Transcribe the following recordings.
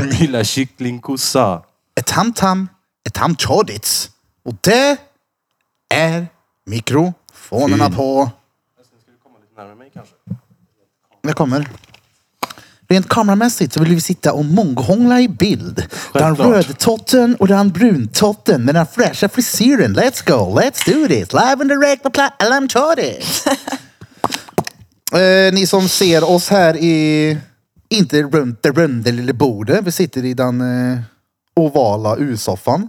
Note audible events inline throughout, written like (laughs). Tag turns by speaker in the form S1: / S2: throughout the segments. S1: Min lilla kycklingkossa.
S2: ett hamtam, ett hamtjadits. Och det är mikrofonerna på.
S1: Närmare mig kanske.
S2: Jag kommer. Rent kameramässigt så vill vi sitta och månghångla i bild. Den
S1: Självklart.
S2: rödtotten och den bruntotten med den fräscha frisyren. Let's go, let's do this. Live and direct på pla- Alarm Tjadis. (laughs) eh, ni som ser oss här i, inte runt det runda lilla bordet. Vi sitter i den eh, ovala U-soffan.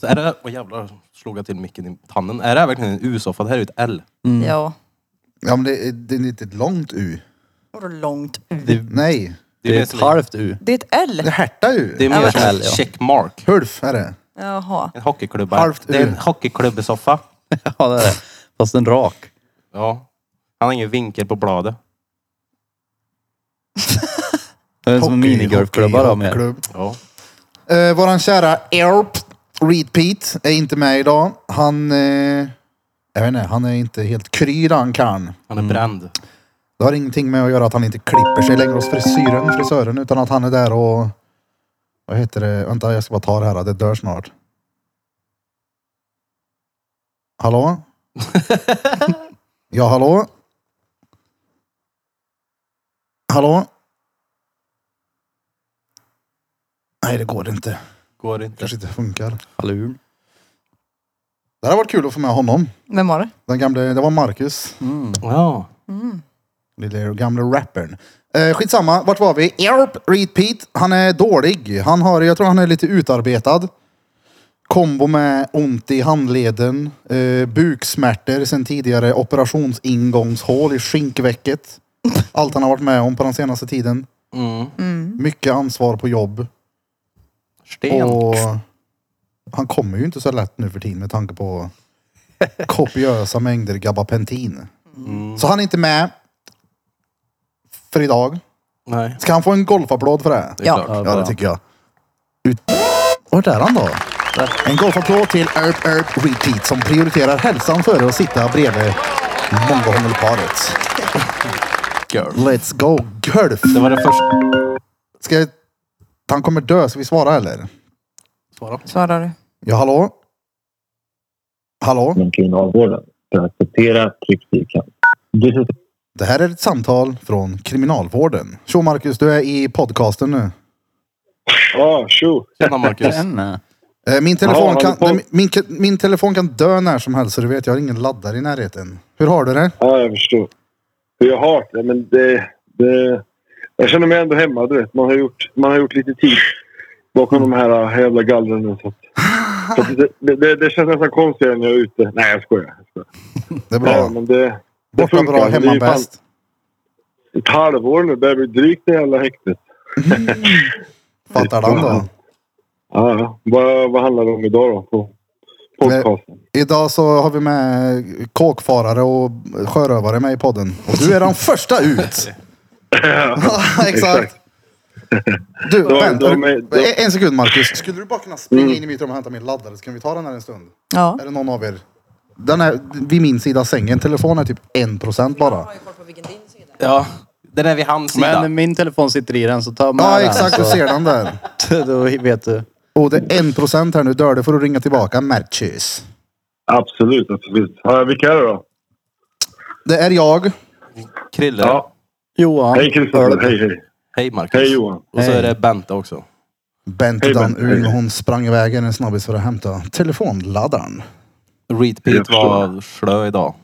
S1: Så är det, åh jävlar, slog jag till micken i tanden. Är det här verkligen en U-soffa? Det här är ju ett L.
S3: Mm.
S4: Ja.
S2: Ja, men det, det är inte ett långt U.
S4: Vadå långt U?
S2: Nej,
S1: ju
S5: Det är
S1: mer
S5: ett
S1: som-
S5: halvt U.
S4: Det är ett
S2: det är
S4: L.
S2: härta U.
S1: Det är mer
S5: men-
S1: som
S5: L,
S1: ett
S5: ja.
S1: checkmark.
S2: Hulf är det.
S4: Jaha.
S1: En hockeyklubba.
S2: Halvt
S1: det är
S2: U.
S1: en hockeyklubbesoffa.
S5: (laughs) Ja, det är det. Fast en rak.
S1: Ja. Han har ingen vinkel på bladet.
S5: Det är som en minigolfklubba då med.
S2: hockeyklubb.
S1: Ja.
S2: Eh, våran kära Erp, Reed Pete, är inte med idag. Han, eh, jag vet inte, han är inte helt kry den karln.
S1: Han
S3: Mm.
S1: är bränd.
S2: Det har ingenting med att göra att han inte klipper sig längre hos frisyren, frisören, utan att han är där och... Vad heter det? Vänta, jag ska bara ta det här. Det dör snart. Hallå? ja, hallå? Hallå? Nej, det går inte.
S1: Går inte.
S2: Kanske inte funkar.
S5: Halur.
S2: Det hade varit kul att få med honom.
S4: Vem var det?
S2: Den gamle, det var Marcus.
S1: Ja.
S2: Lille gamle rappern. Eh, skitsamma, vart var vi? Erp, Reed Pete. Han är dålig. Han har, jag tror han är lite utarbetad. Kombo med ont i handleden, eh, buksmärtor sen tidigare, operationsingångshål i skinkväcket. Allt han har varit med om på den senaste tiden.
S1: Mm.
S2: Mycket ansvar på jobb.
S1: Sten.
S2: Och han kommer ju inte så lätt nu för tiden med
S1: (laughs)
S2: tanke på kopiösa mängder gabapentin.
S1: Mm.
S2: Så han är inte med för idag.
S1: Nej.
S2: Ska han få en golfapplåd för det?
S1: Det är
S4: Ja.
S1: klart.
S2: Ja, det
S5: bra.
S2: tycker jag. Ut... Vart är han då? En golfapplåd till Erp Erp Repeat som prioriterar hälsan före att sitta bredvid mongohongelparet.
S1: Girl.
S2: Let's go golf!
S1: Det var det första.
S2: Ska jag... Han kommer dö, ska vi svara eller?
S1: Svara.
S4: Svarar du?
S2: Ja, hallå? Hallå?
S6: inom kriminalvården för att acceptera krigsstyrkan. This is
S2: Det här är ett samtal från Kriminalvården. Tjo Marcus, du är i podcasten nu.
S3: Ja, tjo.
S1: Tjena Marcus.
S5: Den är.
S2: Eh, Min telefon,
S3: Ja,
S2: kan,
S3: håller på.
S2: nej, min, min- min telefon kan dö när som helst så du vet. Jag har ingen laddare i närheten. Hur har du det?
S3: Ja, jag förstår. Hur jag har det, men det, det... Jag känner mig ändå hemma, du vet. Man har gjort, man har gjort lite tid bakom de här äh, jävla gallren nu. Så att, så att det, det- det, det känns nästan konstigare när jag är ute. Nej, jag skojar. Jag skojar.
S2: Det är
S3: Ja,
S2: bra.
S3: men det, det
S2: Borta bra,
S3: men det är
S2: hemma
S3: ju fan
S2: bäst.
S3: Ett halvår nu. Det börjar bli drygt det jävla häktet.
S2: Fattar den då.
S3: Ja, ja. Vad, vad handlar det om idag då? På podcasten?
S2: Idag så har vi med kåkfarare och sjörövare med i podden. Och du (laughs) är den första ut. Ja, (laughs) Exakt. Du,
S3: Då-
S2: vänta.
S3: då med- då-
S2: En- En sekund Marcus. Skulle du bara kunna springa in i mitt rum och hämta min laddare så kan vi ta den här en stund?
S4: Ja.
S2: Är det någon av er? Den är vid min sida av sängen. Telefonen är typ 1% bara.
S1: Ja. Den är vid hans sida.
S5: Men min telefon sitter i den så ta med
S2: Ja
S5: den.
S2: exakt,
S5: så-
S2: du ser den där.
S5: (laughs) Då vet du.
S2: Och det är 1% här nu. Dör det får du ringa tillbaka. Matches.
S3: Absolut, absolut. Ja, vilka är det då?
S2: Det är jag.
S1: Krille.
S3: Ja.
S5: Johan.
S3: Hej Kristoffer.
S5: Ölb.
S3: Hej, hej.
S1: Hej Marcus.
S3: Hej Johan.
S1: Och så
S5: Hej.
S1: är det Bente också.
S2: Bente
S3: Hej,
S2: Dan
S3: Bente.
S2: ur när hon sprang iväg en snabbis för att hämta telefonladdaren.
S1: Reed
S3: Jag
S1: Pete
S3: förstår.
S1: var slö idag.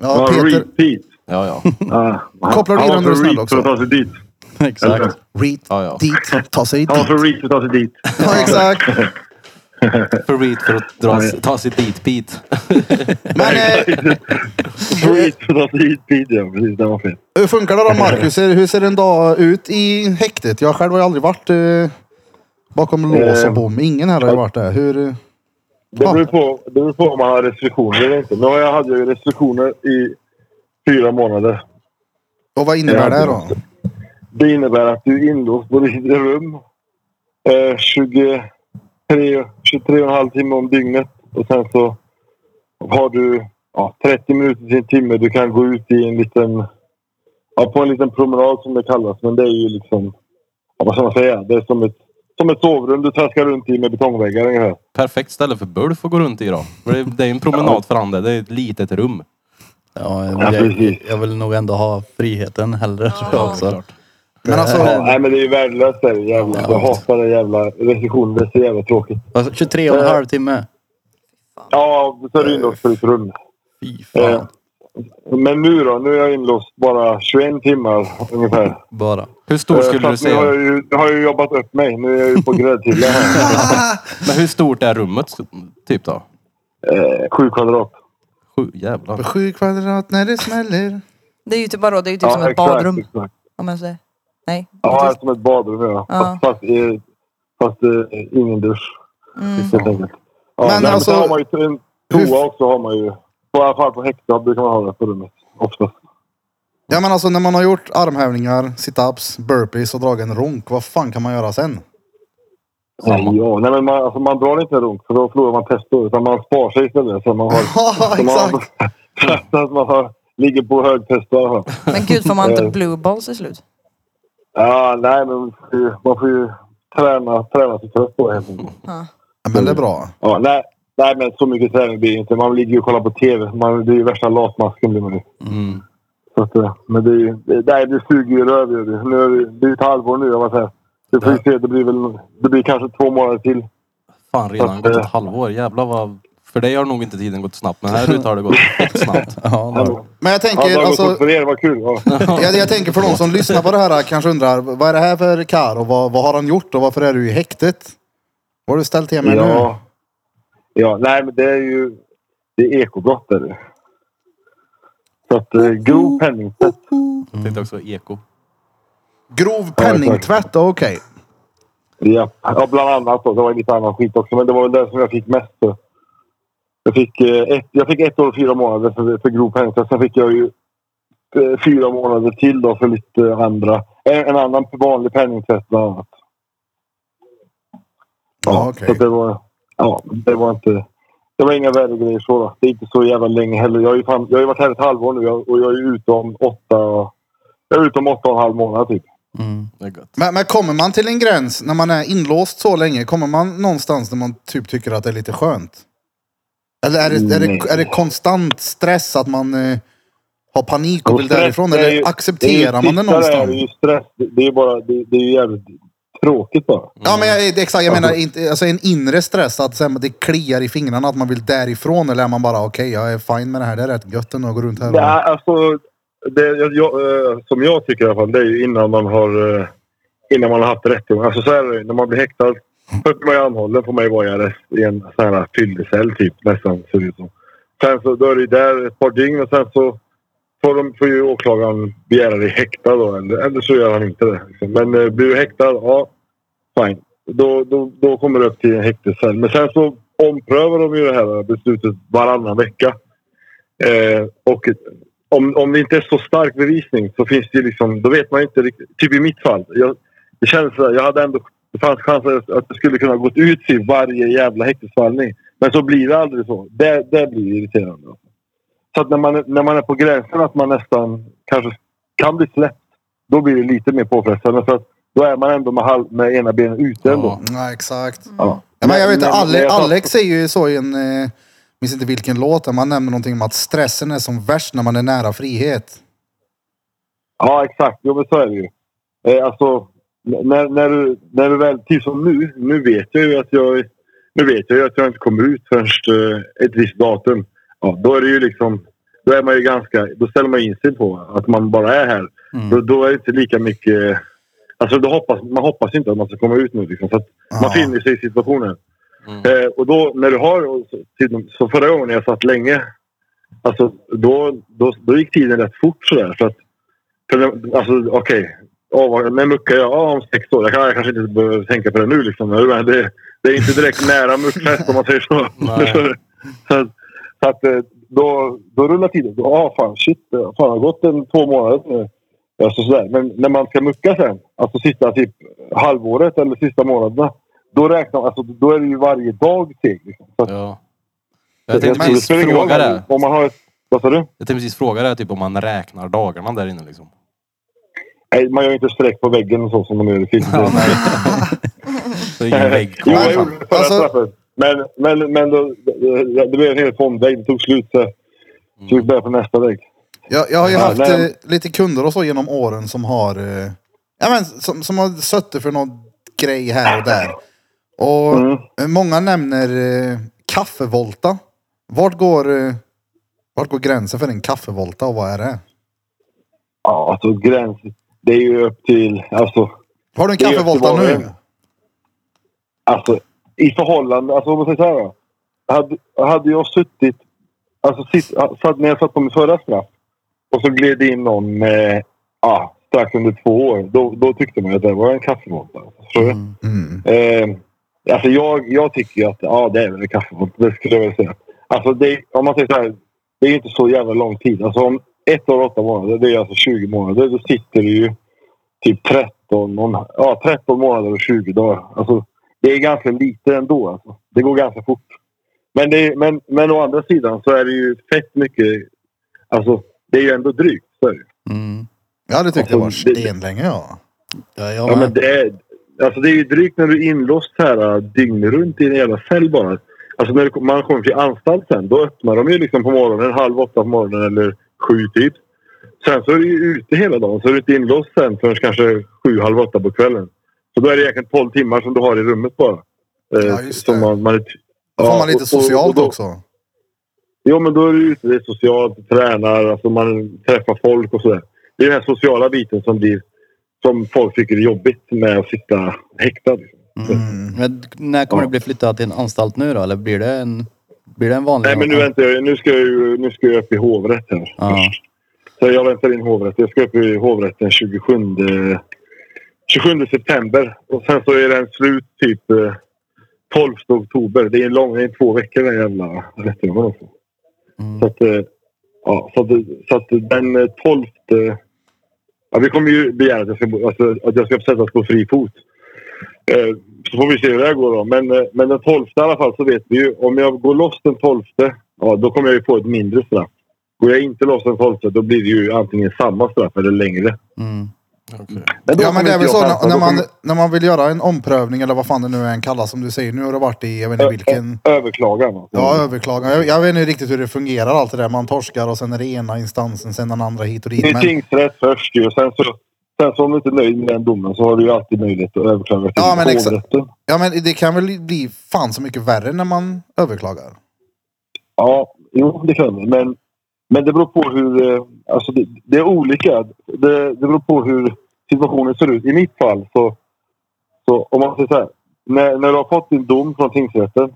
S2: Ja,
S3: Ja,
S2: Peter. Mm.
S3: repeat.
S1: Ja, ja.
S3: Ah,
S2: Kopplar du i den när du är snäll också?
S3: Han var för reet för att ta sig dit.
S5: Exakt.
S2: Reed
S1: Ja, ja.
S2: dit. Ta sig
S3: Han var
S2: dit.
S3: för reet för att ta sig
S2: (laughs)
S3: dit.
S2: Ja, exakt.
S1: För Reed för att dra, ta sig dit Pete.
S2: Men eh, (laughs)
S3: Reet för att ta sig dit. dit, Ja, precis. Det var fel.
S2: hur funkar det då Marcus? Hur hur ser en dag ut i häktet? Jag själv har ju aldrig varit eh, bakom lås och bom. Ingen här har ju varit där. Hur... eh,
S3: Det beror, på, det beror på om man har restriktioner eller inte. Nu har jag, hade jag ju restriktioner i fyra månader.
S2: Och vad innebär det då?
S3: Det innebär att du är inlåst både i ditt rum eh, 23, 23,5 timmar om dygnet. Och sen så har du ja, 30 minuter till en timme. Du kan gå ut i en liten, ja, på en liten promenad som det kallas. Men det är ju liksom ja, vad ska man säga? Det är som ett, som ett sovrum du traskar runt i med betongväggar ungefär.
S1: (laughs) Perfekt ställe för Bulf att gå runt i då. För Det det är en promenad för han där. Det är ett litet rum.
S5: Ja, jag,
S3: Ja, precis.
S5: jag vill nog ändå ha friheten hellre tror jag också.
S1: Klart.
S2: Men
S3: Ja,
S2: alltså,
S3: nej, men det är ju värdelöst det är ju jävla. Jag hatar den jävla recessionen. Det är så jävla tråkigt.
S5: Alltså, 23
S3: Eh.
S5: och en halv timme.
S3: Ja, så är det inlåst rum.
S5: Fy
S3: Eh.
S5: fan.
S3: Men nu då? Nu är jag inlåst bara 21 timmar ungefär.
S5: Bara.
S1: Hur stor
S3: Eh, så
S1: skulle du
S3: att Nu
S1: säga?
S3: har jag ju, nu har jag ju jobbat upp mig. Nu är jag ju på gräddhyllan här.
S1: (laughs) Men hur stort är rummet typ då?
S3: Eh, Sju kvadrat.
S1: Sju jävlar.
S2: sju kvadrat när det smäller.
S4: Det är ju typ, bara, det är ju typ som ett
S3: exakt,
S4: badrum.
S3: exakt.
S4: Om jag säger. Nej.
S3: Ja, alltså, det är
S4: precis.
S3: som ett badrum ja.
S4: Ja.
S3: Fast, fast, eh, fast eh, ingen dusch.
S4: Mm.
S3: Helt enkelt. Ja,
S2: Men
S3: men, men
S2: alltså-
S3: alltså, har man ju en toa också. Har man ju, på, I alla fall på häktet brukar man ha det på rummet. Oftast.
S2: Ja men alltså när man har gjort armhävningar, situps, burpees och dragit en ronk. Vad fan kan man göra sen?
S1: Samma.
S3: Ja, nej, men man, alltså, man drar inte en runk för då förlorar man testo. Utan man sparar sig istället. Så man har...
S2: (laughs) Ja
S3: så man,
S2: exakt.
S3: (laughs) så att man har, ligger på hög testo i alla fall.
S4: Men gud, får man inte
S3: Eh.
S4: blue balls i slut?
S3: Ja, nej, men man får ju, man får ju träna, träna sig trött på det helt enkelt.
S2: Ja, Men det är bra.
S3: Ja, nej, nej, men så mycket träning blir det inte. Man ligger ju och kollar på TV. Man, det är ju värsta latmasken blir man ju.
S1: Mm.
S3: Så att, eh, men det är ju... det- Nej, det suger ju röv gör det. Nu är det, det är ju ett halvår nu, jag vad säger. Det får vi se. Det blir väl... Det blir kanske två månader till.
S1: Fan redan gått ett halvår. Jävlar vad... För dig har nog inte tiden gått snabbt men här ute har det
S3: (laughs)
S1: gått fett snabbt.
S5: Ja,
S3: Ja,
S5: då.
S2: Men jag
S3: det
S2: tänker
S3: har gått
S2: alltså.
S3: upp för er. Vad kul. Ja.
S2: (laughs) Jag, jag tänker för de som lyssnar på det här kanske undrar. Vad är det här för kar och vad, vad har han gjort och varför är du i häktet? Vad har du ställt till med nu?
S3: Ja. ja, nej men det är ju... Det är ekobrott är det. Så att eh, grov penningtvätt.
S1: Jag
S3: Mm.
S1: tänkte också eko.
S2: Grov penningtvätt, ja, okej.
S3: Ja, ja bland annat. Då. Det var lite annan skit också. Men det var väl det som jag fick mest. För. Jag, fick, eh, ett, jag fick ett år och fyra månader för, för grov penningtvätt. Sen fick jag ju eh, fyra månader till då för lite andra. En, en annan vanlig penningtvätt bland annat.
S2: Ja, okej.
S3: Så att det var, ja, det var inte... Det var inga värre grejer så. Då. Det är inte så jävla länge heller. Jag har ju, fan, jag har ju varit här ett halvår nu jag- och jag är ute om åtta... Jag är ute om åtta och en halv månad typ.
S5: Mm.
S1: Det är gött.
S2: Men, men kommer man till en gräns när man är inlåst så länge? Kommer man någonstans där man typ tycker att det är lite skönt? Eller är det, är
S3: Nej.
S2: det, är det konstant stress att man eh, har panik och vill
S3: stress,
S2: därifrån?
S3: det är
S2: Eller
S3: ju-
S2: accepterar man det
S3: sista där, Det är
S2: någonstans?
S3: ju stress. Det det är bara... Det, det är ju jävligt tråkigt bara.
S2: Ja, men jag, exakt. Jag menar inte, alltså en inre stress att så här, det kliar i fingrarna att man vill därifrån. Eller är man bara okej, jag är fine med det här. Det är rätt gött ändå att gå runt här.
S3: Ja,
S2: Och,
S3: alltså, det, jag, jag, eh, som jag tycker i alla fall, det är ju innan man har, eh, innan man har haft rättegång. Alltså så här är det, när man blir häktad. Först blir man ju anhållen får man ju vara i arrest i en sån här fyllecell typ nästan ser det ut som. Sen så då är det ju där ett par dygn och sen så får, de, får ju åklagaren begära dig häktad då. Eller, eller så gör han inte det. Liksom. Men eh, blir du häktad, ja fine. Då, då, då kommer du upp till en häktescell. Men sen så omprövar de ju det här beslutet varannan vecka. Eh, och om, om det inte är så stark bevisning så finns det ju liksom, då vet man ju inte riktigt. Typ i mitt fall. Jag, det kändes så här, jag hade ändå, det fanns chanser att- att det skulle kunna gått ut i varje jävla häktesförhandling. Men så blir det aldrig så. Det, det blir irriterande. Så att när man, när man är på gränsen att man nästan kanske kan bli släppt. Då blir det lite mer påfrestande. För att då är man ändå med, halv, med ena benen ute ändå.
S2: nej, exakt.
S3: Ja.
S2: Ja, men jag vet Ale-
S3: jag-
S2: Alex säger ju så i en, eh, minns inte vilken låt, där man nämner någonting om att stressen är som värst när man är nära frihet.
S3: Ja, exakt. Jo, men så är det ju. Eh, alltså, n- när, när, du, när du väl... Till som nu. Nu vet jag ju att jag, nu vet jag ju att jag inte kommer ut förrän eh, ett visst datum. Ja, då är det ju liksom... Då är man ju ganska... Då ställer man in sig på att man bara är här.
S1: Mm.
S5: mm,
S3: Då, då är det inte lika mycket... Alltså, då hoppas, man hoppas inte att man ska komma ut nu. Liksom, så att
S2: Ja.
S3: Man finner sig i situationen.
S1: Mm.
S3: Eh, och då när du har... och så- till- Så förra gången jag satt länge, alltså, då, då, då gick tiden rätt fort sådär. För att, för, när- alltså, okej. Ja, vad- när muckar jag? Ja, om sex år. Jag, kan, jag kanske inte behöver tänka på det nu. Liksom. Men det, det är inte direkt nära muckfest om man säger så.
S1: Nej.
S3: (laughs) så, att, så att, eh, då, då rullar tiden. Då, ah, fan, shit. eh, Fan, det har gått en, två månader nu. Ja, så, sådär. Men när man ska mucka sen, alltså sista typ halvåret eller sista månaderna. Då, räknar, alltså, då är det ju varje dag seg. Liksom. Så att-
S1: Ja. Jag tänkte
S3: tror det
S1: precis
S3: spelar ingen roll
S1: fråga det.
S3: Om man har ett, vad sa du?
S1: Jag tänkte precis fråga det typ om man räknar dagarna där inne liksom.
S3: Nej, man gör inte streck på väggen och så som de gör i filmen.
S1: Det är ingen vägg
S3: (laughs) Jo,
S1: kvar.
S3: jag gjorde det förra
S2: Alltså-
S3: straffen. Men, men, men då, det, det blev en hel fondvägg. Det tog slut. Så
S1: Mm.
S3: så vi började på nästa vägg.
S2: Jag, jag har ju
S3: Ja,
S2: haft
S3: men-
S2: eh, lite kunder och så genom åren som har... Eh, ja, men, som, som har suttit för någon grej här och där. Och
S3: Mm.
S2: eh, många nämner eh, kaffevolta. Vart går, eh, vart går gränsen för en kaffevolta och vad är det?
S3: Ja, alltså gräns. Det är ju upp till... Alltså,
S2: Har du en
S3: Det är
S2: kaffevolta
S3: Göteborg.
S2: nu?
S3: alltså i förhållande... Alltså om man säger så här då. Hade, hade jag suttit... Alltså sitt, satt, när jag satt på min förra straff och så gled in någon eh, ah, strax under två år. Då, då tyckte man att det var en kaffemåtta. Förstår du?
S5: Mm.
S2: Mm.
S3: Eh, alltså jag, jag tycker ju att ja, det är väl en kaffekopp. Det skulle jag vilja säga. Alltså det, om man säger så här. Det är ju inte så jävla lång tid. Alltså om ett år och åtta månader, det är alltså 20 månader. Då sitter du ju typ 13, och en- ja, 13 månader och 20 dagar. Alltså, det är ganska lite ändå. Alltså. Det går ganska fort. Men, det, är- men, men å andra sidan så är det ju fett mycket... Alltså, det är ju ändå drygt. Så är det. ju.
S5: Mm.
S2: Jag hade tyckt det var
S3: Alltså, det-
S2: stenlänge ja.
S5: Ja,
S3: Ja,
S5: jag
S3: men
S5: med.
S3: det är, alltså det är ju drygt när du är inlåst så här äh, dygnet runt i en jävla cell bara. Alltså när du kom- man kommer till anstalt sen, då öppnar de ju liksom på morgonen, halv åtta på morgonen eller sju typ. Sen så är du ju ute hela dagen, så är du inte inlåst sen förrän kanske sju, halv åtta på kvällen. Så då är det egentligen tolv timmar som du har i rummet bara. Eh,
S2: Ja, just
S3: som
S2: det.
S3: man, man är,
S2: Då får man lite socialt
S3: då,
S2: också.
S3: Jo, men då är du ute, det är socialt, tränar, alltså man träffar folk och sådär. Det är den här sociala biten som blir som folk tycker är jobbigt med att sitta häktad. liksom.
S2: Mm.
S5: Men när kommer det bli flyttat till en anstalt nu då? Eller blir det en, blir det en vanlig
S3: Nej, men nu
S5: anstalt?
S3: väntar jag. Nu ska jag, ju- nu ska jag upp i hovrätt här.
S5: Ja.
S3: Så jag väntar in hovrätt. Jag ska upp i hovrätten 27, 27 september. Och sen så är den slut typ eh, 12 oktober. Det är en lång, det är två veckor den jävla rättegången också.
S5: Mm.
S3: Så att, eh, ja, så att, så att den eh, 12... Ja, vi kommer ju begära att jag ska, alltså, att jag ska sättas på fri fot. Eh, så får vi se hur det här går då. Men, eh, men den 12 i alla fall så vet vi ju. Om jag går loss den 12, ja, då kommer jag ju få ett mindre straff. Går jag inte loss den 12 då blir det ju antingen samma straff eller längre.
S5: Mm.
S1: Okej.
S3: då
S2: Ja men
S3: kommer
S2: det är
S3: inte
S2: väl
S3: jag
S2: så
S3: chansa.
S2: när,
S3: Då
S2: när, man,
S3: kommer
S2: när man vill göra en omprövning eller vad fan det nu än kallas som du säger. Nu har du varit i, jag vet inte
S3: Ö-
S2: vilken.
S3: jag Överklaga. va?
S2: Ja, överklagan. Jag, jag vet inte riktigt hur det fungerar allt det där. Man torskar och sen är det ena instansen, sen den andra hit och dit.
S3: Det är
S2: Men,
S3: tingsrätt först ju. Sen så, sen så om du inte är nöjd med den domen så har du ju alltid möjlighet att överklaga till
S2: Ja, men exakt.
S3: hovrätten.
S2: ja, men det kan väl bli fan så mycket värre när man överklagar.
S3: Ja, jo, det kan det. Men, men det beror på hur... eh, Alltså det, det är olika. Det, det beror på hur situationen ser ut. I mitt fall så... så om man säger så här. När, när du har fått din dom från tingsrätten.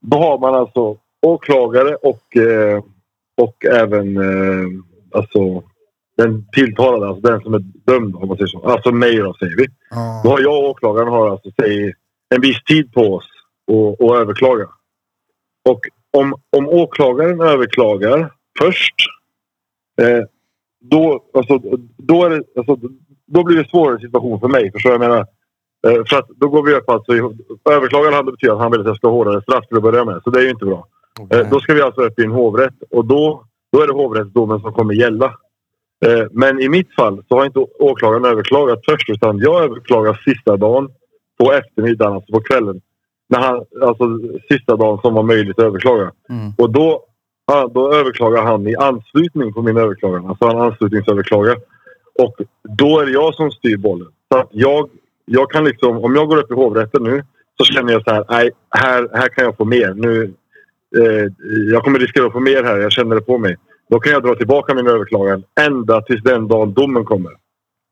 S3: Då har man alltså åklagare och, eh, och även eh, alltså, den tilltalade. Alltså den som är dömd om man säger så. Alltså mig då säger vi. Då
S2: Ja.
S3: har jag och åklagaren har alltså säg, en viss tid på oss att- att överklaga. Och om, om åklagaren överklagar först, eh, då, alltså, då, är det, alltså, då blir det svårare situation för mig. Förstår du vad jag menar? Eh, för att då går vi upp alltså, i- överklagaren han betyder att han vill att jag ska ha hårdare straff till att börja med. Så det är ju inte bra. Eh, Då ska vi alltså upp i en hovrätt och då, då är det hovrättsdomen som kommer gälla. Eh, Men i mitt fall så har inte å- åklagaren överklagat först utan jag överklagar sista dagen på eftermiddagen, alltså på kvällen. När han, alltså sista dagen som var möjligt att överklaga.
S5: Mm.
S3: Och då, ja, då överklagar han i anslutning på min överklagan. Alltså han anslutningsöverklagar. Och då är det jag som styr bollen. Så att jag, jag kan liksom, om jag går upp i hovrätten nu så känner jag så här, nej, här, här kan jag få mer. Nu, eh, jag kommer riskera att få mer här, jag känner det på mig. Då kan jag dra tillbaka min överklagan ända tills den dagen domen kommer.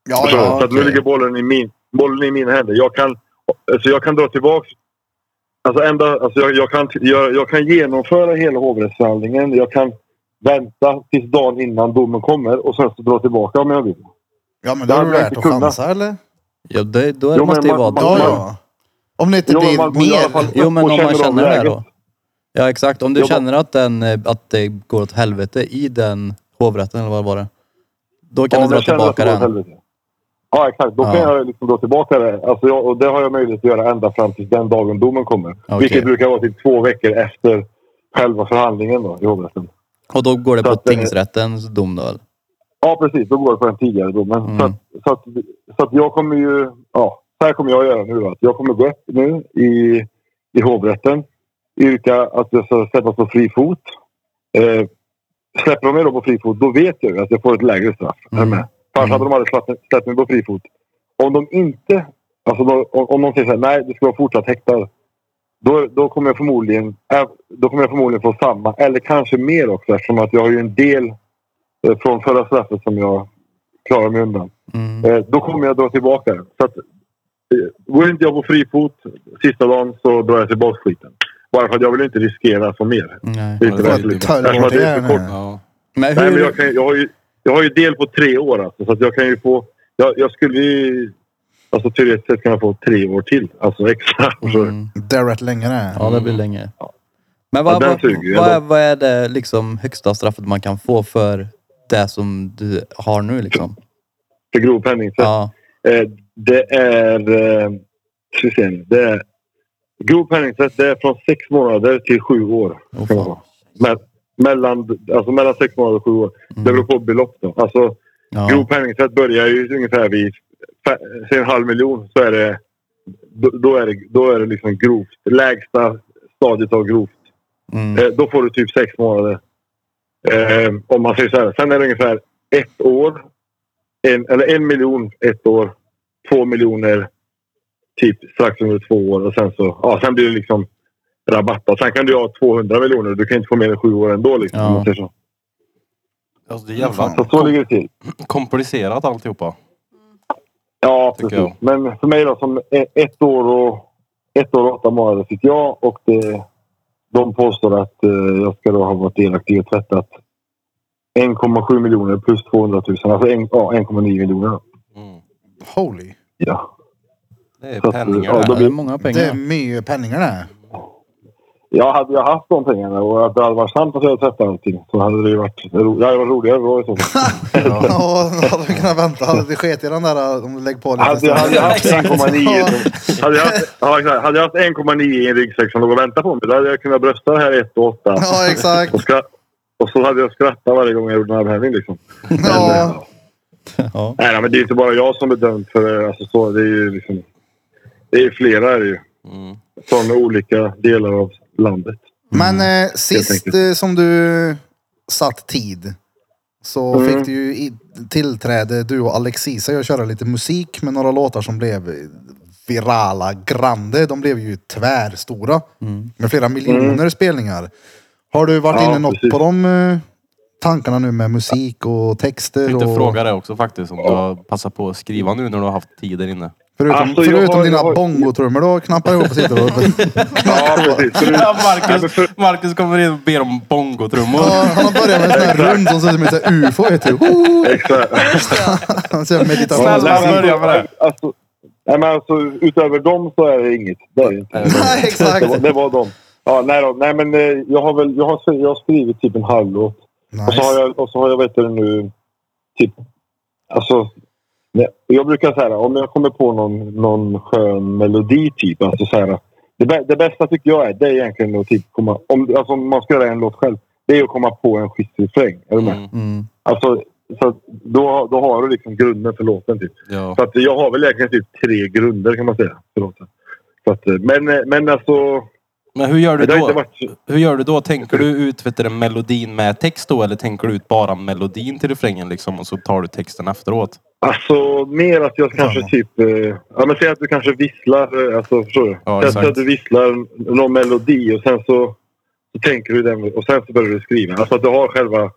S2: Ja,
S3: Förstår du?
S2: ja,
S3: så att nu
S2: okej.
S3: ligger bollen i, min, bollen i mina händer. Jag kan, alltså jag kan dra tillbaka... Alltså ända, alltså jag, jag, kan, jag, jag kan genomföra hela hovrättsförhandlingen. Jag kan vänta tills dagen innan domen kommer och sen så dra tillbaka om jag vill.
S2: ja, men då har
S3: hade
S2: du
S3: jag
S2: lärt
S3: inte
S2: att
S3: kunnat.
S2: chansa eller?
S5: Ja, det, då
S3: Jo, men
S5: måste det ju
S3: man-
S5: vara...
S3: man-
S2: Ja, ja. Om det inte
S3: Jo, men
S2: blir
S3: man borde i alla fall-
S2: mer.
S5: Jo, men
S3: Och
S5: om man
S3: känner av
S5: känner det här
S3: läget.
S5: då? Ja, exakt. Om du
S3: Ja, men-
S5: känner att, den, eh, att det går åt helvete i den hovrätten, eller vad var det? Då kan
S3: Om
S5: du dra
S3: jag känner att
S5: tillbaka
S3: det går åt
S5: den.
S3: helvete. Ja, exakt. Då kan
S5: Ja.
S3: jag liksom dra tillbaka det. Alltså jag, och det har jag möjlighet att göra ända fram till den dagen domen kommer.
S5: Okej.
S3: Vilket brukar vara till två veckor efter själva förhandlingen då, i hovrätten.
S5: Och då går det
S3: Så
S5: på
S3: att, eh,
S5: tingsrättens dom då, eller?
S3: Ja, precis. Då går det på den tidigare domen.
S5: Mm.
S3: Så, att, så, att, så att jag kommer ju... Ja, så här kommer jag göra nu. Att jag kommer gå upp nu i, i hovrätten. Yrka att jag ska släppas på fri fot. Eh, släpper de mig då på fri fot, då vet jag ju att jag får ett lägre straff.
S5: Mm.
S3: Mm. Kanske hade de aldrig släppt, släppt mig på fri fot. Om de inte... Alltså då, om, om de säger så här, nej, du ska vara fortsatt häktad. Då, då, kommer jag förmodligen, äh, då kommer jag förmodligen få samma, eller kanske mer också eftersom att jag har ju en del eh, från förra straffet som jag klarar mig undan.
S5: Mm.
S3: Eh, då kommer jag dra tillbaka den. Så att, eh, går inte jag på fri fot sista dagen så drar jag tillbaka skiten. Bara för att jag vill inte riskera för mer.
S5: Nej.
S3: Det är inte
S1: Ja, det är
S3: värt
S1: lite-
S3: livet.
S2: Töll
S3: Eftersom
S2: bort
S3: att det är
S2: det
S3: för kort.
S1: Ja.
S5: Men
S3: Nej, men
S5: hur...
S3: jag, kan, jag, har ju, jag har ju del på tre år alltså, så att jag kan ju få... Jag, jag skulle ju... Alltså teoretiskt sett kan jag få tre år till. Alltså extra. (laughs) Så,
S5: Mm.
S2: Det är rätt länge det. är.
S5: Ja, det blir länge. Men vad,
S3: Mm. Ja, den
S5: vad,
S3: suger ju
S5: vad, är,
S3: ändå.
S5: vad är det liksom högsta straffet man kan få för det som du har nu liksom?
S3: för grov penning. Så,
S5: Ja.
S3: eh, det är... Eh, ska vi se nu. Det är grov penningtvätt det är från sex månader till sju år.
S5: Åh,
S3: kan det
S5: fan.
S3: vara. Men, mellan, alltså mellan sex månader och sju år.
S5: Mm.
S3: Det beror på belopp då. Alltså,
S5: Ja.
S3: Grov penningtvätt börjar ju ungefär vid fe- säg en halv miljon. Så är det, då, då, är det, då är det liksom grovt. Lägsta stadiet av grovt.
S5: Mm.
S3: Eh, då får du typ sex månader. Eh, om man säger så här. Sen är det ungefär ett år. En, eller en miljon ett år. Två miljoner typ strax under två år. Och sen, så, ja, sen blir det liksom rabattat. Sen kan du ha 200 miljoner. Du kan inte få mer än sju år ändå. Liksom,
S5: Ja.
S3: om man säger så.
S1: Alltså det är
S3: så
S1: jävla
S3: så ligger det till.
S1: komplicerat alltihopa.
S3: Ja,
S1: tycker
S3: precis. Men för mig då som e- ett år och, ett år och åtta månader fick jag och det, de påstår att eh, jag ska då ha varit delaktig i tvättat 1,7 miljoner plus 200 000. Alltså en, ja, 1,9 miljoner.
S1: Mm.
S2: Holy.
S3: Ja.
S1: Det är
S3: Så att,
S1: penningar
S3: ja,
S1: det.
S3: då
S5: Ja,
S1: här.
S5: det är många
S2: Det är
S5: pengar.
S2: mycket penningar det. är.
S3: Jag hade jag haft de pengarna och att det hade varit sant att jag hade tvättat allting så hade det ju varit, ro, det hade varit roligare då i så fall.
S2: (laughs) Ja, då hade vi kunnat vänta. Hade det sket i den där eh, om du lägger på lite.
S3: Hade jag hade jag haft 1,9
S2: Ja.
S3: så- hade jag haft- ja, exakt. Hade jag haft 1,9 i en ryggsäck som låg och väntade på mig då hade jag kunnat brösta det här 1 och 8.
S2: Ja, exakt.
S3: Och, skra- och så hade jag skrattat varje gång jag gjorde en armhävning. Liksom.
S2: Ja.
S5: Ja.
S3: Nej, nej, men det är inte bara jag som är dömd för det. Alltså, så, det är ju liksom, det är flera är det ju,
S1: Mm.
S3: från olika delar av landet.
S2: Men eh, sist
S3: Mm. enkelt.
S2: eh, som du satt tid så
S3: Mm.
S2: fick du ju i, tillträde, du och Alexisa, att köra lite musik med några låtar som blev virala, grande. De blev ju tvärstora med flera miljoner spelningar. Har du varit
S3: Mm. Ja,
S2: inne något
S3: precis.
S2: på de eh, tankarna nu med musik och texter?
S1: Jag tänkte
S2: och,
S1: fråga dig också faktiskt om du har passat på att skriva nu när du har haft tid där inne.
S2: Förutom,
S3: Alltså, jag
S2: förutom
S3: har-
S2: dina
S3: jag har-
S2: bongotrummor då knappar ihop och sitter och...
S3: (laughs) Ja, precis. Så det-
S1: Ja, (laughs) Marcus, Marcus kommer in och ber om bongotrummor.
S2: Ja, han har börjat med en sån här rund som ser ut som ett ufo. Vet du. Woo!
S3: Exakt.
S2: Han kör meditation.
S1: Snälla,
S3: Nej, men
S1: börja med det.
S3: Alltså, nej, men alltså, utöver dem så är det inget. Det, är det inte.
S2: Nej,
S3: (laughs) det, var,
S2: exakt.
S3: det var dem. Ja, nej, då, nej, men eh, jag har, väl, jag, har, jag har skrivit typ en halv låt. Och så har
S2: Nice.
S3: jag, och så har jag vet du, nu, typ, alltså, nej, jag brukar säga om jag kommer på någon, någon skön melodi typ, alltså så här, det, bä- det bästa tycker jag är, det är egentligen att typ komma, om, alltså, om man ska göra en låt själv, det är att komma på en skistrefräng. Är du med?
S1: Mm,
S5: Mm.
S3: Alltså, så att då, då har du liksom grunden för låten typ.
S1: ja.
S3: Så att jag har väl egentligen typ tre grunder kan man säga för låten. Så att, eh, men, eh, men alltså,
S1: Men hur gör du
S3: det har inte
S1: då?
S3: varit...
S1: Hur gör du då? Tänker du ut vet du, melodin med text då eller tänker du ut bara melodin till refrängen liksom och så tar du texten efteråt?
S3: Alltså mer att jag kanske
S2: Ja.
S3: typ... Eh, ja, men säg att du kanske visslar. eh, Alltså, förstår du?
S1: Ja,
S3: Säg att-
S1: exakt.
S3: säg att du visslar någon melodi och sen så, så tänker du den och sen så börjar du skriva. Alltså att du har själva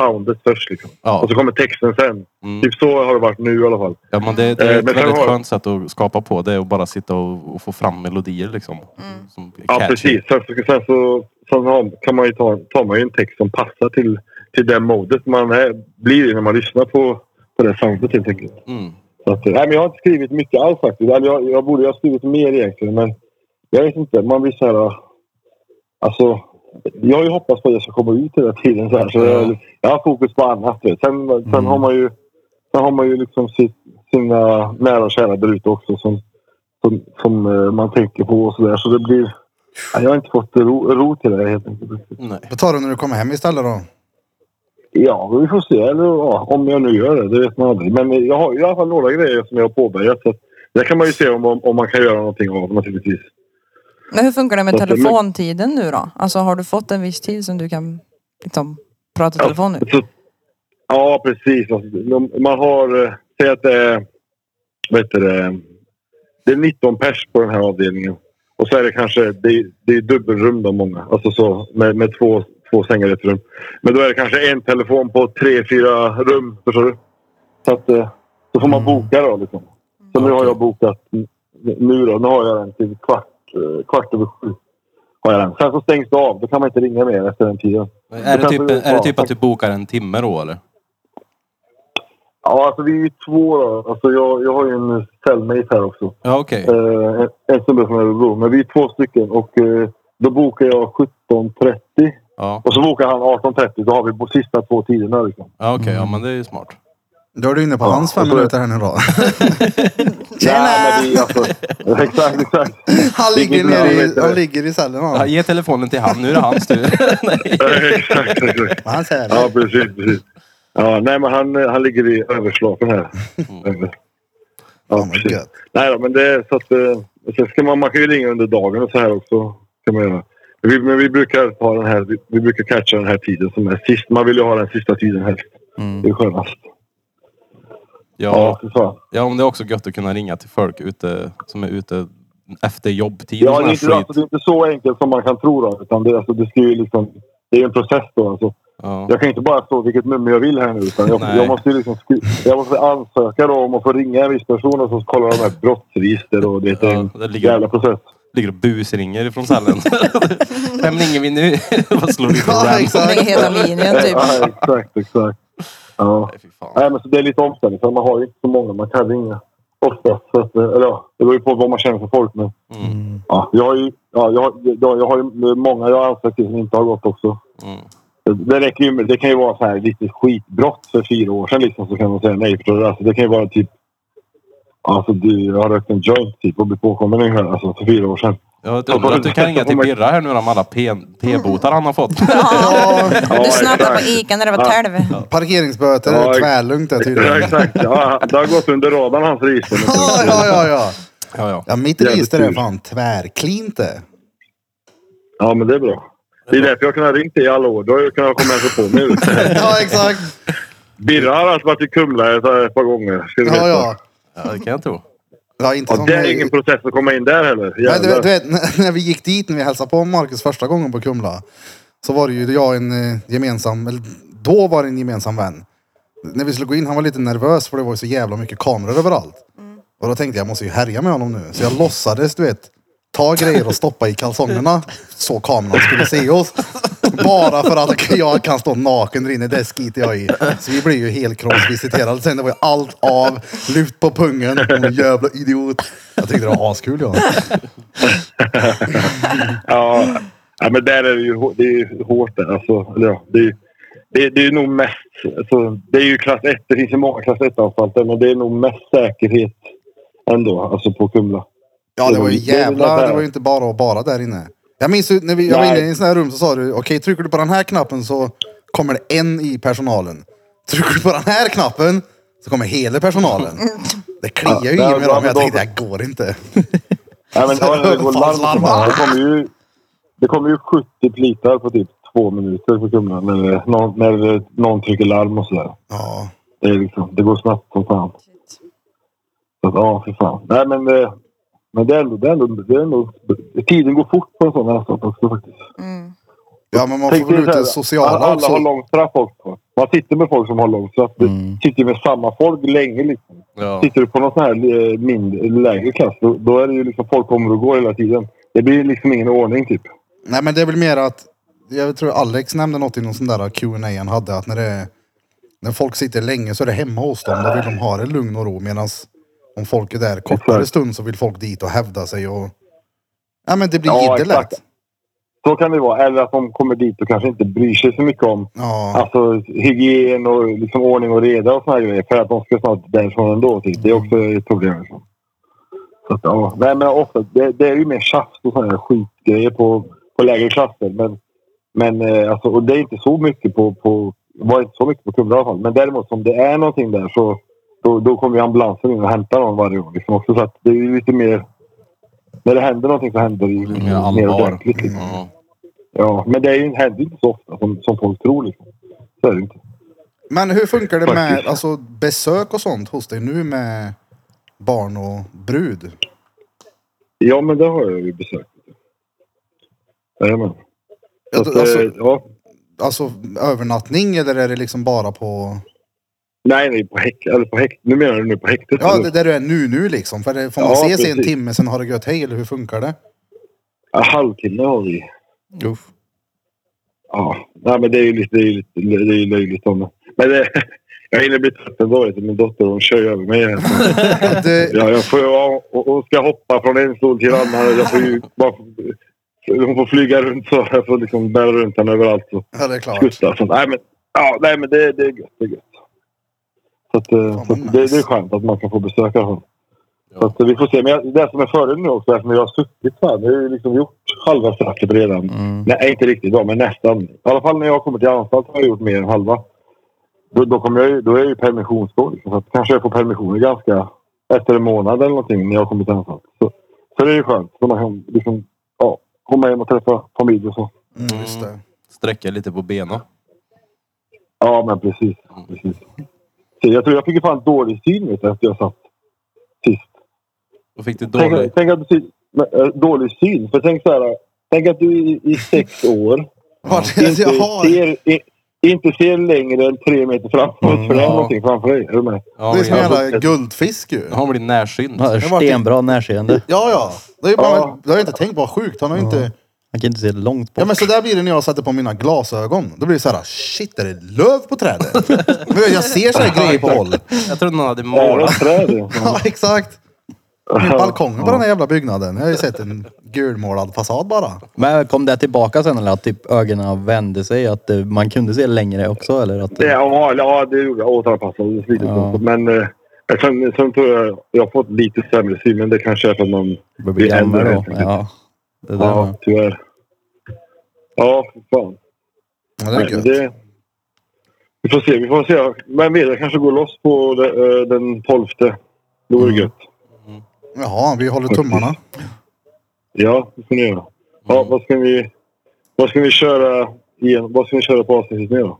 S3: soundet först liksom.
S1: Ja.
S3: Och så kommer texten sen.
S1: Mm.
S3: Typ så har det varit nu i alla fall.
S1: Ja, men det, det är
S3: Eh,
S1: ett
S3: men sen
S1: väldigt
S3: har-
S1: skönt sätt att skapa på. Det är att bara sitta och, och få fram melodier liksom.
S4: Mm.
S1: Som är
S3: Ja,
S1: catchy.
S3: precis. Sen, så, sen, så, sen har, kan man ju ta, tar man ju en text som passar till, till det modet man är, blir i när man lyssnar på, på det soundet helt enkelt.
S1: Mm.
S3: Så att, eh, nej, men jag har inte skrivit mycket alls faktiskt. Eller jag, jag borde ha skrivit mer egentligen, men jag vet inte. Man blir så här... eh, Alltså, jag har ju hoppats på att jag ska komma ut hela tiden. Så, här, så jag, jag har fokus på annat. Vet. Sen, sen
S5: Mm.
S3: har man ju, sen har man ju liksom sitt, sina nära och kära där ute också som, som, som eh, man tänker på och så där. Så det blir... ja, Jag har inte fått ro, ro till det helt enkelt.
S1: Nej.
S2: Då tar du när du kommer hem istället då.
S3: Ja, vi får se. Eller, ja, om jag nu gör det. Det vet man aldrig. Men jag har ju i alla fall några grejer som jag har påbörjat. Så att, där kan man ju se om, om, om man kan göra någonting av naturligtvis.
S4: Men hur funkar det med
S3: Så att det-
S4: telefontiden nu då? Alltså har du fått en viss tid som du kan liksom prata i
S3: (laughs)
S4: telefon nu?
S3: Så, ja, precis. Alltså, de- man har... eh, Säg att det är... Vad heter det? Det är 19 pers på den här avdelningen. Och så är det kanske... Det är, det är dubbelrum då, många. Alltså så, med, med två, två sängar i ett rum. Men då är det kanske en telefon på tre, fyra rum. Förstår du? Så att... eh, Då får
S1: Mm.
S3: man boka då liksom. Så nu har jag bokat... Nu då, nu har jag den till kvart, eh, kvart över sju. Har jag den. Sen så stängs det av. Då kan man inte ringa mer efter den tiden.
S1: Är det,
S3: kanske
S1: typ,
S3: det-
S1: är det
S3: ja,
S1: typ att du bokar en timme då eller?
S3: Ja, alltså vi är ju två då. Alltså jag, jag har ju en cellmate här också.
S1: Ja okej.
S3: Eh, en- en snubbe från Örebro. Men vi är två stycken och eh, då bokar jag 17.30
S1: Ja,
S3: och så bokar han 18.30. Då har vi på sista två tiderna liksom.
S1: ja okej. Ja men det är ju smart.
S2: Då är du inne på hans fem
S3: och så-
S2: minuter här nu
S3: (laughs)
S2: då.
S3: Nej, men det är alltså... (laughs) exakt, exakt.
S2: Han ligger,
S3: Vilken
S2: nere i,
S3: namn,
S2: han ligger i cellen
S1: Ja,
S2: han.
S1: ge telefonen till han. Nu är det hans tur. Nej.
S3: exakt, exakt.
S2: Men Han säger
S3: Ja, precis, precis. Ja, nej, men han, eh, han ligger i överslagen här. Ja,
S2: Fan vad
S3: precis.
S2: gött.
S3: Nej då, men det är så att... eh, Sen ska man, man kan ju ringa under dagen och så här också. Kan man göra. Men Vi, men vi brukar ta den här... Vi, vi brukar catcha den här tiden som är sist. Man vill ju ha den sista tiden helst.
S5: mm,
S3: Det är skönast.
S1: Ja,
S3: fy fan.
S1: ja men det är också gött att kunna ringa till folk ute, som är ute efter jobbtid och
S3: Ja,
S1: sån
S3: det, är
S1: här
S3: inte, alltså, det
S1: skit.
S3: är inte så enkelt som man kan tro då. Utan det, alltså, det, ska ju liksom, det är ju en process då. Alltså.
S1: Ja.
S3: Jag kan inte bara stå vilket nummer jag vill här nu. Utan jag,
S1: Nej.
S3: jag, måste ju liksom, skri- jag måste ansöka då om att få ringa en viss person och så kollar de här brottsregister och det är
S1: Ja,
S3: en
S1: det ligger-
S3: jävla process.
S1: Ligger och busringer ifrån cellen. (laughs) Vem ringer vi nu? (laughs) Vad slår vi på
S2: Ja,
S1: random?
S2: exakt.
S4: Lägger hela linjen typ.
S3: Ja, exakt, exakt. Ja.
S1: Nej, fy fan.
S3: Nej, men så det är lite omställning. För man har ju inte så många man kan ringa. Oftast. Så att, eh, eller ja, det beror ju på vad man känner för folk. Men,
S1: Mm.
S3: ja, jag, har ju, ja, jag, har, jag, jag har ju många jag har ansökt till som inte har gått också.
S1: Mm.
S3: Det, det räcker ju med, det kan ju vara så här lite skitbrott för fyra år sedan liksom, så kan man säga nej. Förstår du? Alltså, det kan ju vara typ... Alltså du har rökt en joint typ och blivit påkommen med den här, alltså, för fyra år sedan.
S1: Jag undrar att du kan ringa till Birra här nu om alla P- p-botar han har fått.
S4: Ja.
S3: Ja,
S4: Du snattade på
S3: exakt.
S4: Ica när det var tälv.
S2: Parkeringsböter
S3: Ja,
S2: är
S3: ex-
S2: tvärlugnt det
S3: Ja,
S2: tydligen.
S3: exakt. Ja, det har gått under radarn hans register.
S2: Ja, ja, ja, ja.
S1: Ja, ja.
S2: Ja, mitt
S3: Jävligt
S2: register är
S3: tur.
S2: fan tvärklint det.
S3: Ja, men det är bra. Det är därför jag har kunnat ringa dig i alla år. Då har jag kunnat komma och hälsa på mig. vet (laughs) du.
S2: Ja, exakt.
S3: Birra har alltså varit i Kumla ett, ett par gånger. Ska du veta.
S2: Ja, ja.
S1: ja det kan jag tro.
S2: Ja, inte
S3: Ja,
S2: som
S3: det är ingen process att komma in där heller.
S2: Nej, du,
S3: Jävlar.
S2: du vet, när (laughs) när vi gick dit när vi hälsade på Marcus första gången på Kumla. Så var det ju jag och en eh, gemensam, eller då var det en gemensam vän. När vi skulle gå in, han var lite nervös för det var ju så jävla mycket kameror överallt. Och då tänkte jag, jag måste ju härja med honom nu. Så jag låtsades, du vet, ta grejer och stoppa i kalsongerna. Så kameran skulle se oss. (laughs) Bara för att jag kan stå naken där inne, det skiter jag i. Så vi blev ju helkroppsvisiterade sen. Det var ju allt av, lyft på pungen, en jävla idiot. Jag tyckte det var askul jag.
S3: Ja. ja, men där är det ju, hår- det är ju hårt där. Alltså, eller ja, det, är, ju- det, är- det är ju nog mest... Alltså, det är ju klass 1. Det finns ju många klass 1-anstalter, men det är nog mest säkerhet ändå, alltså på Kumla.
S2: Ja, det var ju
S3: Det är väl
S2: jävla...
S3: där.
S2: Det var ju inte bara och bara där inne. Jag minns ju när vi, jag var
S3: Nej.
S2: inne i en sån här rum så sa du, okej trycker du på den här knappen så kommer det en i personalen. Trycker du på den här knappen så kommer hela personalen. Det kliar ju
S3: Ja,
S2: i mig då, men jag
S3: då-
S2: tänkte det här går inte.
S3: Ja,
S2: (laughs)
S3: men, ja, det, går
S2: Fan,
S3: larm,
S2: slarva.
S3: det, kommer ju, det kommer ju 70 plitar på typ två minuter på Kumla när, någon, när någon trycker larm och sådär.
S2: Ja.
S3: Det, är liksom, det går snabbt som fan. Så att, ja, för fan. Nej, men, eh, men det är ändå... Det är ändå, det är ändå tiden går fort på en sån här anstalt också faktiskt.
S4: Mm.
S2: ja, men man
S3: Tänk
S2: får väl ut
S3: dig så här,
S2: det
S3: alla,
S2: sociala
S3: alla har
S2: också.
S3: långt straff också. Man sitter med folk som har långt straff.
S5: Mm.
S3: Du sitter med samma folk länge. Liksom.
S1: Ja.
S3: Sitter du på någon sån här eh, mindre, lägre klass, då, då är det ju liksom folk kommer och går hela tiden. Det blir liksom ingen ordning typ.
S2: Nej, men det är väl mer att... Jag tror Alex nämnde något i någon sån där Q&A han hade, att när det är- När folk sitter länge så är det hemma hos dem. Då vill de ha det lugn och ro. Medan om folk är där kortare
S3: Exakt.
S2: stund så vill folk dit och hävda sig och... Ja men det blir
S3: Ja,
S2: jidder
S3: exakt.
S2: lätt.
S3: Så kan det vara. Eller att de kommer dit och kanske inte bryr sig så mycket om
S2: Ja.
S3: alltså, hygien och liksom ordning och reda och såna här grejer. För att de ska snart därifrån ändå. Typ. Det är också ett problem. Liksom. Så att, ja. Nej, men ofta, det, det är ju mer tjafs och såna här skitgrejer på, på lägre klasser. Men, men eh, alltså, och det är inte så mycket på, på var inte så mycket på Kumla i alla fall. Men däremot om det är någonting där så då, då kommer ju ambulansen in och hämtar någon varje år. Liksom också, så att det är ju lite mer... När det händer någonting så händer det ju
S1: Det är mer
S3: mer
S1: allvar.
S3: ordentligt. Liksom.
S1: Ja.
S3: Ja, men det är ju, händer ju inte så ofta som, som folk tror. Liksom. Så är det inte.
S2: Men hur funkar det med
S3: Faktiskt.
S2: alltså, besök och sånt hos dig nu med barn och brud?
S3: Ja, men det har jag ju besökt. Jajamän. Så att, eh,
S2: Alltså,
S3: ja.
S2: alltså övernattning eller är det liksom bara på...
S3: Nej, nej, på häkt. Eller på häkt. Nu menar du nu på häktet? Alltså,
S2: Ja,
S3: eller?
S2: det, där du är nu nu liksom. För det, får man
S3: Ja,
S2: ses i en
S3: precis.
S2: timme, sen har det gött hej eller hur funkar
S3: (laughs)
S2: det?
S3: Ja, halvtimme har vi.
S5: Uff.
S3: Ja, nej, men det är ju lite, det är ju lite, det är ju löjligt. om det. Men det, (laughs) jag hinner bli trött ändå. vet du. Min dotter hon kör ju över mig. här.
S2: Att, eh,
S3: Ja, jag får, ja, hon- hon ska hoppa från en stol till en annan. Jag får ju bara, hon får flyga runt så jag får liksom bära runt henne överallt. Så.
S2: ja, det är klart.
S3: Skutta. Så, nej, men, ja, nej, men det, det är gött. Det är gött. Så att, eh,
S2: vad
S3: så att det,
S2: nice.
S3: det är skönt att man kan få besöka honom. Så att, eh, vi får se. Men jag, det som är fördelen nu också, eftersom jag har suttit så här. Nu har jag liksom gjort halva straffet redan.
S5: Mm.
S3: Nej, inte riktigt då, men nästan. I alla fall när jag kommer till anstalt har jag gjort mer än halva. Då, då, kommer jag, ju- då är jag ju permissionsgå. Liksom, så att kanske jag får permissioner ganska efter en månad eller någonting när jag kommer till anstalt. Så, så det är ju skönt. Så man kan liksom, ja, komma hem och träffa familj och så.
S2: Mm, just det.
S1: Sträcka lite på benen.
S3: Ja, men precis. precis. Så jag tror jag fick ju fan dålig syn vet du, efter jag satt sist.
S1: Då fick du dålig...
S3: Tänk, tänk att du, syn- eh, dålig syn. För tänk så här. Tänk att du i, i sex år
S2: Vart är det Alltså,
S3: inte
S2: jag har?
S3: ser, i, inte ser längre än tre meter framåt.
S5: Mm,
S3: för det är
S1: ja.
S3: någonting framför dig. Är du med?
S1: Ja,
S2: Det är som en
S1: jag-
S2: jävla guldfisk ju.
S1: han blir närsynt.
S5: Han har
S2: Jag har varit i-
S5: stenbra närseende.
S2: Ja, ja. Det är ju bara,
S3: Ja.
S2: Det har jag inte tänkt på. Vad sjukt. Han har ju inte...
S5: Han kan inte se långt bort.
S2: Ja men så där blir det när jag sätter på mina glasögon. Då blir det så här, shit är det löv på trädet? men jag ser så här grejer på håll.
S1: Jag trodde någon hade
S3: Bara
S1: målat.
S3: träd.
S2: Ja exakt. Min balkong på den här jävla byggnaden. Jag har ju sett en gulmålad fasad bara.
S5: Men kom det tillbaka sen eller att typ ögonen vände sig? Att eh, man kunde se längre också eller? Att, eh,
S3: Det, ja, ja, det gjorde jag. Återanpassades lite.
S5: Ja.
S3: Ja. Men eh, jag kan, sen tror jag jag har fått lite sämre syn. Men det kanske är för att man...
S5: börjar bli
S3: det är
S5: gammal
S3: äldre,
S5: då.
S3: helt enkelt.
S5: Ja. Det där
S3: Ja,
S5: ja.
S3: tyvärr. Ja, för fan.
S2: Ja, det är
S3: Nej, men
S2: gött.
S3: det- Vi får se. Vi får se. Men vet, jag kanske går loss på de, eh, den 12. Det
S2: Mm.
S3: vore gött.
S2: Jaha, vi håller tummarna.
S3: Ja, det får ni göra. Ja,
S2: Mm.
S3: vad ska vi... Vad ska vi köra igen? Vad ska vi köra på avsnittet nu då?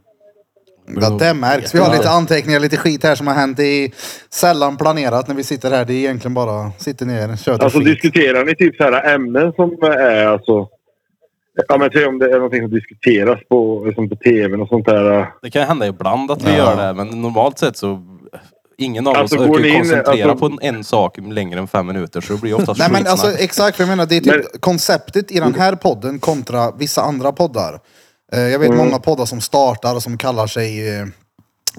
S2: Ja, det märks. Vi har lite anteckningar, lite skit här som har hänt. Det är sällan planerat när vi sitter här. Det är egentligen bara sitter ner, kör
S3: Alltså
S2: alltså, skit.
S3: diskuterar ni typ så här ämnen som är alltså... Ja men säg om det är någonting som diskuteras på, liksom på tvn och sånt där.
S1: Det kan hända ibland att vi gör det, men normalt sett så... Ingen av
S3: Alltså,
S1: oss
S3: går
S1: orkar
S3: ni
S1: ju
S3: in-
S1: koncentrera
S3: alltså-
S1: på en sak längre än fem minuter, så det blir oftast
S2: Nej men alltså
S1: skitsnack.
S2: exakt vad jag menar. Det är typ konceptet i den här podden kontra vissa andra poddar. Eh, Jag vet många poddar som startar och som kallar sig, eh,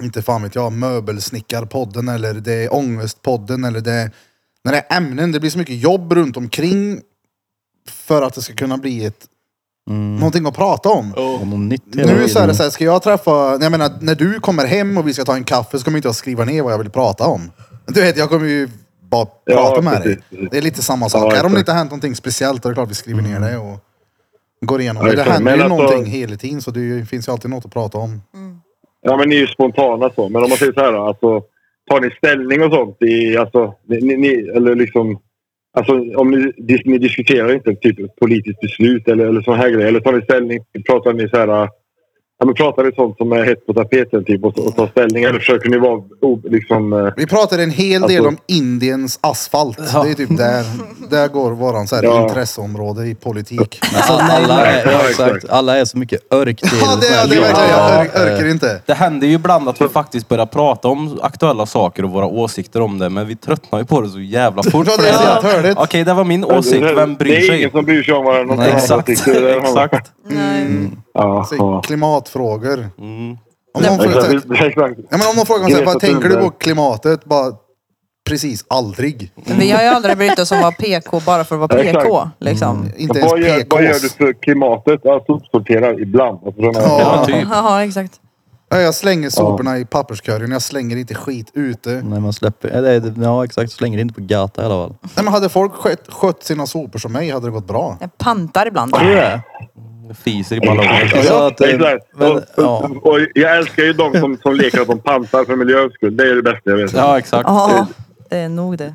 S2: inte fan vet jag, möbelsnickarpodden eller det är ångestpodden eller det är... När det är ämnen, det blir så mycket jobb runt omkring för att det ska kunna bli ett, någonting att prata om.
S5: Om något nytt hela
S2: Nu så är det
S5: tiden.
S2: så här, ska jag träffa, jag menar när du kommer hem och vi ska ta en kaffe så kommer inte jag skriva ner vad jag vill prata om. Du vet, jag kommer ju bara
S3: Ja,
S2: prata med
S3: precis,
S2: dig.
S3: precis.
S2: Det är lite samma sak.
S3: Ja,
S2: här om det
S3: exakt.
S2: inte har hänt någonting speciellt då är det klart vi skriver ner det och går igenom
S3: Ja,
S2: det. Det
S3: exakt.
S2: händer
S3: Men
S2: ju
S3: alltså-
S2: någonting hela tiden så det är ju- finns ju alltid något att prata om.
S3: Ja men ni är ju spontana så. Men om man säger så här då, alltså. Tar ni ställning och sånt i, alltså, ni, ni- ni, eller liksom. Alltså om ni, dis, ni diskuterar inte typ ett politiskt beslut eller, eller sån här grejer. Eller tar ni ställning, pratar ni så här. Ja, men pratar ni sånt som är hett på tapeten typ och, och tar ställning? Eller försöker ni vara o- liksom. eh,
S2: Vi pratade en hel del
S3: Alltså-
S2: om Indiens asfalt. Det är typ där, där går våran så här
S3: Ja.
S2: intresseområde i politik.
S5: alltså, alla, är,
S3: Ja,
S5: exakt.
S3: exakt.
S5: alla är så mycket örk till.
S2: Ja, det, det är
S1: Ja.
S2: verkligen, jag ork-
S5: eh,
S2: orkar inte.
S1: Det händer ju ibland att vi faktiskt börjar prata om aktuella saker och våra åsikter om det, men vi tröttnar ju på det så jävla
S2: (laughs)
S1: fort.
S2: Ja, det är så jävla törligt.
S1: Okej, det var min åsikt. Vem bryr
S3: Alltså, Det är
S1: sig?
S3: ingen som bryr sig om varandra.
S1: Nej, Exakt. Exakt.
S4: Nej.
S3: Ja,
S2: Så,
S3: ja.
S2: Alltså, klimatfrågor.
S1: Mm.
S2: Om någon får-
S3: Exakt, exakt.
S2: Ja, men om någon frågar mig så här,
S3: Greta
S2: vad tänker du på
S3: Thunberg.
S2: klimatet? Bara, precis aldrig.
S4: Vi har ju aldrig brytt oss om att vara PK bara för att vara PK. Liksom.
S2: Inte ens
S3: Vad gör, vad gör du
S2: PKs.
S3: för klimatet? Ja, sopsorterar ibland. Alltså, de här-
S1: Ja, typ.
S4: Jaha, exakt.
S2: Ja, jag slänger soporna i papperskorgen. Jag slänger inte skit ute.
S5: När man släpper, ja, det är- ja exakt, slänger inte på gata i alla fall.
S2: Nej, men hade folk skött, skött sina sopor som mig hade det gått bra.
S4: Jag pantar ibland.
S5: Tror du det?
S1: Fiser i ballongen.
S5: Alltså att, eh,
S3: Exakt.
S5: men,
S3: och,
S5: ja.
S3: och jag älskar ju de som, som leker att de pansar för miljöns skull. Det är det bästa jag vet.
S1: Ja, exakt.
S4: Ja, det är nog det.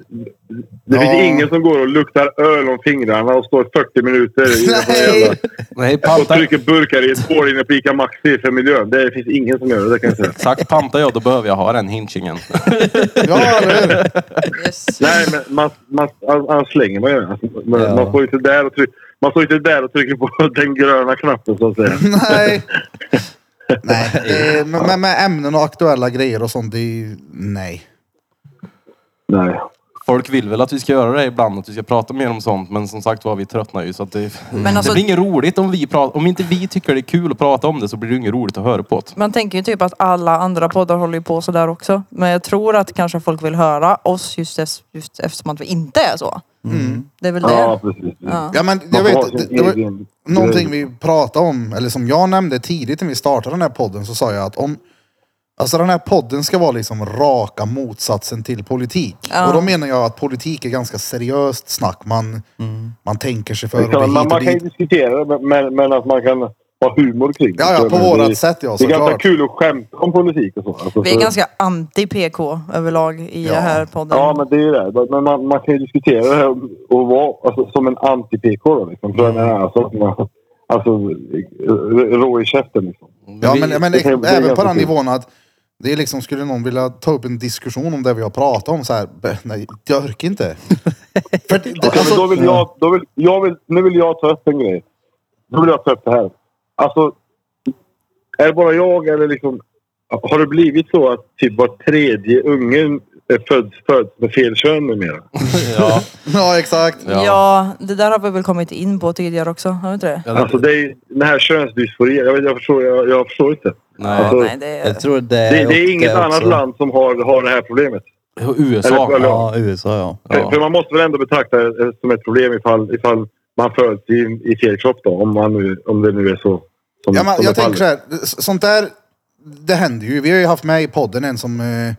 S3: Det finns
S2: Ja.
S3: ingen som går och luktar öl om fingrarna och står 40 minuter i
S2: Nej.
S3: Nej.
S1: Nej,
S3: och
S1: panta,
S3: trycker burkar i ett hål inne på Ica Maxi för miljön. Det finns ingen som gör det, det kan jag säga.
S1: exakt. Pantar jag då behöver jag ha den hinchingen.
S2: Ja, eller hur?
S4: Yes.
S3: Nej, men man, man, annars slänger man ju den. Alltså, Man,
S5: Ja.
S3: man står ju inte där och trycker. Man står ju inte där och trycker på (laughs) den gröna knappen så att säga.
S2: Nej. nej. det- men- Men med ämnen och aktuella grejer och sånt, det är ju... Nej.
S3: Nej.
S1: Folk vill väl att vi ska göra det ibland, att vi ska prata mer om sånt. Men som sagt var, vi tröttnar ju. Så att det, Mm.
S4: Men alltså-
S1: det blir inget roligt om vi pratar. Om inte vi tycker det är kul att prata om det så blir det inget roligt att höra på.
S4: Man tänker ju typ att alla andra poddar håller ju på sådär också. Men jag tror att kanske folk vill höra oss just, es- just eftersom att vi inte är så. Det är väl det.
S3: Ja, precis.
S4: Ja.
S2: Ja, men jag
S3: Man får ha
S2: vet,
S3: sin
S2: det, det var
S3: egen
S2: någonting
S3: grej.
S2: vi pratade om, eller som jag nämnde tidigt när vi startade den här podden, så sa jag att om... Alltså den här podden ska vara liksom raka motsatsen till politik.
S4: Ja.
S2: Och då menar jag att politik är ganska seriöst snack. Man, man tänker sig för och det är
S3: Man, man
S2: hit och
S3: kan ju
S2: dit.
S3: diskutera det, men, men att man kan ha humor kring det.
S2: Ja, ja, på
S3: Men det-
S2: vårat sätt ja,
S3: Det är ganska
S2: såklart.
S3: kul att skämta om politik och så. Alltså,
S4: Vi är
S3: så-
S4: ganska anti-PK överlag i
S2: Ja.
S4: den här podden.
S3: Ja, men det är ju det. Men man, man kan ju diskutera det här och vara alltså, som en anti-PK då liksom. För
S2: Mm.
S3: den här, alltså, att man- alltså r- rå i käften liksom.
S2: Ja,
S1: Vi-
S2: men, men
S3: det kan- det är
S2: även på
S3: ganska
S2: den
S3: kul.
S2: nivån att det är liksom, skulle någon vilja ta upp en diskussion om det vi har pratat om så här, "Bä, nej, jag orkar inte. För det, det,
S3: Alltså, men då
S2: alltså,
S3: vill jag, då vill, jag vill, nu vill jag ta upp en grej. Nu vill jag ta upp det här. Alltså, är det bara jag eller liksom... Har det blivit så att typ var tredje ungen är född, född med fel kön numera?
S1: Ja,
S2: ja, exakt.
S1: ja.
S4: Ja. det där har vi väl kommit in på tidigare också, har vi inte det?
S1: Ja, det-
S3: Alltså det är ju den här könsdysforin. Jag, vet- jag, förstår, jag, jag förstår inte.
S1: nej.
S3: Alltså,
S4: Nej, det är...
S5: Jag tror det är
S3: Det, det är inget
S5: också.
S3: annat land som har, har det här problemet.
S1: USA.
S3: Eller- eller-
S5: Ja, USA ja.
S3: För, för man måste väl ändå betrakta det som ett problem ifall, ifall man föds i, i fel kropp då. Om, man nu, om det nu är så. Som,
S2: Ja, men
S3: som är
S2: jag tänker
S3: fallet.
S2: så här, s- sånt där, det händer ju. Vi har ju haft med i podden en som eh,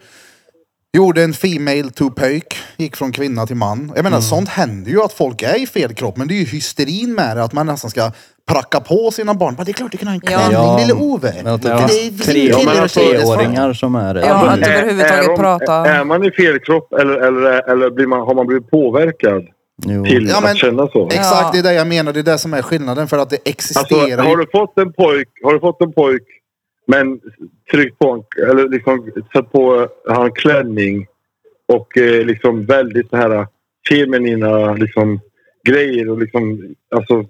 S2: gjorde en female to pöjk, gick från kvinna till man. Jag menar, sånt händer ju att folk är i fel kropp, men det är ju hysterin med det, att man nästan ska pracka på sina barn. Bara, det är klart du kan ha en
S4: Ja.
S2: klänning, lille Ove.
S5: Men att det
S1: Ja.
S5: finns
S2: Det är-
S5: tre,
S2: Ja,
S3: men alltså-
S5: treåringar som är det. Mm.
S4: Ja, att
S3: Är-
S4: överhuvudtaget
S3: är de-
S4: prata.
S3: Är man i fel kropp eller, eller, eller blir man, har man blivit påverkad
S5: Jo.
S3: till
S2: Ja, men-
S3: att känna så?
S2: Exakt,
S4: Ja.
S2: det är det jag menar. Det är det som är skillnaden, för att det
S3: Alltså,
S2: existerar
S3: har
S2: ju.
S3: du fått en pojk, har du fått en pojk men tryckt på en, eller liksom satt på han klänning och eh, liksom väldigt så här feminina liksom grejer och liksom alltså,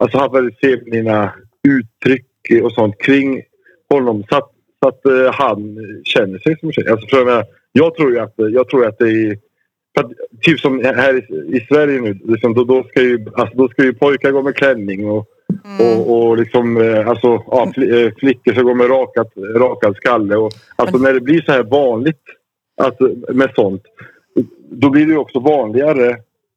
S3: alltså haft väldigt feminina uttryck och sånt kring honom så att, så att eh, han känner sig som en tjej. Alltså, för jag, menar, jag tror ju att, jag tror att det är för att, typ som här i, i Sverige nu, liksom, då, då, ska ju, alltså, då ska ju pojkar gå med klänning och
S4: Mm.
S3: och, och liksom, eh, alltså, ja, fl- eh, flickor som går med rakat, rakad skalle. Och, alltså när det blir så här vanligt att, med sånt, då blir det ju också vanligare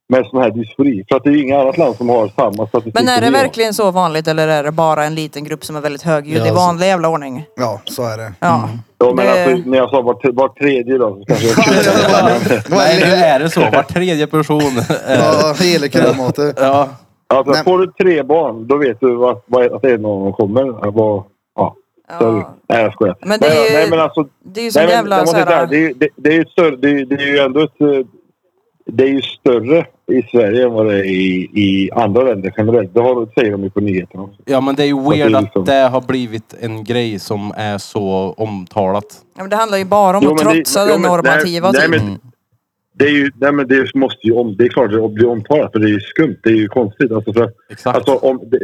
S3: med sån här dysfori. För att det är ju inget annat land som har samma statistik.
S4: Men är
S3: som
S4: det
S3: vi har.
S4: verkligen så vanligt eller är det bara en liten grupp som är väldigt högljudd
S5: Ja,
S4: i
S5: alltså.
S4: vanlig jävla ordning?
S2: Ja, så är det.
S4: Ja.
S3: Ja, men
S4: Det-
S3: alltså, när jag sa var, t- var tredje då så kanske jag
S1: Nej, nu är det så. Var tredje person. är-
S2: Ja, helig kramater.
S1: ja.
S3: alltså,
S2: Nej.
S3: Får du tre barn, då vet du att, vad- att det är någon som kommer. Att vara- ja.
S4: Ja.
S3: Nej, jag skojar.
S4: Men det är ju-
S3: nej, men alltså,
S4: Det är ju som jävla
S3: jag måste säga, det,
S4: såhär...
S3: är ju- det, det är ju ett större, det, är ju- det är ju ändå ett, eh, det är ju större i Sverige än vad det är i, i andra länder generellt. Det har, säger de ju på nyheterna också.
S1: ja, men det är ju weird
S3: det är
S1: att
S3: liksom-
S1: det har blivit en grej som är så omtalat.
S4: Ja, men det handlar ju bara om
S3: Jo,
S4: att
S3: men det-
S4: trotsa
S3: jo,
S4: det
S3: men-
S4: normativa
S3: nej,
S4: typ.
S3: nej, men, det är ju, nej men det måste ju om, det är klart det blir omtalat för det är ju skumt. Det är ju konstigt. Alltså för,
S1: Exakt.
S3: alltså om, det,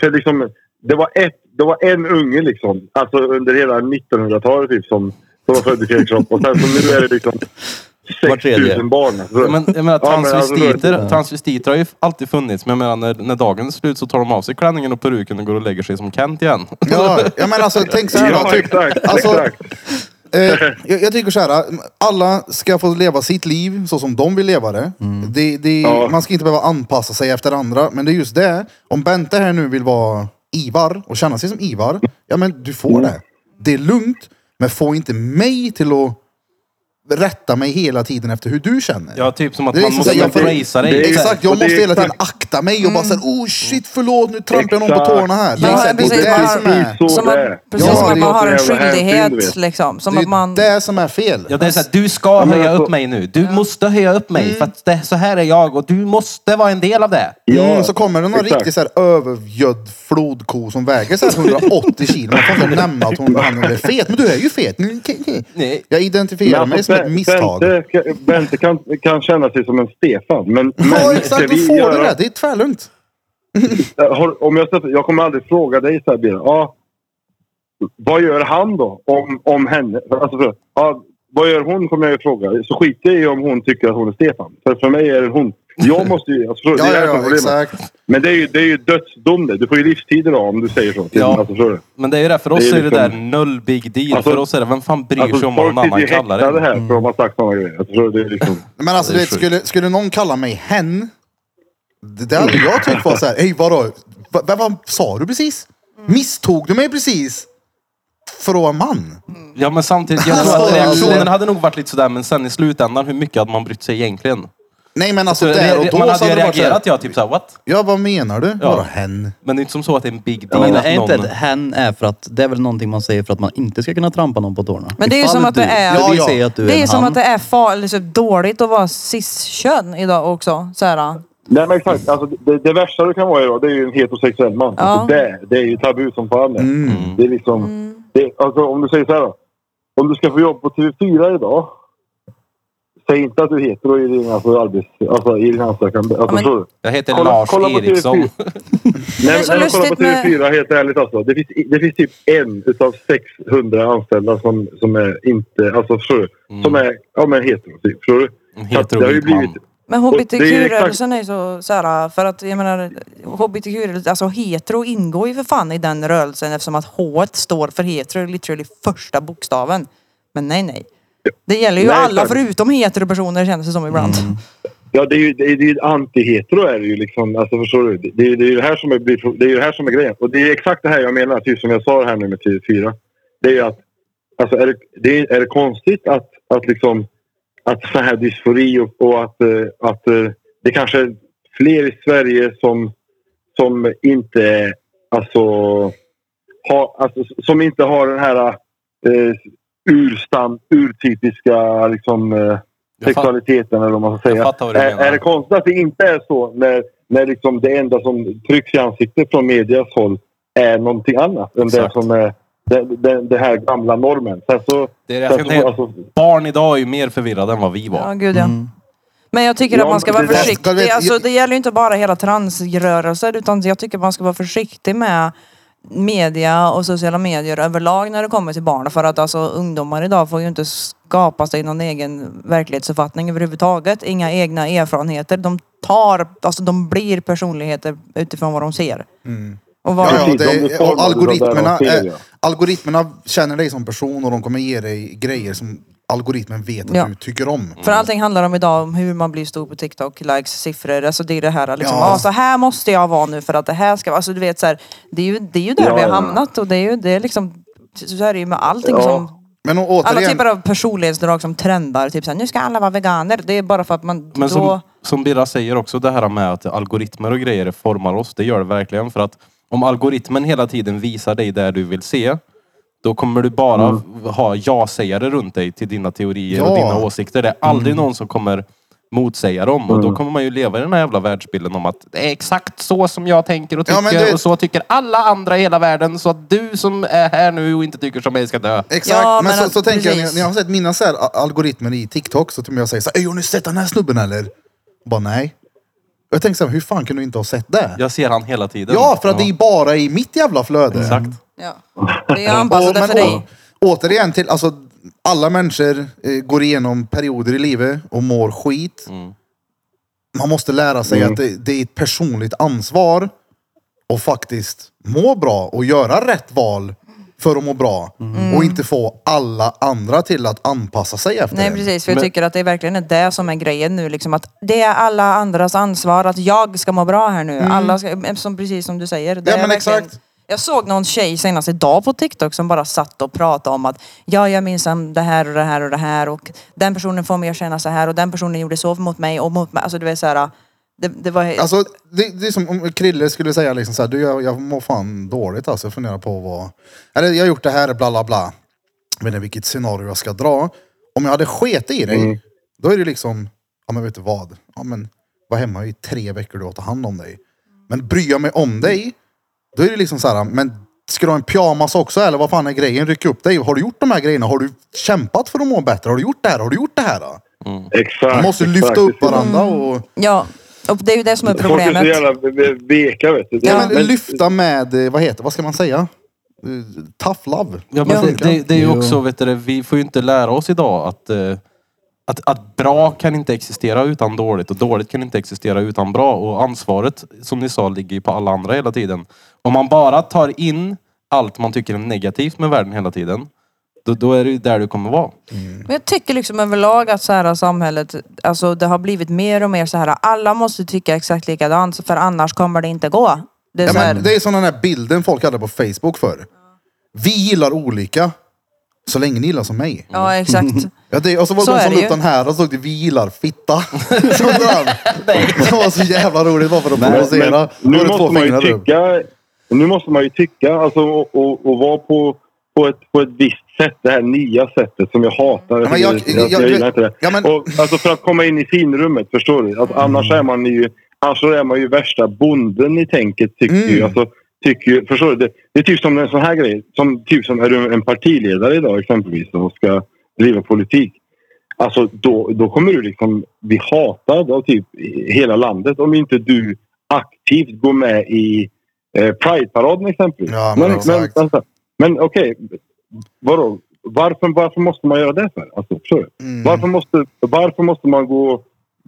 S3: för liksom, det var ett, det var en unge liksom. Alltså under hela 1900-talet typ som, som var född i fel kropp. Och sen så nu är det liksom
S5: Var tredje.
S3: 6000 barn. Alltså,
S1: Ja, Men, jag menar,
S3: Ja, men alltså,
S1: transvestiter,
S5: det-
S1: transvestiter har ju alltid funnits. Men jag menar, när, när dagen är slut så tar de av sig klänningen och peruken och går och lägger sig som Kent igen.
S2: Ja, ja, men alltså tänk så här. då,
S3: ja,
S2: typ,
S3: exakt.
S2: alltså,
S3: exakt.
S2: Eh, jag, jag tycker så här, eh, alla ska få leva sitt liv så som de vill leva det. det, det
S3: Ja.
S2: Man ska inte behöva anpassa sig efter andra, men det är just det. Om Bente här nu vill vara Ivar och känna sig som
S3: Mm.
S2: Ivar, ja men du får det. Det är lugnt, men få inte mig till att rätta mig hela tiden efter hur du känner.
S1: Ja, typ som att
S2: Det är
S1: man
S2: liksom
S1: måste
S2: så här, jag-
S1: embracea dig.
S3: det är-
S2: Exakt, jag
S3: och det
S2: måste
S3: är
S2: hela tiden
S3: exakt- Mm.
S2: akta mig och bara såhär oh shit förlåt nu trampar jag någon på
S3: Exakt.
S2: tårna här.
S4: Ja,
S2: Exakt,
S4: precis,
S2: det är
S4: man
S2: det
S4: har-
S2: som är.
S3: Så
S4: Som
S3: det
S4: man,
S3: är.
S4: precis
S2: Ja,
S4: som att
S2: det
S4: man har
S3: är
S4: en
S3: så jävla hänsyn, du
S4: skyldighet
S3: vet.
S4: liksom. Som
S2: Det är
S4: att
S2: ju
S4: man...
S2: det som är fel.
S1: Ja, det är så här, du ska
S3: men
S1: höja
S3: alltså-
S1: upp mig nu. Du måste höja upp mig för att det, så här är jag och du måste vara en del av det.
S2: Mm, så kommer det någon
S3: exakt.
S2: riktigt så här övergödd flodko som väger så här 180 kilo. Man kan inte nämna att hon, han är fet. Men du är ju fet. Mm, okej, okej.
S1: Nej.
S2: Jag identifierar
S3: Men
S2: mig
S3: alltså,
S2: som ett
S3: Be-
S2: misstag.
S3: Bente, ska- Bente kan, kan känna sig som en Stefan. Men,
S2: Ja
S3: men ska
S2: exakt, då
S3: vi
S2: får du
S3: göra-
S2: det. Det är tvärlugnt.
S3: Eh, Har- Om jag, sätter- jag kommer aldrig fråga dig så här, Björn. Ja, vad gör han då? Om, om henne? Alltså, för, ja, vad gör hon? Kommer jag ju fråga. Så skiter jag i om hon tycker att hon är Stefan. För för mig är det hon.
S2: (laughs)
S3: Jag måste ju... Alltså, förstår du?
S2: Ja,
S3: det
S2: ja,
S3: är det som är
S2: ja
S3: problemet.
S2: exakt.
S3: Men det är ju, det är ju dödsdom det. Du får ju livstid idag om du säger så. till-
S1: Ja.
S3: Alltså, förstår du?
S1: Men det är ju det, för oss
S3: Det är
S1: är det
S3: liksom-
S1: där noll big deal.
S3: Alltså-
S1: för oss är det, vem fan bryr sig
S3: Alltså,
S1: om vad
S3: folk
S1: någon
S3: sitter ju
S1: annan kallar
S3: häktade
S1: det? Mm.
S3: här för att de har sagt sådana grejer. Alltså, förstår du? det är liksom...
S2: Men alltså
S1: Det är
S2: det
S1: sjukt.
S2: skulle, skulle någon kalla mig hen. Det det hade jag tyckt var såhär, hej vadå? Va- va- Vad sa du precis? Misstog du mig precis? För att vara man?
S1: Ja, men samtidigt, jag tror
S2: Alltså,
S1: att reaktionen
S2: alltså-
S1: hade nog varit lite sådär, men sen i slutändan, hur mycket hade man brytt sig egentligen?
S2: Nej men alltså
S1: Så
S2: där och
S1: re-
S2: då
S1: man
S2: så
S1: hade ju
S2: hade det varit såhär,
S1: reagerat, ja, typ såhär, what?
S2: ja vad menar du?
S1: Ja.
S2: Vadå hen?
S1: Men det är inte som så att det är en big deal
S5: Men
S1: att
S5: är inte
S1: någon...
S5: att hen är för att, det är väl någonting man säger för att man inte ska kunna trampa någon på tårna.
S4: Men det är ju
S5: Ifall
S4: som att
S5: du,
S4: det är-
S5: Ja,
S2: Ja,
S5: vi
S2: ja.
S5: säger att du är
S4: Det är
S5: en
S4: som
S5: han.
S4: att det är farligt, så dåligt att vara cis-kön idag också. Så här.
S3: Nej men exakt. Alltså, det, det värsta du kan vara idag det är ju en heterosexuell man.
S4: Ja.
S3: Alltså, det, det är ju tabu som fan det. Det är liksom...
S4: Mm.
S3: Det, alltså, om du säger så här då. Om du ska få jobb på TV4 idag. Säg inte att du är hetero i din, alltså, arbets, alltså, i din ansökan. Alltså,
S4: men-
S3: förstår du?
S1: Jag heter
S3: Kolla-
S1: Lars
S3: kolla på
S1: Eriksson.
S3: Nej,
S4: är
S3: men
S4: så
S3: när man kollar på
S4: lustigt med-
S3: TV4 helt ärligt alltså. Det finns, det finns typ en utav 600 anställda som, som är inte... Alltså förstår du? Som är ja, men hetero typ. Förstår du?
S1: En
S3: Så att det har ju
S1: heterovit man.
S3: blivit-
S4: Men
S3: Och det är
S4: hbtq-rörelsen är ju så, så här, för att jag menar hbtq alltså hetero ingår ju för fan i den rörelsen eftersom att H står för hetero, literally första bokstaven. Men nej nej. Det gäller ju
S3: Nej,
S4: alla
S3: exakt.
S4: förutom heteropersoner känns det som ibland.
S5: Mm.
S3: Ja, det är ju, det är, det är ju anti-hetero är det ju liksom. Alltså förstår du? Det, det, är ju- det är ju det här som är, det är ju det här som är grejen. Och det är exakt det här jag menar, typ som jag sa här nu med TV4. Det är ju att, alltså är det, det är, är det konstigt att, att liksom, att så här dysfori och, och att, eh, att eh, det kanske är fler i Sverige som, som inte, alltså, har, alltså, som inte har den här eh, urstam, urtypiska liksom eh,
S1: Jag fa-
S3: sexualiteten eller vad man ska
S1: Jag
S3: säga.
S1: fattar vad du menar.
S3: Är, är det konstigt att det inte är så när, när liksom det enda som trycks i ansiktet från medias håll är någonting annat än det
S1: Exakt.
S3: som är det, det, det här gamla normen. Sen så...
S1: Det är det jag
S3: sen
S1: ska säga.
S3: så alltså,
S1: Barn idag är ju mer förvirrade än vad vi
S4: Ja,
S1: var.
S4: gud ja. Men jag tycker
S3: Ja,
S4: att man ska vara
S3: men det där-
S2: Jag
S4: försiktig.
S2: vet-
S4: Alltså, det gäller ju inte bara hela transrörelser utan jag tycker man ska vara försiktig med media och sociala medier överlag när det kommer till barn. För att alltså ungdomar idag får ju inte skapa sig någon egen verklighetsuppfattning överhuvudtaget. Inga egna erfarenheter. De tar, alltså de blir personligheter utifrån vad de ser.
S3: Mm.
S4: Och vad,
S2: Ja, ja,
S3: Precis,
S2: det
S3: de blir
S2: är, och
S3: formade
S2: algoritmerna,
S3: av det de ser,
S2: eh,
S3: ja.
S2: algoritmerna känner dig som person och de kommer ge dig grejer som algoritmen vet att
S4: Ja.
S2: du tycker om.
S1: Mm.
S4: För allting handlar om idag om hur man blir stor på TikTok, likes, siffror. Alltså det är det här liksom,
S2: Ja.
S4: ja. så här måste jag vara nu för att det här ska vara. Alltså du vet så här, det är ju, det är ju där
S3: Ja,
S4: vi har
S3: ja.
S4: hamnat och det är ju det är liksom, så är det ju med allting
S3: Ja.
S4: som,
S2: Men å-
S4: alla
S2: återigen,
S4: typer av personlighetsdrag som trendar. Typ så här, nu ska alla vara veganer. Det är bara för att man
S1: Men
S4: då,
S1: som, som Birra säger också, det här med att algoritmer och grejer formar oss, det gör det verkligen. För att om algoritmen hela tiden visar dig där du vill se, då kommer du bara ha ja-sägare runt dig till dina teorier
S2: Mm. Ja. Mm.
S1: och dina åsikter. Det är aldrig någon som kommer motsäga dem. Och då kommer man ju leva i den här jävla världsbilden om att det är exakt så som jag tänker och
S2: Ja,
S1: tycker
S2: men du-
S1: och så tycker alla andra i hela världen. Så att du som är här nu och inte tycker som mig ska dö.
S2: Exakt,
S4: Ja,
S2: men,
S4: men
S2: så,
S4: att-
S2: så tänker jag när jag-
S4: precis.
S2: när jag har sett mina så här a- algoritmer i TikTok så till mig jag säger så här, "Ey, har ni sett den här snubben eller? Och bara nej. Och jag tänker så här, hur fan kan du inte ha sett det? Ja,
S1: Jag ser han hela tiden.
S2: för att det är bara i mitt jävla flöde.
S1: Exakt.
S4: ja. Det är
S2: Och,
S4: anpassat
S2: men,
S4: efter dig.
S2: å- återigen till, alltså alla människor eh, går igenom perioder i livet och mår skit. Man måste lära sig att det, det är ett personligt ansvar och faktiskt må bra och göra rätt val för att må bra.
S4: Mm.
S2: Och inte få alla andra till att anpassa sig efter
S4: Nej
S2: en.
S4: precis, för jag
S1: Men-
S4: tycker att det verkligen är det som är grejen nu. Liksom att det är alla andras ansvar att jag ska må bra här nu. Alla ska, som, precis som du säger. Det
S2: Ja,
S4: är
S2: men
S4: verkligen-
S2: exakt.
S4: Jag såg någon tjej senast idag på TikTok som bara satt och pratade om att ja, jag minns det här och det här och det här och den personen får mig att känna så här och den personen gjorde så mot mig och mot mig. Alltså du vet så här. Det, det var...
S2: Alltså, det, det är som om Krille skulle säga liksom så här, du jag, jag mår fan dåligt alltså. Jag funderar på vad... Eller jag har gjort det här, bla bla bla. Jag vet inte vilket scenario jag ska dra. Om jag hade sket i
S3: Mm.
S2: dig, då är det liksom, ja men vet du vad? Ja men, var hemma i tre veckor du har ta hand om dig. Men bryr jag mig om dig, då är det liksom så här, men ska du ha en pyjamas också eller vad fan är grejen? Ryck upp dig. Har du gjort de här grejerna? Har du kämpat för att må bättre? Har du gjort det här? Har du gjort det här? Då?
S3: Exakt.
S2: Man måste
S3: exakt.
S2: lyfta upp varandra och...
S4: Ja, och det är ju det som är
S3: Folk är så
S4: problemet.
S3: jävla ve- ve- veka vet du. Det-
S2: Ja, men, lyfta med, eh, vad heter vad ska man säga? Eh, Tough love.
S1: Ja, men det, det, det är ju
S5: Jo.
S1: också, vet du, det, vi får ju inte lära oss idag att, eh, att, att bra kan inte existera utan dåligt och dåligt kan inte existera utan bra. Och ansvaret, som ni sa, ligger ju på alla andra hela tiden. Om man bara tar in allt man tycker är negativt med världen hela tiden, då, då är det ju där du kommer vara.
S4: Men jag tycker liksom överlag att så här samhället, alltså det har blivit mer och mer så här. Alla måste tycka exakt likadant för annars kommer det inte gå. Det är
S2: Ja,
S4: så här,
S2: men, det är som den här bilden folk hade på Facebook förr. Vi gillar olika, så länge ni gillar som mig.
S4: ja exakt.
S2: Ja, det, och så var
S4: Så
S2: det någon
S4: är
S2: som
S4: det
S2: la
S4: ju.
S2: upp den här och så stod det vi gillar fitta. Som den. det var så jävla roligt bara för att
S3: Men
S2: provocera. Då var
S3: nu
S2: det två
S3: måste man ju
S2: fingrar upp.
S3: tycka, nu måste man ju tycka alltså, och, och, och vara på, på, ett, på ett visst sätt. Det här nya sättet som jag hatar.
S2: Ja, men jag-
S3: tycker det är irriterande,
S2: jag-
S3: jag gillar inte det.
S2: Ja, men-
S3: och, alltså, för att komma in i finrummet, förstår du? Alltså, annars, är man ju, annars så är man ju värsta bonden i tänket, tycker
S2: Mm.
S3: ju. Alltså, tycker ju förstår du? Det, det är typ som en sån här grej. Som, typ som är du en partiledare idag exempelvis och ska driva politik. Alltså då, då kommer du liksom bli hatad av typ hela landet om inte du aktivt går med i eh, Pride-paraden exempelvis.
S2: Ja, men
S3: men,
S2: exakt.
S3: vänta. men okej, vadå? Varför, varför måste man göra det för? Alltså, förstår du?
S2: Mm.
S3: Varför, måste, varför måste man gå,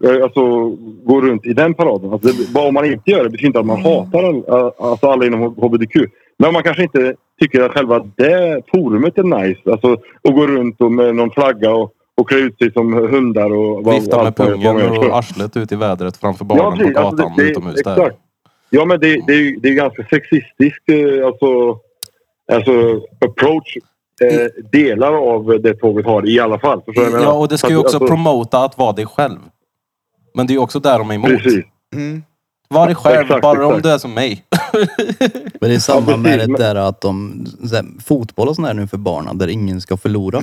S3: eh, alltså, gå runt i den paraden? Alltså, det, bara om man inte gör det betyder inte att man
S1: Mm.
S3: hatar all, eh, alltså, alla inom hbtq. Men man kanske inte tycker att själva det forumet är nice. Alltså, att gå runt och med någon flagga och, och klä ut sig som hundar. Och, vad-
S1: Vifta med
S3: allt vad- vad man gör.
S1: pungen och arslet ut i vädret framför barnen
S3: precis.
S1: på
S3: Alltså,
S1: gatan
S3: det- det-
S1: utomhus. Där.
S3: exakt. Ja, men det, det, är, ju- det är ganska sexistiskt. eh, Alltså, alltså approach eh, delar av det tåget har i alla fall. Förstår du vad jag
S1: Ja,
S3: menar?
S1: och det ska ju
S3: Alltså,
S1: också
S3: alltså,
S1: promota att vara dig själv. Men det är ju också där de är emot.
S3: Precis.
S2: Mm.
S1: Var dig själv,
S3: Exakt,
S1: bara om
S3: exakt.
S1: du är som mig.
S5: Men det är samma
S3: Ja, precis,
S5: med det
S3: men-
S5: där att de, så här, fotboll och sånt där nu för barnen där ingen ska förlora.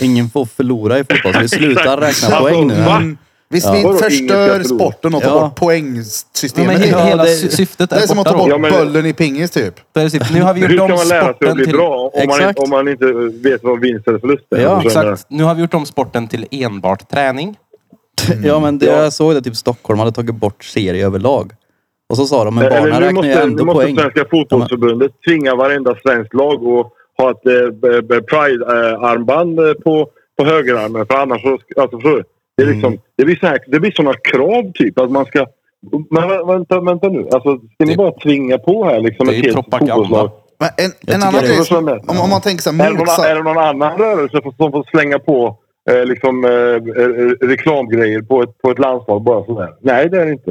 S5: Ingen får förlora i fotboll. Så vi slutar räkna
S3: Alltså,
S5: poäng nu. här.
S3: va?
S2: Mm. Visst,
S5: Ja.
S3: Vadå,
S2: vi förstör
S3: inget jag tror.
S2: sporten och tar
S5: Ja.
S2: bort
S1: Ja,
S2: poängsystemet.
S1: men
S2: helt.
S1: hela
S5: Ja, det-
S1: sy- syftet är,
S2: det är som att
S1: borta
S2: ta
S1: då.
S2: bort
S3: Ja, men-
S2: bollen i pingis typ.
S1: Där är sitt- Nu har vi
S3: Hur
S1: gjort
S3: ska
S1: om
S3: man lära sig att
S1: sporten
S3: bli
S1: till...
S3: bra om man,
S5: Exakt.
S3: om man inte vet vad vinst eller förlust är?
S5: Ja,
S3: Förstår du vad jag
S1: Exakt. Nu har vi gjort om sporten till enbart träning.
S5: Ja men det, jag såg det typ Stockholm hade tagit bort serie överlag. Och så sa de, men
S3: menar?
S5: barnen
S3: Eh, Eller nu
S5: räknar ju
S3: måste, nu
S5: ändå
S3: måste
S5: poäng.
S3: Svenska fotbollsförbundet tvinga varenda svenskt lag att ha ett eh, b- b- Pride-armband eh, på, på högerarmen. För annars så... Alltså, förstår du? Det, är
S1: Mm.
S3: liksom, det, blir så här, det blir såna krav typ att man ska... Men vä- vänta, vänta nu. Alltså, ska ni
S1: Det-
S3: bara tvinga på här liksom
S1: det är
S3: ett
S1: ju
S3: helt
S1: propaganda.
S3: fotbollslag?
S2: Men en, en
S5: tycker
S2: annan
S5: det-
S2: grej,
S3: Förstår du vad jag menar?
S2: om, om man tänker så
S3: Är
S2: här,
S3: det, någon,
S2: motsatt-
S3: är det någon annan rörelse som- som får slänga på eh, liksom, eh, eh, reklamgrejer på ett, på ett landslag bara sådär? Nej, det är det inte.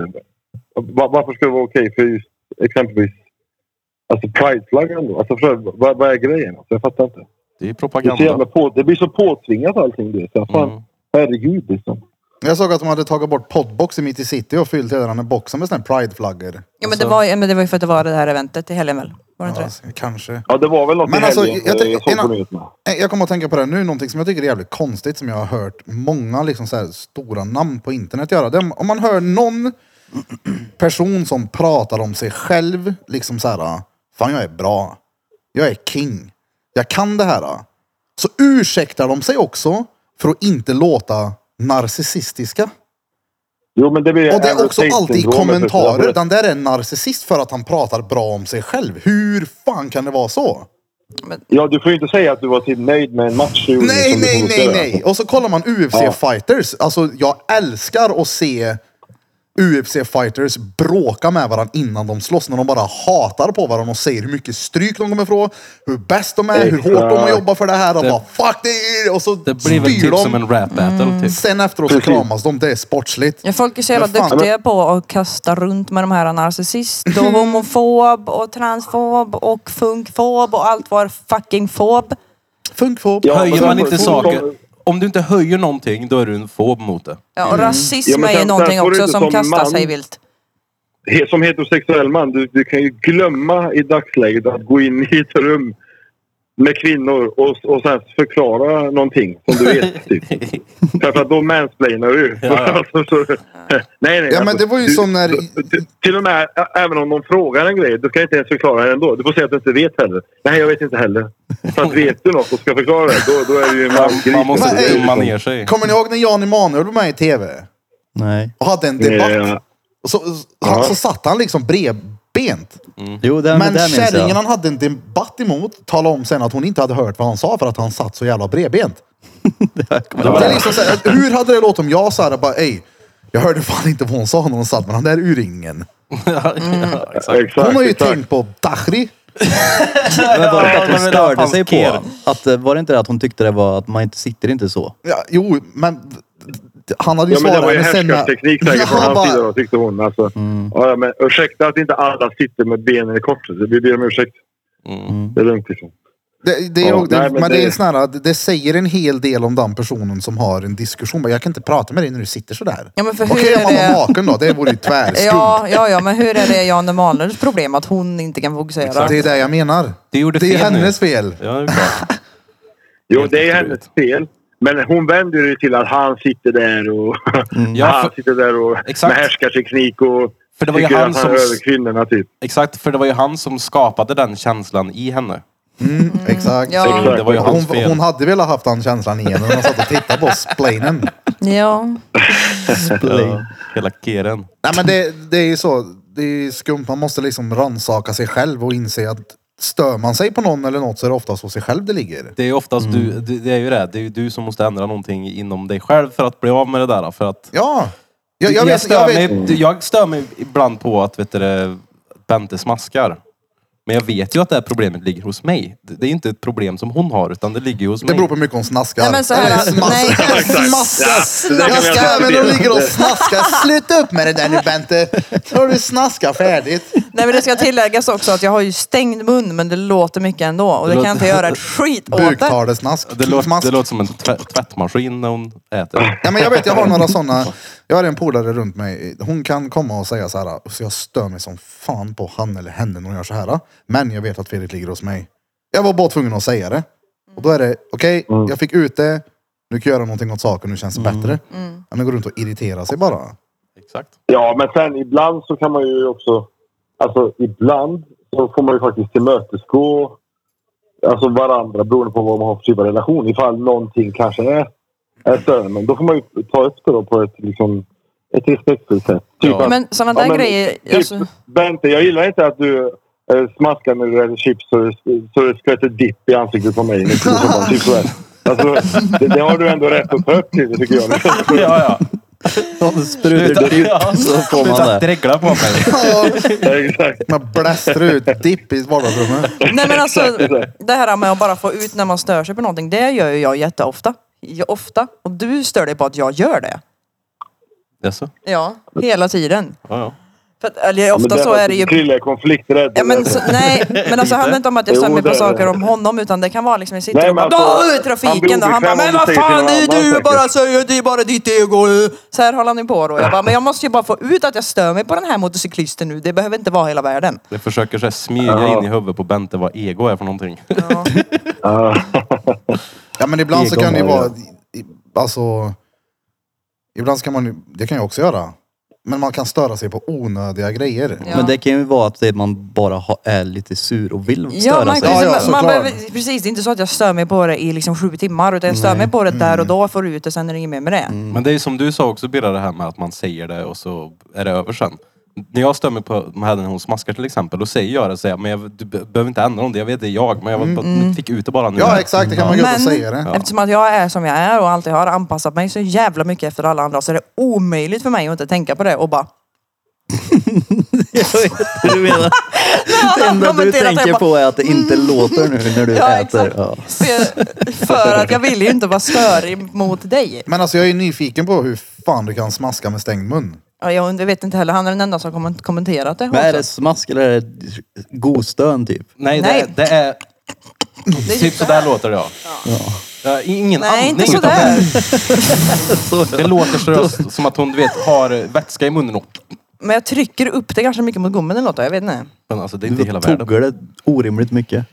S3: Va- varför ska det vara okej för just exempelvis alltså prideflaggan då? Alltså, förstår du, vad, vad är grejen? Alltså, jag fattar inte.
S1: Det är
S3: Det, är så
S1: propaganda.
S3: jävla på, det blir så påtvingat allting. Det. Så, fan,
S1: Mm.
S3: Herregud liksom.
S2: Jag såg att de hade tagit bort podbox i mitt i city och fyllt hela den här boxen med sådana här prideflaggor.
S4: Ja, men, det var, ju- men det var ju för att det var det här eventet i helgen väl? Var det inte
S2: Ja,
S4: det?
S2: kanske.
S3: Ja, det var väl något
S2: Men
S3: i
S2: alltså,
S3: helgen
S2: jag
S3: eh,
S2: tänk-
S3: jag såg
S2: innan-
S3: på nyheterna.
S2: Eh, Jag kommer att tänka på det här nu, någonting som jag tycker är jävligt konstigt som jag har hört många liksom så här stora namn på internet göra. Det, är om man hör någon person som pratar om sig själv, liksom så här, fan jag är bra, jag är king, jag kan det här. Så ursäktar de sig också för att inte låta narcissistiska.
S3: Jo, men det blir
S2: Och det är också
S3: Tate-syndromet,
S2: alltid i
S3: förstår du?
S2: kommentarer. Den där är en narcissist för att han pratar bra om sig själv. Hur fan kan det vara så?
S3: Ja, du får ju inte säga att du var typ nöjd med en match. du gjorde
S2: Nej,
S3: som du
S2: nej, nej,
S3: provocerade.
S2: nej. Och så kollar man UFC-fighters. Alltså jag älskar att se UFC-fighters bråkar med varandra innan de slåss. När de bara hatar på varandra och säger hur mycket stryk de kommer ifrån, hur bäst de är, hur hårt de har jobbat för det här. Och
S1: Det-
S2: bara fuck det! Och så
S1: Det blir väl
S2: styr
S1: typ som
S2: de.
S1: en rap battle. Typ.
S2: Sen efteråt så kramas de. Det är sportsligt.
S4: Ja, folk är så jävla
S2: Men fan.
S4: duktiga på att kasta runt med de här
S2: (laughs)
S4: narcissist och homofob och transfob och funkfob och allt vad fucking fob.
S2: Funkfob.
S3: Ja, men
S1: Höjer
S3: sen
S1: Alltså, man
S3: får-
S1: inte
S3: får-
S1: saker... Om du inte höjer någonting, då är du en fob mot det.
S4: Ja,
S2: Mm.
S4: och rasism
S3: Ja, men
S4: är ju
S3: sen-
S4: någonting
S3: sen får du
S4: också
S3: inte
S4: som
S3: som
S4: kastar
S3: man-
S4: sig vilt.
S3: He- Som heterosexuell man, du, du kan ju glömma i dagsläget att gå in i ett rum med kvinnor och, och sen förklara någonting som du vet.
S1: (laughs)
S3: Typ. För att då mansplainar du.
S1: Ja,
S3: (laughs) Alltså, så- nej, nej,
S2: Ja, men det var ju
S3: du,
S2: som när-
S3: Du, du, till och med, ä- även om de frågar en grej, du kan inte ens förklara det ändå. Du får säga att du inte vet heller. Nej, jag vet inte heller. För att vet du något och ska förklara det, då, då är du ju en
S1: Man, man
S3: mansgris.
S2: Men,
S1: måste
S2: eh,
S1: dumma ner sig.
S2: Kommer ni ihåg när Jan Emanuel var med i tv?
S5: Nej.
S2: Och hade en debatt.
S3: Ja.
S2: Och så, han, så satt han liksom bredbent.
S5: Jo, den,
S2: Men
S5: den minns
S2: kärringen
S5: jag.
S2: han hade en debatt emot talade om sen att hon inte hade hört vad han sa för att han satt så jävla bredbent. (laughs) det är liksom så här, hur hade det låtit om jag sa det bara, ej, jag hörde fan inte vad hon sa när hon satt med den där urringningen.
S1: (laughs) Ja, ja, exakt.
S3: Exakt,
S2: Hon har ju
S3: exakt.
S2: tänkt på Dahri.
S5: Men var det inte att hon
S1: men det var
S5: störde sig på?
S1: pansker.
S5: Att, eh, var det inte det att hon tyckte det var att man inte sitter inte så?
S2: Ja, jo, men han hade ju
S3: Ja, men det
S2: svarat
S3: var ju
S2: henne sen. när-
S1: (laughs)
S3: härskarteknik
S2: Ja,
S3: säkert från
S2: han
S3: hans sida
S2: bara,
S3: då, tyckte hon. Alltså.
S1: Mm.
S3: Ja, ja, men ursäkta att inte alla sitter med benen i kors. Vi ber om ursäkt.
S1: Mm.
S3: Det är lugnt liksom.
S2: det, det, är
S3: Ja,
S2: ju- det,
S3: nej, men
S2: men det,
S3: det-
S2: är snarare, att det säger en hel del om den personen som har en diskussion. Bara, Jag kan inte prata med dig när du sitter sådär.
S4: Ja, men för hur
S2: Okej,
S4: är
S2: om man
S4: det-
S2: var maken då. Det
S4: (laughs)
S2: vore ju tvärskumt.
S4: Ja, ja, ja, men hur är det Jan Emanuels problem att hon inte kan fokusera?
S2: Det är det jag menar.
S1: Du gjorde
S2: Det är
S1: fel nu.
S2: hennes fel.
S1: Ja, det är klart.
S3: Jo,
S1: Helt
S3: det är
S1: otroligt.
S3: hennes fel. Men hon vänder ju till att han sitter där och...
S1: Mm.
S3: (laughs)
S1: Ja,
S3: han
S1: för-
S3: sitter där och...
S1: Exakt.
S3: Med härskarteknik och...
S1: För det var ju
S3: tycker
S1: han
S3: att han
S1: som
S3: är
S1: s-
S3: över kvinnorna typ.
S1: Exakt, för det var ju han som skapade den känslan i henne.
S2: Mm, exakt.
S4: Ja.
S1: Så Det var ju hans
S2: Hon,
S1: fel.
S2: hon hade velat haft den känslan igen när hon satt och tittade på splainen.
S4: Ja.
S1: Ja, hela keren.
S2: Nej men det, det är ju så. Det är ju skumt. Man måste liksom rannsaka sig själv och inse att stör man sig på någon eller något så är det oftast hos sig själv det ligger.
S1: Det är ju oftast
S5: Mm.
S1: du, det- det är ju det. Det är ju du som måste ändra någonting inom dig själv för att bli av med det där. För att
S2: Ja. Jag, jag, vet, jag
S1: stör,
S2: vet.
S1: mig, jag stör mig ibland på att vet du, det, Bente smaskar. Men jag vet ju att det här problemet ligger hos mig. Det det är ju inte ett problem som hon har, utan det ligger ju hos
S2: Det
S1: mig.
S2: beror på hur mycket hon snaskar.
S4: Nej men
S2: (laughs)
S4: så här,
S2: Eller
S4: nej,
S2: (laughs)
S4: (laughs)
S2: smaskar.
S4: massa
S3: där kan
S2: Jag
S3: vi
S2: ska
S3: ha
S2: även
S3: diskuterat.
S2: och ligger och snaskar. Sluta upp med det där nu Bente. Nu har du snaskat färdigt.
S4: Nej men det ska tilläggas också att jag har ju stängd mun men det låter mycket ändå och det kan jag inte göra ett skit åt. det.
S2: Buktalesnask.
S1: Det, låter,
S2: Smask.
S1: det låter som en tvä- tvättmaskin när hon äter.
S2: Ja, men jag vet, jag har några sådana.
S1: (laughs)
S2: Jag har en polare runt mig. Hon kan komma och säga så här, så jag stör mig som fan på han eller henne när hon gör så här. Men jag vet att felet ligger hos mig. Jag var bara tvungen att säga det. Och då är det, okej,
S1: Mm.
S2: jag fick ut det. Nu kan jag göra någonting åt saken, nu känns det bättre.
S4: Mm.
S2: Ja, men gå runt och irritera sig bara. (laughs)
S1: Exakt.
S3: Ja, men sen ibland så kan man ju också... Alltså ibland så får man ju faktiskt tillmötesgå alltså, varandra beroende på vad man har för typ av relation. Ifall någonting kanske är, är störande. Men Då får man ju ta upp det då på ett, liksom, ett respektfullt sätt. Typ
S1: Ja.
S3: att-
S4: Men sådana där
S3: Ja, men
S4: grejer,
S3: Typ,
S4: alltså,
S3: Bente, jag gillar inte att du eh, smaskar när du äter chips så, det- så det skvätter dipp i ansiktet på mig. typ sådär. Alltså, det, det har du ändå rätt att ta upp till tycker jag.
S1: (laughs) Ja,
S5: (laughs)
S1: ja.
S5: Om det sprutar
S1: ja.
S5: ut så får man
S1: Sluta
S5: det.
S1: dregla på mig.
S2: Ja,
S3: Exakt.
S2: man blästrar ut dipp i vardagsrummet.
S4: nej men alltså det här med att bara få ut när man stör sig på någonting, det gör ju jag jätteofta. Ja, Ofta. Och du stör dig på att jag gör det.
S1: Jaså?
S4: Ja, hela tiden.
S1: Ja, ja.
S4: För att, eller ofta så är det ju...
S3: Krille är konflikträdd.
S4: Ja, men, så, nej, men alltså det handlar inte om att jag
S3: Jo,
S4: stör mig på
S3: det är det.
S4: saker om honom utan det kan vara liksom, jag sitter
S3: Nej,
S4: och
S3: men
S4: bara
S3: alltså,
S4: "Åh, i
S3: han blir
S4: trafiken och han bara
S3: obekväm om
S4: men
S3: du
S4: vad
S3: säger
S4: fan
S3: till
S4: det är
S3: någon
S4: du
S3: annan
S4: bara
S3: säkert."
S4: säger, det är bara ditt ego. Så här håller han ju på då. Jag bara, men jag måste ju bara få ut att jag stör mig på den här motorcyklisten nu. Det behöver inte vara hela världen.
S1: Jag försöker så här, smyga
S3: Ja.
S1: in i huvudet på Bente vad ego är för någonting.
S4: Ja.
S3: Ja.
S2: Ja men ibland så
S5: Egon
S2: kan det ju
S5: har
S2: vara, i- alltså, ibland kan man ju- det kan jag också göra. Men man kan störa sig på onödiga grejer.
S4: Ja.
S5: Men det kan ju vara att det- man bara har, är lite sur och (laughs) vill
S4: Ja,
S5: störa
S4: man,
S5: sig.
S2: Ja, ja,
S4: man, man
S2: såklart.
S4: behöver, precis, det är inte så att jag stör mig på det i liksom sju timmar utan jag stör mig på det där och då, får ut det, sen är det inget mer med det.
S1: Mm. Men det är ju som du sa också Birra, det här med att man säger det och så är det över sen. När jag stämmer på med henne när hon smaskar till exempel, då säger jag det så här, men jag, du be- behöver inte ändra om det, jag vet det är jag, men jag
S4: Mm,
S1: var- fick ut det bara nu.
S2: Ja exakt, det kan man ju inte
S4: Men
S2: säga det.
S4: eftersom att jag är som jag är och alltid har anpassat mig så jävla mycket efter alla andra så är det omöjligt för mig att inte tänka på det och bara
S5: (laughs) Jag vet hur du
S4: (laughs)
S5: menar. Det enda du
S4: kommenterat,
S5: tänker
S4: jag bara, Mm.
S5: på är att det inte låter nu när du
S4: (laughs) Ja,
S5: äter.
S4: exakt.
S5: Ja.
S4: För, för att jag vill ju inte vara störig mot dig.
S2: Men alltså jag är nyfiken på hur fan du kan smaska med stängd mun.
S4: Ja, jag und- vet inte heller, han är den enda som komment- kommenterat det.
S5: Men är
S4: också.
S5: det smask eller är det
S1: (laughs)
S5: godstön typ?
S1: Nej,
S4: Nej.
S1: Det, det är... Typ sådär låter det ja. Ja, ingen
S4: Nej, inte
S1: andning, utan
S4: sådär.
S1: Det, det låter seriöst som att hon du vet, har vätska i munnen. Och,
S4: Men jag trycker upp det ganska mycket mot gommen eller något, jag vet inte.
S1: men alltså, det är
S5: Du
S1: inte hela världen.
S5: tuggar det orimligt mycket.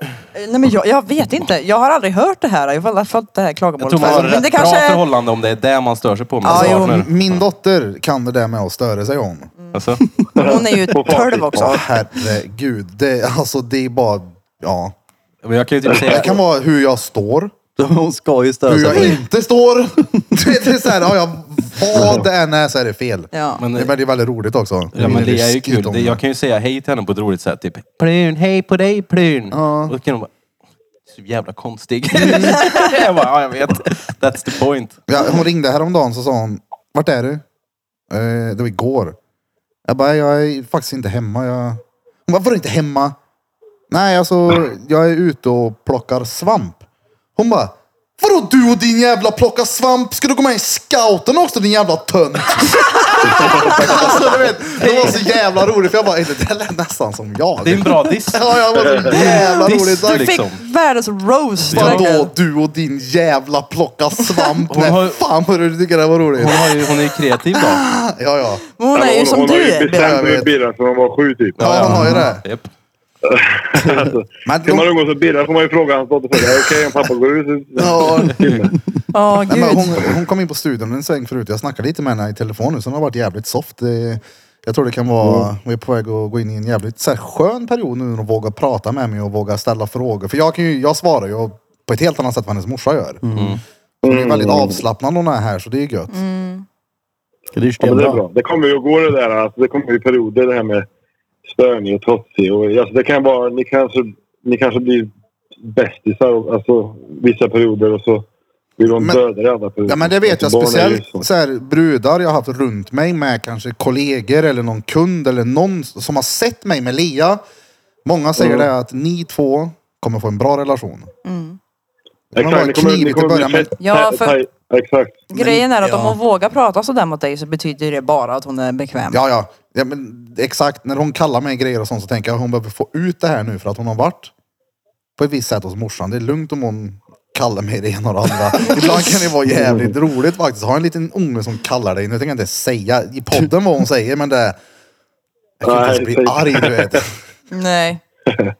S4: Eh, Nej men jag, jag vet inte, jag har aldrig hört det här. Jag har aldrig fått det här
S1: Jag
S4: klagomålet.
S1: tror man har
S4: förut.
S1: ett
S4: men det
S1: rätt
S4: kanske
S1: bra
S4: är...
S1: förhållande om det är det man stör sig på med
S4: Ja,
S1: sin
S4: jo. Mm.
S1: partner.
S2: Alltså, Min dotter kan det där med att störa sig om.
S1: Alltså,
S4: Hon är ju
S3: På fartyg.
S4: 12 också.
S2: Ja, herregud. Det, alltså det är bara, ja.
S1: men jag kan ju typ
S2: Det
S1: säga...
S2: kan vara hur jag står,
S5: Hon ska ju störa
S2: hur jag
S5: sig.
S2: inte står. (laughs) Du vet, Det är så här, ja, jag, vad det än är så är det fel.
S4: Ja.
S1: Men,
S2: Det är väldigt, väldigt roligt också.
S1: ja, men det är ju
S2: Ruskigt
S1: kul.
S2: om
S1: Det, jag kan ju säga hej till henne på ett roligt sätt. Typ, Plyn, hej på dig Plyn. Och då kan hon bara... Så jävla konstig. (laughs) jag bara, ja jag vet. That's the point.
S2: Ja, hon ringde häromdagen så sa hon, vart är du? Eh, det var igår. Jag bara, jag är faktiskt inte hemma. Jag... Hon bara, vadå inte hemma? Nej, alltså jag är ute och plockar svamp. Hon bara, vadå du och din jävla plocka svamp? Ska du gå med i scouten också din jävla tönt? (laughs) alltså, du vet, det var så jävla roligt för jag bara, det där lät nästan som jag.
S1: Det är en bra diss.
S2: Ja, jag var så
S1: (laughs)
S2: jävla roligt.
S1: Diss,
S4: Du fick
S1: liksom.
S4: världens roast.
S2: Vadå
S4: verkligen.
S2: du och din jävla plocka svamp?
S1: Hon
S2: Nej,
S1: har-
S2: fan vad du tycker det var roligt.
S1: Hon, har ju, hon är ju kreativ då.
S2: Ja, ja.
S4: Men Hon är ju som
S3: hon
S4: du
S3: har ju
S4: är.
S2: Jag
S3: bestämt
S2: vet.
S3: med Birra sedan hon var sju typ.
S2: Ja, hon har ju det.
S1: Japp.
S2: Men
S3: Ska man
S2: de,
S3: umgås med Birra får man ju fråga hans dotter. först. Är det Okej om pappa går ut?
S2: ja,
S4: Ja,
S2: nej, men
S4: gud.
S2: hon, hon kom in på studion en sväng förut. Jag snackade lite med henne i telefon nu, så hon har varit jävligt soft. Det- Jag tror det kan
S1: Mm.
S2: vara, vi är på väg att gå in i en jävligt så här, skön period nu när hon vågar prata med mig och vågar ställa frågor. För jag, kan ju, jag svarar ju på ett helt annat sätt än hennes morsa gör.
S1: Mm.
S2: Så hon är väldigt avslappnad när hon är här, så det är gött.
S5: Det är ju
S3: Ja, men det är
S5: stenbra.
S3: bra. Det kommer ju att gå det där. Alltså, det kommer ju perioder det här med störning och trotsig. Och, alltså, det kan vara, ni, kanske, ni kanske blir bästisar och- alltså, vissa perioder och så blir de
S2: Men-
S3: döda i andra perioder.
S2: Ja men det vet jag.
S3: Alltså, barn är
S2: Speciellt
S3: ju så.
S2: så här, brudar jag har haft runt mig med kanske kollegor eller någon kund eller någon som har sett mig med Lea. Många säger
S3: Mm.
S2: det att ni två kommer få en bra relation. Det kommer
S3: Exakt,
S2: vara
S3: ni kommer, ni
S2: knivigt i
S3: kommer
S2: början
S3: bli
S2: men
S3: fett-
S4: Ja,
S3: taj-
S4: för-
S3: taj- Exakt.
S4: Grejen är att om
S5: Ja.
S4: hon vågar prata sådär mot dig så betyder det bara att hon är bekväm.
S2: ja, ja ja. men Exakt. När hon kallar mig grejer och sånt så tänker jag att hon behöver få ut det här nu för att hon har varit på ett visst sätt hos morsan. Det är lugnt om hon kallar mig det ena och det
S3: (laughs)
S2: andra. Ibland kan det vara jävligt roligt faktiskt. Har en liten unge som kallar dig. Nu tänker jag inte säga i podden vad hon säger men det är... Jag kan inte ens bli
S3: Nej,
S2: arg du vet.
S4: Nej.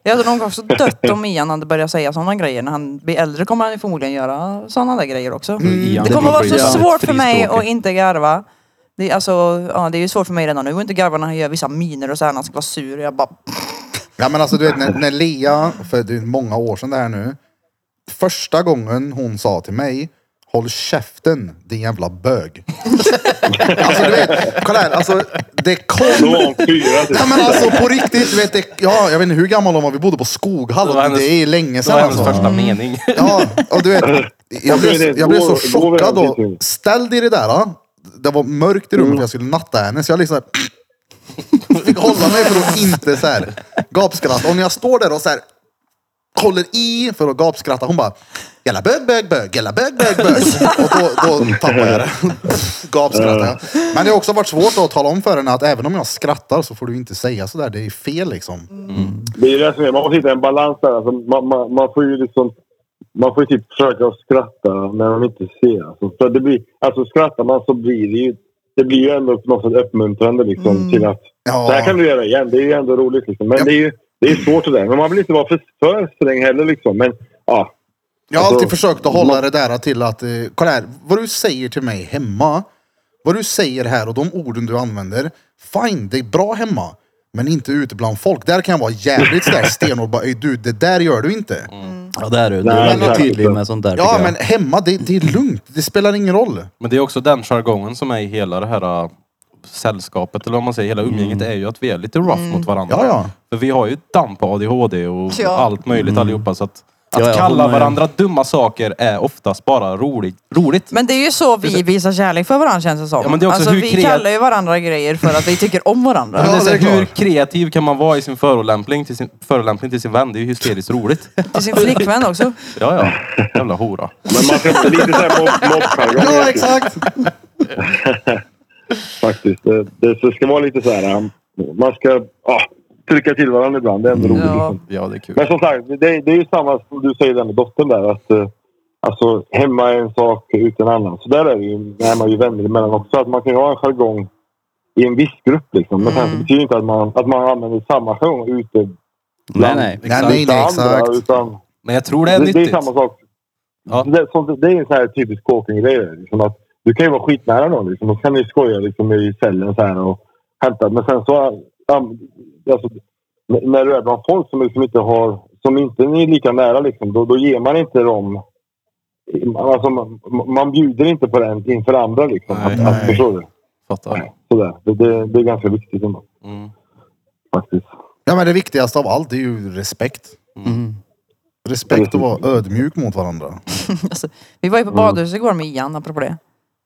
S4: Jag hade nog också dött om Ian hade börjat säga sådana grejer. När han blir äldre kommer han ju förmodligen göra sådana där grejer också.
S1: Mm. Ian,
S4: Det kommer vara
S1: blir
S4: så
S1: jävligt
S4: svårt för mig
S1: frispråkig.
S4: att inte garva. Det är, alltså, ja, det är ju svårt för mig redan nu att inte garva när han gör vissa miner och så här när han ska vara sur. Jag bara...
S2: Ja men alltså du vet när, när Lea, för det är många år sedan det här nu. Första gången hon sa till mig, håll käften din jävla bög. (laughs) alltså du vet, kolla här, alltså det
S3: Då var
S2: kom.
S3: hon fyra typ.
S2: Ja men alltså på riktigt, du vet, det, ja, jag vet inte hur gammal hon var, vi bodde på Skoghall.
S1: Det
S2: Det,
S1: var hennes-
S2: är länge
S1: Det
S2: sedan
S1: var hennes
S2: alltså.
S1: första mening. (laughs)
S2: Ja, och du vet,
S3: (laughs)
S2: jag blev, jag blev så chockad och ställd i det där. ja. Det var mörkt i rummet
S3: Mm.
S2: för jag skulle natta henne så jag liksom (laughs) fick hålla mig för att inte så här gapskratta. Och när jag står där och så här håller i för att gapskratta, hon bara Jävla bög, bög, bög, jävla bög, bög, bög. Och då, då tappar jag det. (laughs) Gapskrattar jag. Men det har också varit svårt att tala om för henne att även om jag skrattar så får du inte säga sådär. Det är fel liksom.
S3: Det är ju det som är. Man måste hitta en balans där. Alltså, man, man, man får ju liksom... Man får ju typ försöka att skratta när man inte ser. Alltså, för det blir, alltså skrattar man så blir det ju... Det blir ju ändå på något sätt uppmuntrande liksom till att...
S2: Mm. Ja.
S3: Det här kan du göra igen. Det är ju ändå roligt liksom. Men
S2: Ja.
S3: det är ju det är svårt det där. Men man vill inte vara för, för sträng heller liksom. Men ja.
S2: Jag har
S3: Alltså,
S2: alltid försökt att hålla
S3: man-
S2: det där till att, eh, kolla här, vad du säger till mig hemma, vad du säger här och de orden du använder, fine, det är bra hemma. Men inte ute bland folk. Där kan jag vara jävligt sådär stenhård. Bara, "Ey, du, det där gör du inte.
S5: Ja, det är du. Du
S3: Nej,
S5: är
S3: men-
S5: väldigt tydlig med sånt där. tycker
S2: ja,
S5: jag.
S2: men hemma, det, det är lugnt. Det spelar ingen roll.
S1: Men det är också den jargongen som är i hela det här äh, sällskapet, eller vad man säger, hela umgänget är ju att vi är lite rough mot varandra.
S2: Mm. Ja, Mm. ja.
S1: För vi har ju damp på ADHD och
S4: Ja.
S1: allt möjligt allihopa så att Att
S5: Ja, ja,
S1: kalla
S5: hon är-
S1: varandra dumma saker är oftast bara roligt. roligt.
S4: Men det är ju så vi visar kärlek för varandra känns det som.
S1: Ja, men det är också
S4: alltså,
S1: hur
S4: vi
S1: kreat-
S4: kallar ju varandra grejer för att vi tycker om varandra.
S1: Men det är
S2: Ja,
S1: så här,
S2: det är
S1: hur
S2: klart.
S1: kreativ kan man vara i sin förolämpning till sin, förolämpning till sin vän? Det är ju hysteriskt roligt.
S4: Till sin flickvän också.
S1: Ja, ja. Jävla hora.
S3: Men man ska inte lite såhär mobb- mobbjargong
S2: Ja, (laughs)
S3: faktiskt.
S2: exakt.
S3: faktiskt. Det, det, det ska vara lite så här. um, Man ska ah, trycka till varandra ibland. Det är
S2: Mm.
S3: ändå roligt.
S1: (laughs)
S4: Ja.
S3: Liksom.
S1: Ja, det är kul.
S3: Men som sagt, det, det är ju samma som du säger där med dottern där. Att, eh, alltså, hemma är en sak, ute en annan. Så där är det ju när man är ju vänner emellan också. Att man kan ju ha en jargong i en viss grupp. Liksom. Men sen så betyder det inte att man, att man använder samma jargong ute
S5: Mm. Nej, nej.
S2: Nej, nej, nej, exakt.
S3: Utan,
S1: Men jag tror det är
S3: det, det är
S1: nyttigt.
S3: samma sak.
S1: Ja.
S3: Det, så, det är en sån här typisk kåking-grej. Liksom att du kan ju vara skitnära någon. Liksom, och kan ni skoja liksom, i cellen så här och hämta. Men sen så... Um, alltså, n- när du är bland folk som liksom inte har... Som inte är lika nära liksom, då, då ger man inte dem... Alltså, man, man bjuder inte på den inför andra liksom.
S1: Nej.
S3: att, att, förstår du?
S1: Fattar.
S3: Sådär. Det, det, det är ganska viktigt ändå.
S1: Mm.
S3: Faktiskt.
S2: Ja, men det viktigaste av allt är ju respekt.
S5: Mm.
S2: Respekt och vara ödmjuk mot varandra.
S4: Alltså, vi var ju på
S1: Mm.
S4: badhuset igår med Ian, apropå det.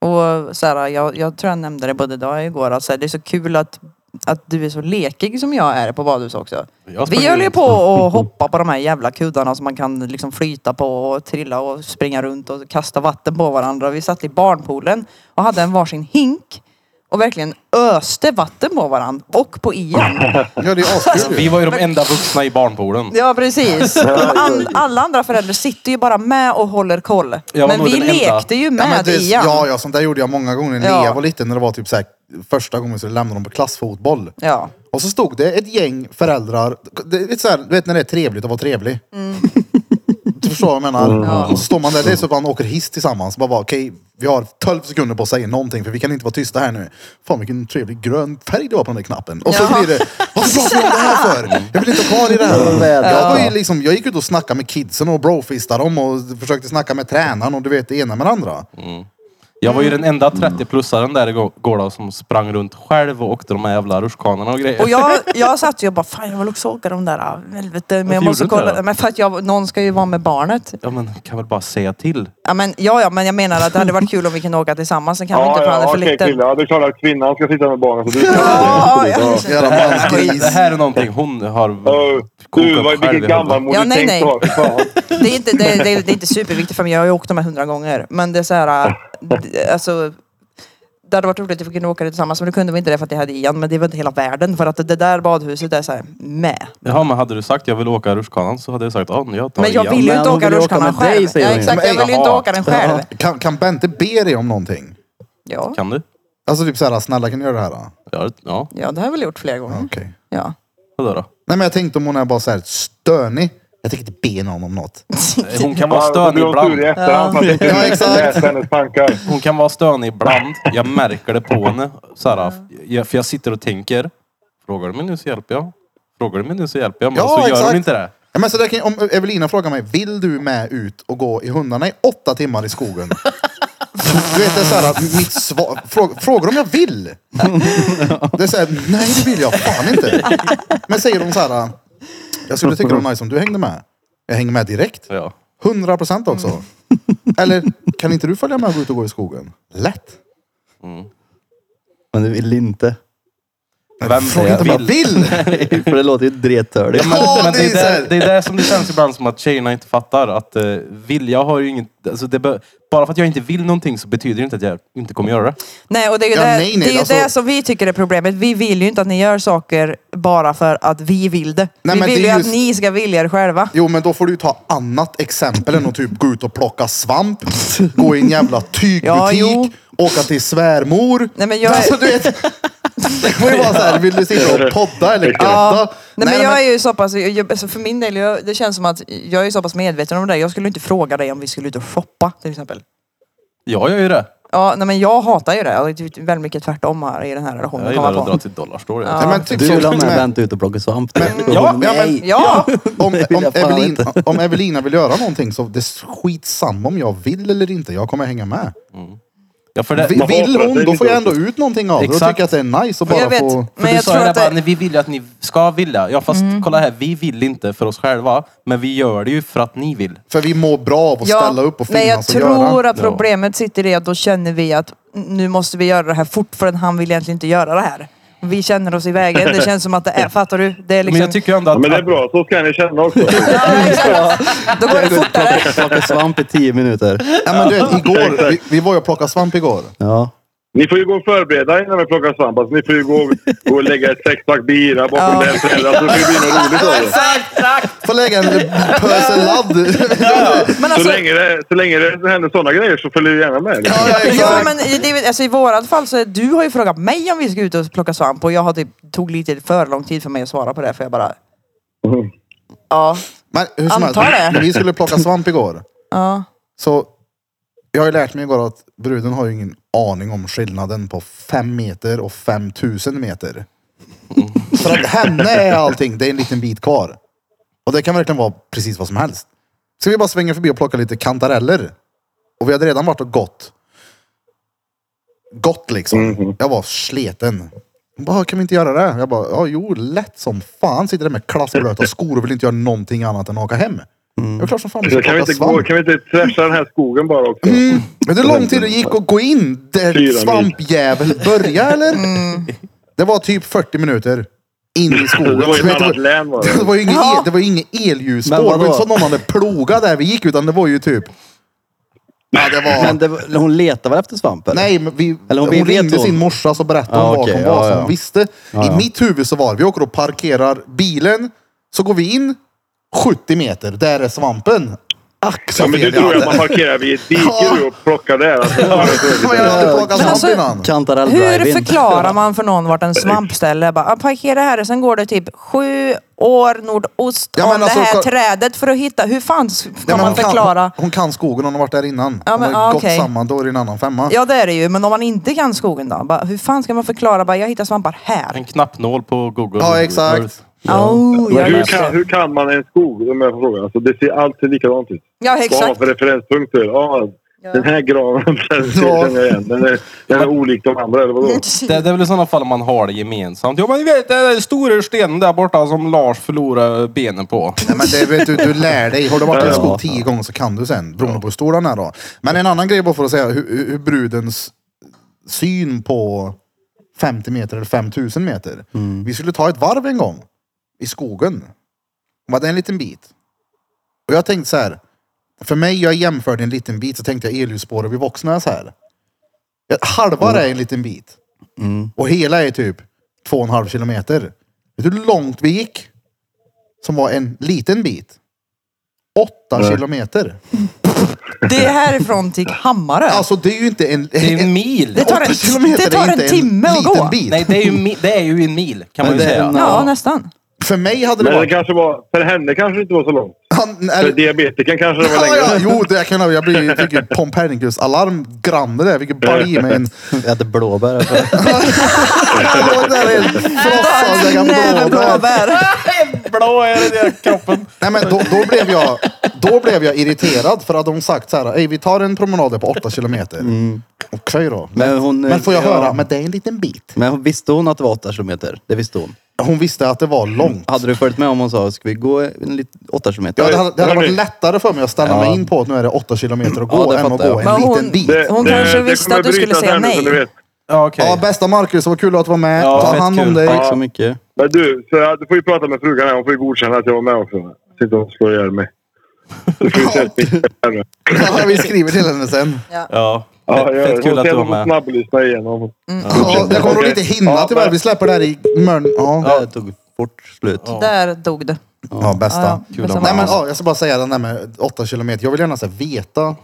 S4: Och så här, jag, jag tror jag nämnde det både idag och igår, att så här, det är så kul att, att du är så lekig som jag är på badhus också.
S1: Jag
S4: Vi
S1: sprang
S4: höll ju
S1: runt.
S4: på att hoppa på de här jävla kuddarna som man kan liksom flyta på och trilla och springa runt och kasta vatten på varandra. Vi satt i barnpoolen och hade en varsin hink och verkligen öste vatten på varandra och på Ian.
S1: (laughs)
S2: Ja, det är askul
S1: Alltså, Vi
S2: ju.
S1: var ju de enda vuxna i barnpoolen.
S4: Ja precis. De an- alla andra föräldrar sitter ju bara med och håller koll.
S1: Jag var
S4: Men
S1: nog
S4: vi
S1: den enda.
S4: lekte ju
S2: Ja,
S4: med
S2: men det,
S4: Ian.
S2: ja, ja, sånt där gjorde jag många gånger när
S4: Ja.
S2: jag var liten. När det var typ så här, första gången så lämnade de på klassfotboll.
S4: Ja.
S2: Och så stod det ett gäng föräldrar. Det är lite så här, du vet när det är trevligt att vara trevlig. (laughs) Du förstår vad jag menar?
S4: Mm. Ja.
S2: Och så står man där, det är så att man åker hiss tillsammans. Bara, bara, okej, vi har 12 sekunder på att säga någonting för vi kan inte vara tysta här nu. Fan vilken trevlig grön färg det var på den där knappen. Och så
S4: Ja.
S2: blir det, varför pratar vi om det här för? Jag vill inte vara kvar i det här. Jag, var ju liksom, jag gick ut och snackade med kidsen och brofistade dem och försökte snacka med tränaren och du vet det ena med det andra.
S1: Jag var ju den enda 30-plussaren där igår då, som sprang runt själv och åkte de här jävla rutschkanorna och grejer.
S4: Och jag, jag satt ju och bara, fan jag vill också åka de där, ah, helvete. Men jag
S1: Varför
S4: måste
S1: gjorde du det
S4: kolla.
S1: då?
S4: Men för att jag, någon ska ju vara med barnet.
S1: Ja men kan väl bara säga till.
S4: Ja men, ja, ja, men jag menar att det hade varit kul om vi kunde åka tillsammans. Sen kan vi
S3: Ja,
S4: inte för han är
S3: ja,
S4: för
S3: okej
S4: liten.
S3: killar. Ja, det är klart att kvinnan ska sitta med
S4: (laughs)
S3: barnen. Så du kan
S4: Ja, ja.
S1: Det
S4: (laughs)
S2: Jävla
S1: här,
S2: mansgris.
S1: det här är någonting hon har
S3: Ja,
S1: kokat
S3: Du, vad,
S1: själv i
S3: vilken
S1: huvudet.
S3: gammalmodig
S4: Ja, nej,
S3: tänkt
S4: nej.
S3: sak. Fan.
S4: Det är, inte, det, det, det är inte superviktigt för mig. Jag har ju åkt de här hundra gånger. Men det är så här, äh, d- alltså. Det hade varit roligt om vi kunde åka det tillsammans. Men det kunde vi inte det för att jag hade Ian. Men det var inte hela världen. För att det där badhuset är så här, med.
S1: Jaha men hade du sagt jag vill åka rutschkanan så hade jag sagt ja jag tar
S4: Men jag
S1: igen.
S4: vill ju
S5: men
S4: inte
S5: hon
S4: åka
S5: vill ju åka
S4: rutschkanan
S5: med dig,
S4: själv. Ja,
S5: säger hon ju.
S4: exakt, jag vill ju inte
S1: Jaha.
S4: åka den själv.
S2: Kan, kan Bente be dig om någonting?
S4: Ja,
S1: Kan du?
S2: Alltså typ såhär, snälla kan du göra det här? då?
S1: Ja. ja.
S4: ja det har jag väl gjort flera gånger.
S2: Okej.
S4: Ja.
S1: Vadå då?
S2: Nej men jag tänkte om hon är bara såhär stönig. Jag tänker inte be någon om något.
S4: Typ.
S1: Hon kan vara
S3: Ja, då
S1: stönig
S3: blir hon sur i
S1: ibland.
S3: efterhand. för att inte
S2: Ja, exakt.
S3: läsa hennes tankar.
S1: Hon kan vara stönig ibland. Jag märker det på henne. Så här, jag, för jag sitter och tänker. Frågar du mig nu så hjälper jag. Frågar du mig nu så hjälper jag. Men
S2: Ja,
S1: så gör
S2: exakt.
S1: hon inte det.
S2: Ja, men så där kan, ju- om Evelina frågar mig, vill du med ut och gå i hundarna i åtta timmar i skogen? Du vet, det är så här, att mitt svar, fråga, frågar om jag vill? Det är så här, nej det vill jag fan inte. Men säger hon så här, jag skulle tycka det var nice om du hängde med. Jag hänger med direkt.
S1: Ja.
S2: 100 procent också. Eller, kan inte du följa med och gå ut och gå i skogen? Lätt.
S5: Men du vill inte.
S1: Vem
S2: Fråga inte om jag vill.
S5: För det låter ju drettörligt.
S1: Men,
S2: Ja,
S1: men
S2: det
S1: det,
S2: är
S1: är
S2: så här.
S1: där, det är där som det känns ibland som att tjejerna inte fattar att eh, vilja har ju inget... Alltså det be, bara för att jag inte vill någonting så betyder det inte att jag inte kommer göra det.
S4: Nej, och det är ju
S2: Ja,
S4: det,
S2: nej, nej,
S4: det, är ju
S2: alltså-
S4: det som vi tycker är problemet. Vi vill ju inte att ni gör saker bara för att vi vill det.
S2: Nej,
S4: vi
S2: men det
S4: vill ju
S2: är
S4: att
S2: just-
S4: ni ska vilja er själva.
S2: Jo, men då får du ju ta annat exempel än att typ gå ut och plocka svamp, gå i en jävla
S4: Ja, jo.
S2: tygbutik, åka till svärmor.
S4: Nej, men jag är-
S2: Alltså, du vet, det får ju vara så här, vill du sitta och podda eller prata?
S4: Ja. Nej, men jag är ju så pass, jag- jag, alltså för min del, jag, det känns som att jag är så pass medveten om det. Jag skulle inte fråga dig om vi skulle ut och shoppa till exempel.
S1: Jag gör ju det.
S4: Ja, nej, men jag hatar ju det. Jag är typ väldigt mycket tvärtom här i den här relationen.
S1: Jag
S4: kommer
S1: gillar
S4: jag
S1: att
S4: på.
S1: dra till dollarstore.
S2: Nej, men typ
S5: Du
S2: så-
S5: vill ha med
S2: men-
S5: Bente ut och plocka svamp. typ.
S1: ja,
S5: Nej.
S2: ja, men-
S4: Ja!
S2: Om,
S5: Det vill
S2: om,
S5: jag fan
S2: Evelin,
S5: inte.
S2: om Evelina vill göra någonting så det är skitsamma om jag vill eller inte. Jag kommer hänga med.
S1: Ja,
S5: Äh,
S1: för det,
S2: Vi-
S3: Man får
S2: Vill
S3: offra
S2: hon,
S3: sig
S2: då
S3: lite
S2: får jag
S3: också.
S2: ändå ut någonting av det. Då
S1: Exakt.
S2: tycker jag att det är nice att (laughs) bara
S4: Jag vet.
S2: få...
S1: För
S4: Men
S1: du
S4: jag
S1: sa
S4: tror
S1: ju det
S4: att
S1: bara,
S4: det- Mm.
S1: "Nej, vi vill ju att ni ska vilja. Ja fast kolla här, vi vill inte för oss själva. Men vi gör det ju för att ni vill.
S2: För vi mår bra av att ställa upp och
S4: men jag
S2: finnas och
S4: tror
S2: göra.
S4: att problemet sitter i att då känner vi att nu måste vi göra det här fort för att han vill egentligen inte göra det här. Vi känner oss i vägen. Det känns som att det är, fattar du? Det är liksom...
S1: Men jag tycker ändå
S3: Ja,
S1: att...
S3: men det är bra, så ska ni känna också.
S4: Ja, exakt. Då går det
S5: (laughs)
S4: fortare.
S5: Plocka svamp i tio minuter.
S2: Ja, men du vet, igår, vi, vi var ju och plockade svamp igår.
S5: Ja.
S3: Ni får ju gå och förbereda er när vi plockar svamp. Alltså, ni får ju gå, gå och lägga ett sexpack bira bakom
S4: Ja.
S3: den föräldern så det blir något roligt av det.
S2: Får lägga en pöse ladd.
S4: Men
S3: Så
S4: alltså,
S3: länge det, så länge det händer sådana grejer så följer vi gärna med.
S4: ja, men i- det, är väl- alltså, i vårat fall så är, du har ju frågat mig om vi ska ut och plocka svamp och jag har typ, tog lite för lång tid för mig att svara på det för jag bara... Ja.
S2: Men hur som helst,
S4: Antar det.
S2: vi skulle plocka svamp igår.
S4: Ja.
S2: Så jag har ju lärt mig igår att bruden har ju ingen aning om skillnaden på fem meter och 5000 meter.
S4: Mm.
S2: För att henne är allting, det är en liten bit kvar. Och det kan verkligen vara precis vad som helst. Ska vi bara svänga förbi och plocka lite kantareller? Och vi hade redan varit och gått. Gått liksom.
S3: Mhm.
S2: Jag var sleten. Hon bara, kan vi inte göra det? Jag bara, ja jo, lätt som fan. Sitter där med klassblöta skor och vill inte göra någonting annat än åka hem. Det är klart som fan vi
S3: Mm. Så
S2: ska
S3: kan
S2: plocka
S3: vi, inte gå,
S2: svamp.
S3: kan vi inte trasha den här skogen bara också?
S2: Men hur lång tid det gick att gå in där
S3: Fyra
S2: svampjäveln började eller?
S4: Mm.
S2: Det var typ 40 minuter. In i skogen.
S3: (laughs) Det var ju
S2: Så vet
S3: ett
S2: du
S3: annat
S2: vad-
S3: län
S2: (laughs)
S3: var
S2: det
S3: det.
S2: var ju inget,
S4: Ja.
S2: el, det var ju inget elljusspår.
S5: Men
S2: Det
S5: vadå?
S2: var inte så någon hade plogat där vi gick utan det var ju typ... Ja, det var...
S5: Men det, var- hon letar väl efter svamp? eller?
S2: nej, men vi,
S5: Eller
S2: hon,
S5: hon vet
S2: ringde
S5: hon.
S2: sin morsa så berättade
S3: Ah,
S2: hon
S5: Ja,
S2: var
S5: okej,
S2: hon var.
S5: ja,
S2: så
S5: ja.
S2: hon visste.
S5: Ja,
S2: I
S5: ja.
S2: mitt huvud så var det, vi åker och parkerar bilen. Så går vi in 70 meter. Där är svampen. Ack så
S3: Ja, men du
S2: fel (laughs)
S3: tror
S2: jag
S3: ju att man
S2: hade.
S3: parkerar vid ett dike
S2: Ja.
S3: du, och plockar där. Alltså,
S2: Men jag hade plockat
S4: Men
S2: svamp
S4: alltså,
S2: innan.
S5: Kantarell-drive-in.
S4: Hur
S5: (laughs)
S4: förklarar man för
S2: (laughs)
S4: någon vart en svampställe är? Bara, "Ah, parkera här, sen går det typ sju år nordost
S2: Ja,
S4: om
S2: men alltså,
S4: det här
S2: ko-
S4: trädet för att hitta. Hur fan s- kan
S2: Nej, men
S4: man
S2: hon
S4: förklara?
S2: Hon, hon kan skogen, hon har varit där innan.
S4: Ja,
S2: hon
S4: men,
S2: har
S4: ja,
S2: gått
S4: okej.
S2: samman, då är det en annan femma.
S4: Ja det är det ju, men om man inte kan skogen då? Bara, hur fan ska man förklara? Bara, jag hittar svampar här.
S1: En knappnål på Google.
S2: Ja, exakt.
S1: Earth.
S4: Oh,
S3: Men
S4: jag
S3: hur,
S4: läste.
S3: kan, hur kan man en skog, om jag får fråga? Alltså, det ser alltid likadant ut.
S4: Ja
S3: Vad har man
S4: exakt.
S3: för referenspunkter? Ja, den här graven (laughs) den
S2: Ja.
S3: känner jag igen. Den är, den är olik de andra, eller vadå?
S1: Det, det är väl i sådana fall man har det gemensamt. Ja men ni vet den där stora stenen där borta som Lars förlorade benen på.
S2: Nej, men det vet du, du lär dig. Har du varit i en
S3: Ja,
S2: skog
S5: ja.
S2: tio gånger så kan du sen. Beroende på hur stor den är då. Men en annan grej bara för att säga hur, hur hur brudens syn på 50 meter eller 5000 meter. Vi skulle ta ett varv en gång i skogen. Hon bara, det är en liten bit. Och jag tänkte så här. För mig, jag jämförde en liten bit så tänkte jag elljusspåret vid Våxnäs här. Ett Halva är en liten bit. Och hela är typ två och en halv kilometer. Vet du hur långt vi gick? Som var en liten bit. Åtta kilometer.
S4: Det är härifrån till Hammarö.
S2: Alltså det är ju inte en...
S1: Det är en mil.
S4: Det tar en-
S2: åtta kilometer
S4: det tar
S2: är
S4: en
S2: inte
S4: timme att
S2: liten
S4: gå.
S1: (laughs)
S2: Bit.
S1: Nej det är, ju, mi- det är ju en mil kan
S5: Men
S1: man ju
S5: det
S1: (laughs)
S5: är
S1: säga.
S5: en-
S4: ja,
S5: ja.
S4: nästan.
S2: För mig hade det
S3: Men det
S2: varit...
S3: kanske var, för henne kanske det inte var så långt.
S2: Han,
S3: För
S2: eller,
S3: diabetikern kanske det var
S2: ja,
S3: längre.
S2: ja, jo, det kan jag, jag blir, jag fick ju Pompernicus alarm granne där. Jag fick ju balj med (laughs) en...
S5: Äter blåbär. eller?
S2: Det var där en flossa och lägga
S4: Näven
S2: blåbär.
S4: blåbär.
S1: Blå är det där kroppen.
S2: Nej men då, då, blev jag, då blev jag irriterad för att de sagt så här, "Ey, vi tar en promenad där på åtta kilometer. Okej då.
S5: Men hon, eh,
S2: men får jag
S5: ja.
S2: höra, men det är en liten bit.
S5: Men hon- visste hon att det var åtta kilometer? Det visste hon.
S2: Hon visste att det var långt.
S5: Hade du följt med om hon sa, ska vi gå en lit, åtta kilometer?
S2: Ja, det hade, det hade
S3: Hörni.
S2: varit lättare för mig att ställa
S5: Ja.
S2: mig in på att nu är det åtta kilometer att
S5: Ja,
S2: gå
S5: det
S2: än att
S5: fattar
S2: gå
S5: jag.
S2: en
S4: Men hon-
S2: liten bit.
S3: Det-
S4: Hon kanske visste
S3: kommer
S4: att du skulle
S3: brytas
S4: säga
S3: här nu,
S4: nej.
S3: så du vet.
S1: Ja okej.
S2: Ja, bästa Marcus, det var kul att du var med.
S1: Ja,
S2: Ta
S1: fett
S2: hand om
S1: kul.
S2: dig.
S5: Tack så mycket.
S3: Men du, så jag- du får ju prata med frugan här. Hon får ju godkänna att jag var med också. Så inte hon slår ihjäl mig. Du får ju se att vi-
S2: (laughs) Ja, vi skriver till henne sen.
S1: Ja.
S3: Ja,
S1: Fett,
S3: jag
S1: fett kul att du var med.
S3: Snabblyssna igenom.
S2: Ja, det kommer nog inte hinna
S3: Ja,
S2: tyvärr. Vi släpper det här i mörn. Ja,
S5: Det tog fort slut.
S4: Där dog det.
S2: ja bästa.
S4: Ja,
S1: Kul att
S4: det
S2: Nej, men,
S4: var-
S2: ja, jag ska bara säga den där med åtta kilometer. Jag vill gärna så här, veta.
S5: Ja,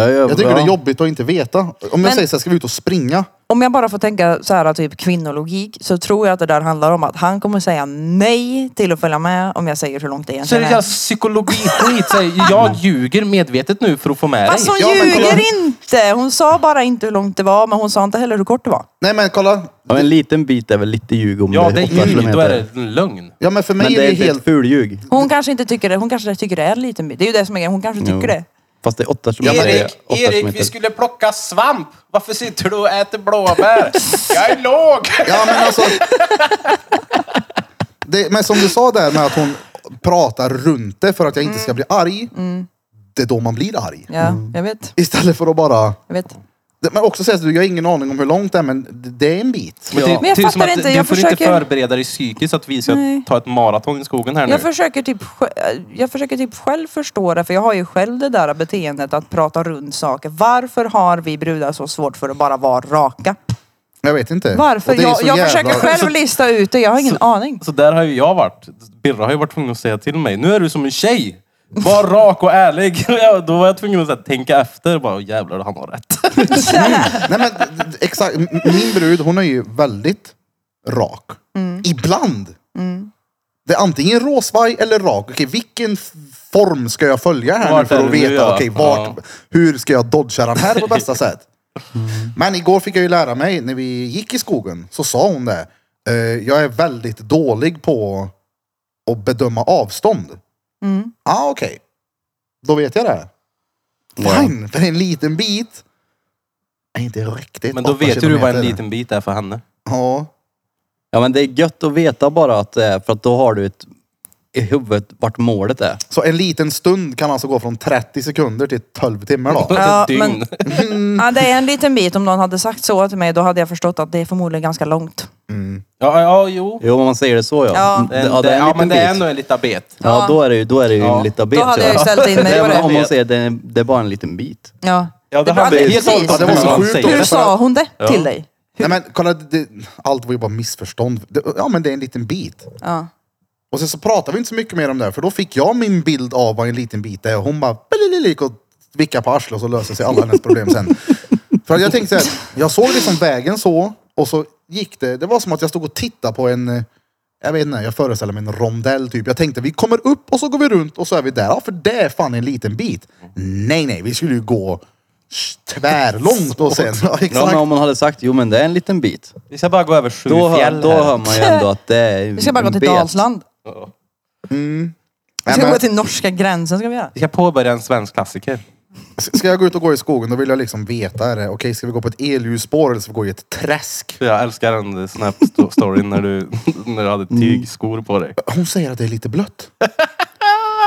S5: ja,
S2: Jag tycker
S5: bra.
S2: det är jobbigt att inte veta. Om jag
S4: Men-
S2: säger så här, ska vi ut och springa?
S4: Om jag bara får tänka så här typ kvinnologik så tror jag att det där handlar om att han kommer säga nej till att följa med om jag säger hur långt det
S1: Så är det
S4: egentligen
S1: jävla
S4: är.
S1: psykologi-skit. Så här, Jag ljuger medvetet nu för att få med dig.
S7: Alltså,
S4: Fast hon
S2: Ja, men kolla.
S4: ljuger inte! Hon sa bara inte hur långt det var men hon sa inte heller hur kort det var.
S2: Nej men kolla.
S5: Ja, en liten bit är väl lite ljug om
S1: Ja, det
S5: det
S1: är
S5: åtta
S1: ljug. Då är
S5: kilometer.
S1: det en lögn.
S2: Ja men för mig
S5: Men
S2: är
S5: det är
S2: det
S5: inte
S2: helt...
S5: ett fulljug.
S4: Hon kanske inte tycker det. Hon kanske tycker det är en liten bit. Det är ju det som är grejen. Hon kanske tycker
S5: Jo.
S4: det.
S5: Fast det är åtta kilometer.
S7: Erik,
S5: åtta
S7: Erik, vi
S5: kilometer.
S7: skulle plocka svamp. Varför sitter du och äter
S1: (laughs)
S7: blåbär? Jag är låg!
S2: Ja, men alltså. Det, men som du sa där med att hon pratar runt det för att jag inte
S4: Mm.
S2: ska bli arg. Det är då man blir arg.
S4: Ja, jag vet.
S2: Istället för att bara...
S4: Jag vet.
S2: Det- Men också säga att du jag har ingen aning om hur långt det är, men det- det är en bit.
S1: Men, typ- det,
S4: Men jag
S1: det är som
S4: fattar
S1: att
S4: inte,
S1: Du
S4: jag
S1: får inte
S4: försöker-
S1: förbereda dig psykiskt att vi ska
S4: Nej.
S1: ta ett maraton i skogen här nu.
S4: Jag försöker, typ, sj- jag försöker typ själv förstå det, för jag har ju själv det där beteendet att prata runt saker. Varför har vi brudar så svårt för att bara vara raka?
S2: Jag vet inte.
S4: Varför?
S2: Och det är
S4: Jag,
S2: så
S4: jag
S2: jävla-
S4: försöker
S1: Så-
S4: själv lista ut det, jag har ingen aning.
S1: Så där har ju jag varit. Birra har ju varit tvungen att säga till mig. Nu är du som en tjej. Var rak och ärlig. (laughs) Ja, Då var jag tvungen att så här, tänka efter. Bara, "Åh, jävlar, han har rätt.
S2: Nej men d- d- exakt. M- Min brud hon är ju väldigt rak. Ibland. Det är antingen råsvaj eller rak. Okej, vilken f- form ska jag följa
S1: Vart
S2: här nu
S1: är
S2: för att
S1: det nu,
S2: veta
S1: ja.
S2: okej, vart,
S1: Ja.
S2: hur ska jag dodga
S1: (laughs)
S2: den här på bästa sätt? Men igår fick jag ju lära mig, när vi gick i skogen, så sa hon det. Eh, jag är väldigt dålig på att bedöma avstånd. ah, okej. Då vet jag det. Fine, för en liten bit är inte riktigt
S1: Men då
S2: åtta
S1: vet ju du vad en
S2: kilometer.
S1: liten bit är för henne.
S2: Ja.
S5: Ja men det är gött att veta bara att det är, för att då har du ett, i huvudet vart målet är.
S2: Så en liten stund kan alltså gå från 30 sekunder till 12 timmar då.
S4: Ja,
S1: Dygn.
S4: men- Mm. Ja, det är en liten bit. Om någon hade sagt så till mig, då hade jag förstått att det är förmodligen ganska långt.
S1: Ja, ja, jo.
S5: Jo om man säger det så ja.
S4: Ja.
S5: det, ja,
S1: det,
S5: det är en
S1: ja
S5: liten
S1: men det är
S5: bit.
S1: ändå en liten bit.
S5: Ja då är det ju, då är det ju
S1: Ja.
S5: en liten bit.
S4: Då hade jag ju ställt in mig
S5: Nej,
S4: på
S5: men om
S4: det.
S5: man säger det, det är bara en liten bit.
S4: Ja.
S1: Ja, det,
S4: är bra
S1: handlar
S4: att-
S1: helt och hållet om
S4: precis.
S2: Ja, det var
S1: hur
S2: så
S1: man
S2: sjukt
S1: säger
S2: också.
S1: det.
S4: Hur sa hon det till dig?
S2: Nej men kolla, det, allt var ju bara missförstånd. Det, ja men det är en liten bit.
S4: Ja.
S2: Och sen så pratade vi inte så mycket mer om det, här, för då fick jag min bild av vad en liten bit är. Och hon bara "Belililik" och vickade på arslet och så löser sig alla hennes problem sen. För att jag tänkte så här, jag såg liksom vägen så och så gick det. Det var som att jag stod och tittade på en, eh, jag vet inte, jag föreställer mig en rondell typ. Jag tänkte vi kommer upp och så går vi runt och så är vi där. Ja för det är fan en liten bit. Nej nej, vi skulle ju gå tvärlångt och sen. Ja,
S5: Ja, men
S2: exakt.
S5: om man hade sagt jo men det är en liten bit.
S1: Vi ska bara gå över sju
S5: Då, hör,
S1: fjäll
S5: då
S1: här.
S5: hör man ju ändå att det är
S4: Vi ska bara gå
S5: en
S4: till
S5: bet.
S4: Dalsland. Vi
S2: Nej,
S4: ska
S2: men,
S4: gå till norska gränsen. Ska vi göra.
S1: Vi ska påbörja en svensk klassiker.
S2: ska jag gå ut och gå i skogen då vill jag liksom veta, är det, okej ska vi gå på ett elljusspår eller ska vi gå i ett träsk?
S1: För Jag älskar den snap-storyn när du, (laughs) när du hade tygskor på dig.
S2: Hon säger att det är lite blött.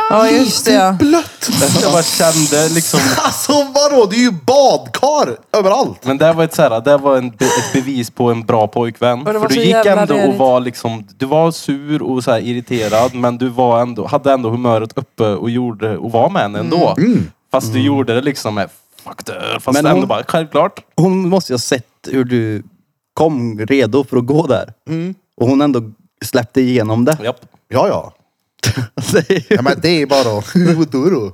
S4: Ja, just det. ja.
S2: Blött!
S1: Jag bara kände liksom
S2: Alltså vadå? Det är ju badkar överallt.
S1: Men det var ett, så här, det var en, be- ett bevis på en bra pojkvän.
S4: det var
S1: För du
S4: så
S1: gick
S4: jävla
S1: ändå och
S4: rörigt.
S1: var liksom, du var sur och så här irriterad men du var ändå, hade ändå humöret uppe och, gjorde, och var med henne ändå. Fast du gjorde det liksom med fuck det. Fast
S5: Men
S1: ändå
S5: hon-
S1: bara självklart.
S5: Hon måste ju ha sett hur du kom redo för att gå där.
S1: Mm.
S5: Och hon ändå släppte igenom det.
S1: Japp.
S2: Ja, ja.
S5: Det är ju-
S2: ja men det är bara (laughs) Duro.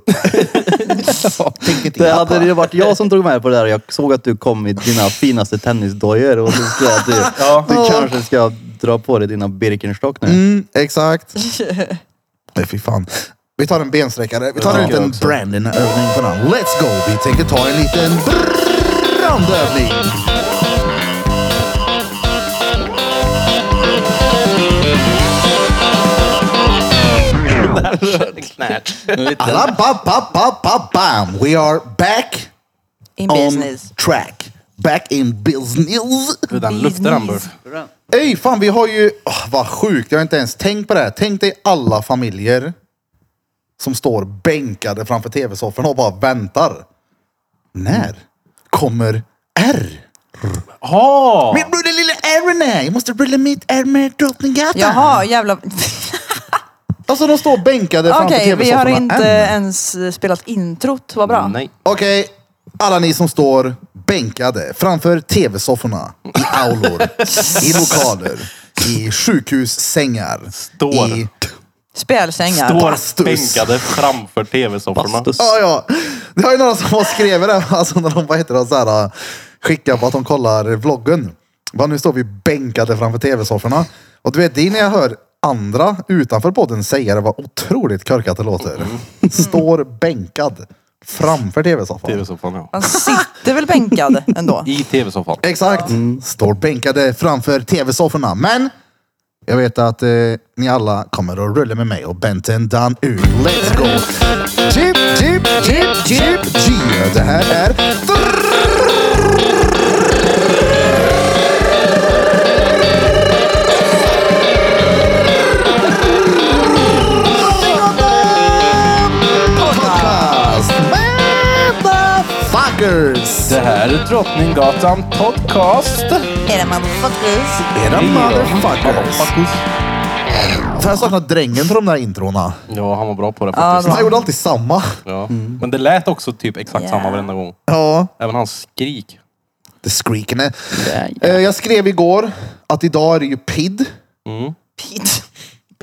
S2: Tänk inte
S5: (laughs) Det
S2: jag
S5: hade
S2: på.
S5: det varit jag som drog med på det där och jag såg att du kom i dina finaste tennisdojor och så skulle jag att du, du kanske ska dra på dig dina Birkenstock nu.
S2: Mm, exakt. Nej fy fan. Vi tar en bensträckare. Vi tar en liten Brandon-övning på den. Let's go! Vi tänker ta en liten brandövning. Alla ba, ba, ba, ba, bam! We are back
S4: In
S2: on
S4: business.
S2: track. Back in business.
S1: Hur den luktar den Burf.
S2: Ey, fan vi har ju... Åh, vad sjukt, jag har inte ens tänkt på det här. Tänk dig alla familjer som står bänkade framför tv-soffan och bara väntar. När kommer R?
S1: Ja!
S2: Min broder lilla R är Jag måste rulla mitt R med Drottninggatan.
S4: Jaha, jävla...
S2: Alltså de står bänkade framför
S4: Okej, vi har
S2: tv-sofforna.
S4: inte
S2: än.
S4: ens spelat introt. Vad bra.
S1: Nej.
S2: Okej, alla ni som står bänkade framför tv-sofforna, i aulor, i lokaler, i sjukhussängar,
S1: Står.
S2: i...
S4: Spelsängar.
S1: Står
S2: Bastus.
S1: bänkade framför tv-sofforna.
S5: Bastus.
S2: Ja, ja. Det var ju några som har skrivit det, alltså när de, vad heter det, så här, skickar på att de kollar vloggen. Bara, nu står vi bänkade framför tv-sofforna. Och du vet, det är när jag hör andra utanför podden säga det, vad otroligt korkat det låter. Står bänkad framför tv-soffan.
S1: TV-soffan ja.
S4: Man sitter väl bänkad
S1: (laughs)
S4: ändå?
S1: I tv-soffan.
S2: Exakt. Står bänkade framför tv-sofforna. Men jag vet att eh, ni alla kommer att rulla med mig och Benten Dan U. Let's go! Chip, chip, chip, chip, chip. Det här är... Podcast Motherfuckers!
S1: Det här är Drottninggatan Podcast.
S4: Är det motherfuckers?
S2: Era motherfuckers! Fan, jag saknar drängen till de där introna.
S1: Ja, han var bra på det
S4: Ja,
S1: faktiskt.
S4: det var-
S2: Han gjorde alltid samma.
S1: Ja. Men det lät också typ exakt
S4: Yeah.
S1: samma varenda gång.
S2: Ja.
S1: Även hans skrik.
S2: Det skrikande. Jag skrev igår att idag är det ju PID.
S1: Mm.
S4: Pete.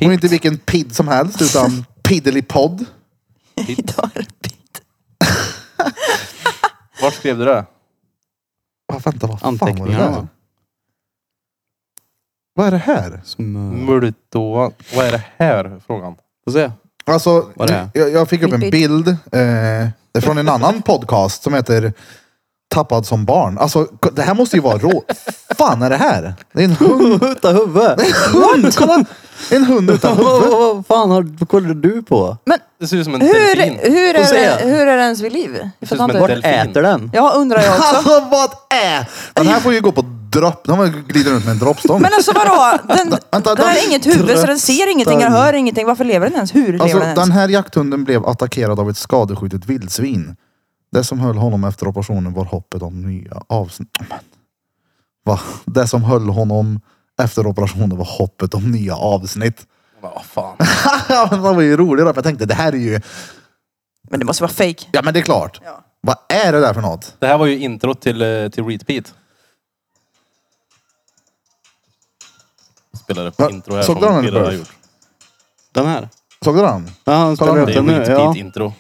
S2: Och inte vilken PID som helst
S5: (laughs)
S2: utan Piddelipod.
S4: Idag är det Pete.
S1: Var skrev du det?
S2: Ah, vänta, vad fan var det
S5: Anteckningarna
S2: där?
S5: va?
S2: Vad är det här?
S1: Mm.
S5: Smör.
S1: Multova. Vad är det här? Frågan.
S5: eh, Får se.
S2: Alltså,
S5: Vad är det?
S2: jag, jag fick upp en
S4: Pid.
S2: bild eh, det är från en annan podcast som heter Tappad som barn. Alltså, ko- det här måste ju vara rå... fan är det här? Det är en hund.
S5: Utan huvud! (laughs)
S2: hund kolla! En hund utan huvud.
S5: Vad- Vad vad fan har, vad kollar du på?
S4: Men
S1: Det ser ut som en
S4: hur,
S1: delfin.
S4: hur,
S5: Får
S4: är
S5: se.
S4: det, hur är det ens vid liv? Jag
S1: som
S4: fattar
S1: en
S5: Vart
S4: inte.
S1: delfin.
S5: äter den?
S4: Ja, undrar
S2: (laughs)
S4: jag också.
S2: Alltså vad är... Den här får ju gå på dropp. Den här glider runt med en droppstång.
S4: Men alltså vadå? Den,
S2: vänta,
S4: den har
S2: de
S4: inget huvud så den ser ingenting, den
S2: tröttar.
S4: hör ingenting. Varför lever den ens? Hur lever
S2: Alltså,
S4: den ens?
S2: den här jakthunden blev attackerad av ett skadeskjutet vildsvin. Det som höll honom efter operationen var hoppet om nya avsnitt. Men, Va? Det som höll honom efter operationen var hoppet om nya (laughs) avsnitt.
S1: Vad fan.
S2: Ja, men det var ju roligt då, för jag tänkte det här är ju...
S4: Men det måste vara fake.
S2: Ja men det är klart.
S4: Ja.
S2: Vad är det där för något?
S1: Det här var ju introt till, eh, till Repeat. Spelade
S2: Va?
S1: upp intro här.
S2: Såg
S1: från
S2: du den,
S1: Peter
S2: eller?
S1: har gjort.
S5: Den här?
S2: Såg du den?
S5: Ja, han spelar
S2: Kolla
S5: upp
S1: Det är
S5: den
S1: en
S5: nu. Ja.
S1: Repeat-intro.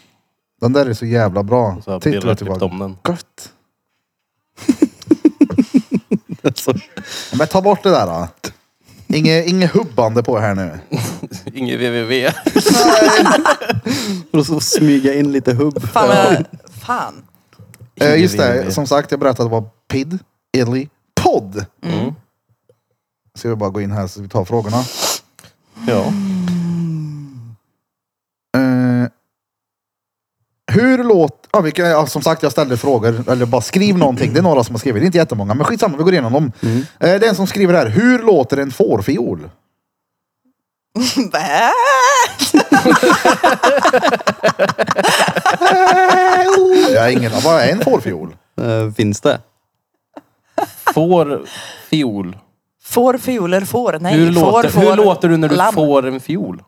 S2: Den där är så jävla bra.
S1: Så typ här, Peter
S2: Titlar
S1: har
S2: till
S1: klippt
S2: bara...
S1: om den.
S2: Gött.
S5: (laughs) Alltså,
S2: Men ta bort det där då. Inge, inge hubbande på här nu.
S1: Inget www.
S5: för att så smyga in lite hubb.
S4: Fan, vad- fan. (laughs)
S2: Eh, just det,
S1: Ingredienser.
S2: som sagt jag berättade vad PID, Idly, podd. Ska vi bara gå in här så vi tar frågorna.
S1: Ja.
S2: Eh, hur låter... Ja, vilka, ja, som sagt jag ställde frågor, eller bara skriv någonting. Det är några som har skrivit, det är inte jättemånga. Men skitsamma, vi går igenom dem. Eh, det är en som skriver här, hur låter en fårfiol?
S4: Bä?
S2: Jag har ingen Vad är en fårfiol?
S5: Eh, finns det?
S1: Får fiol.
S4: Får fioler får? Nej,
S1: hur,
S4: får,
S1: låter,
S4: får.
S1: hur låter du när du
S4: lamm.
S1: får en fiol?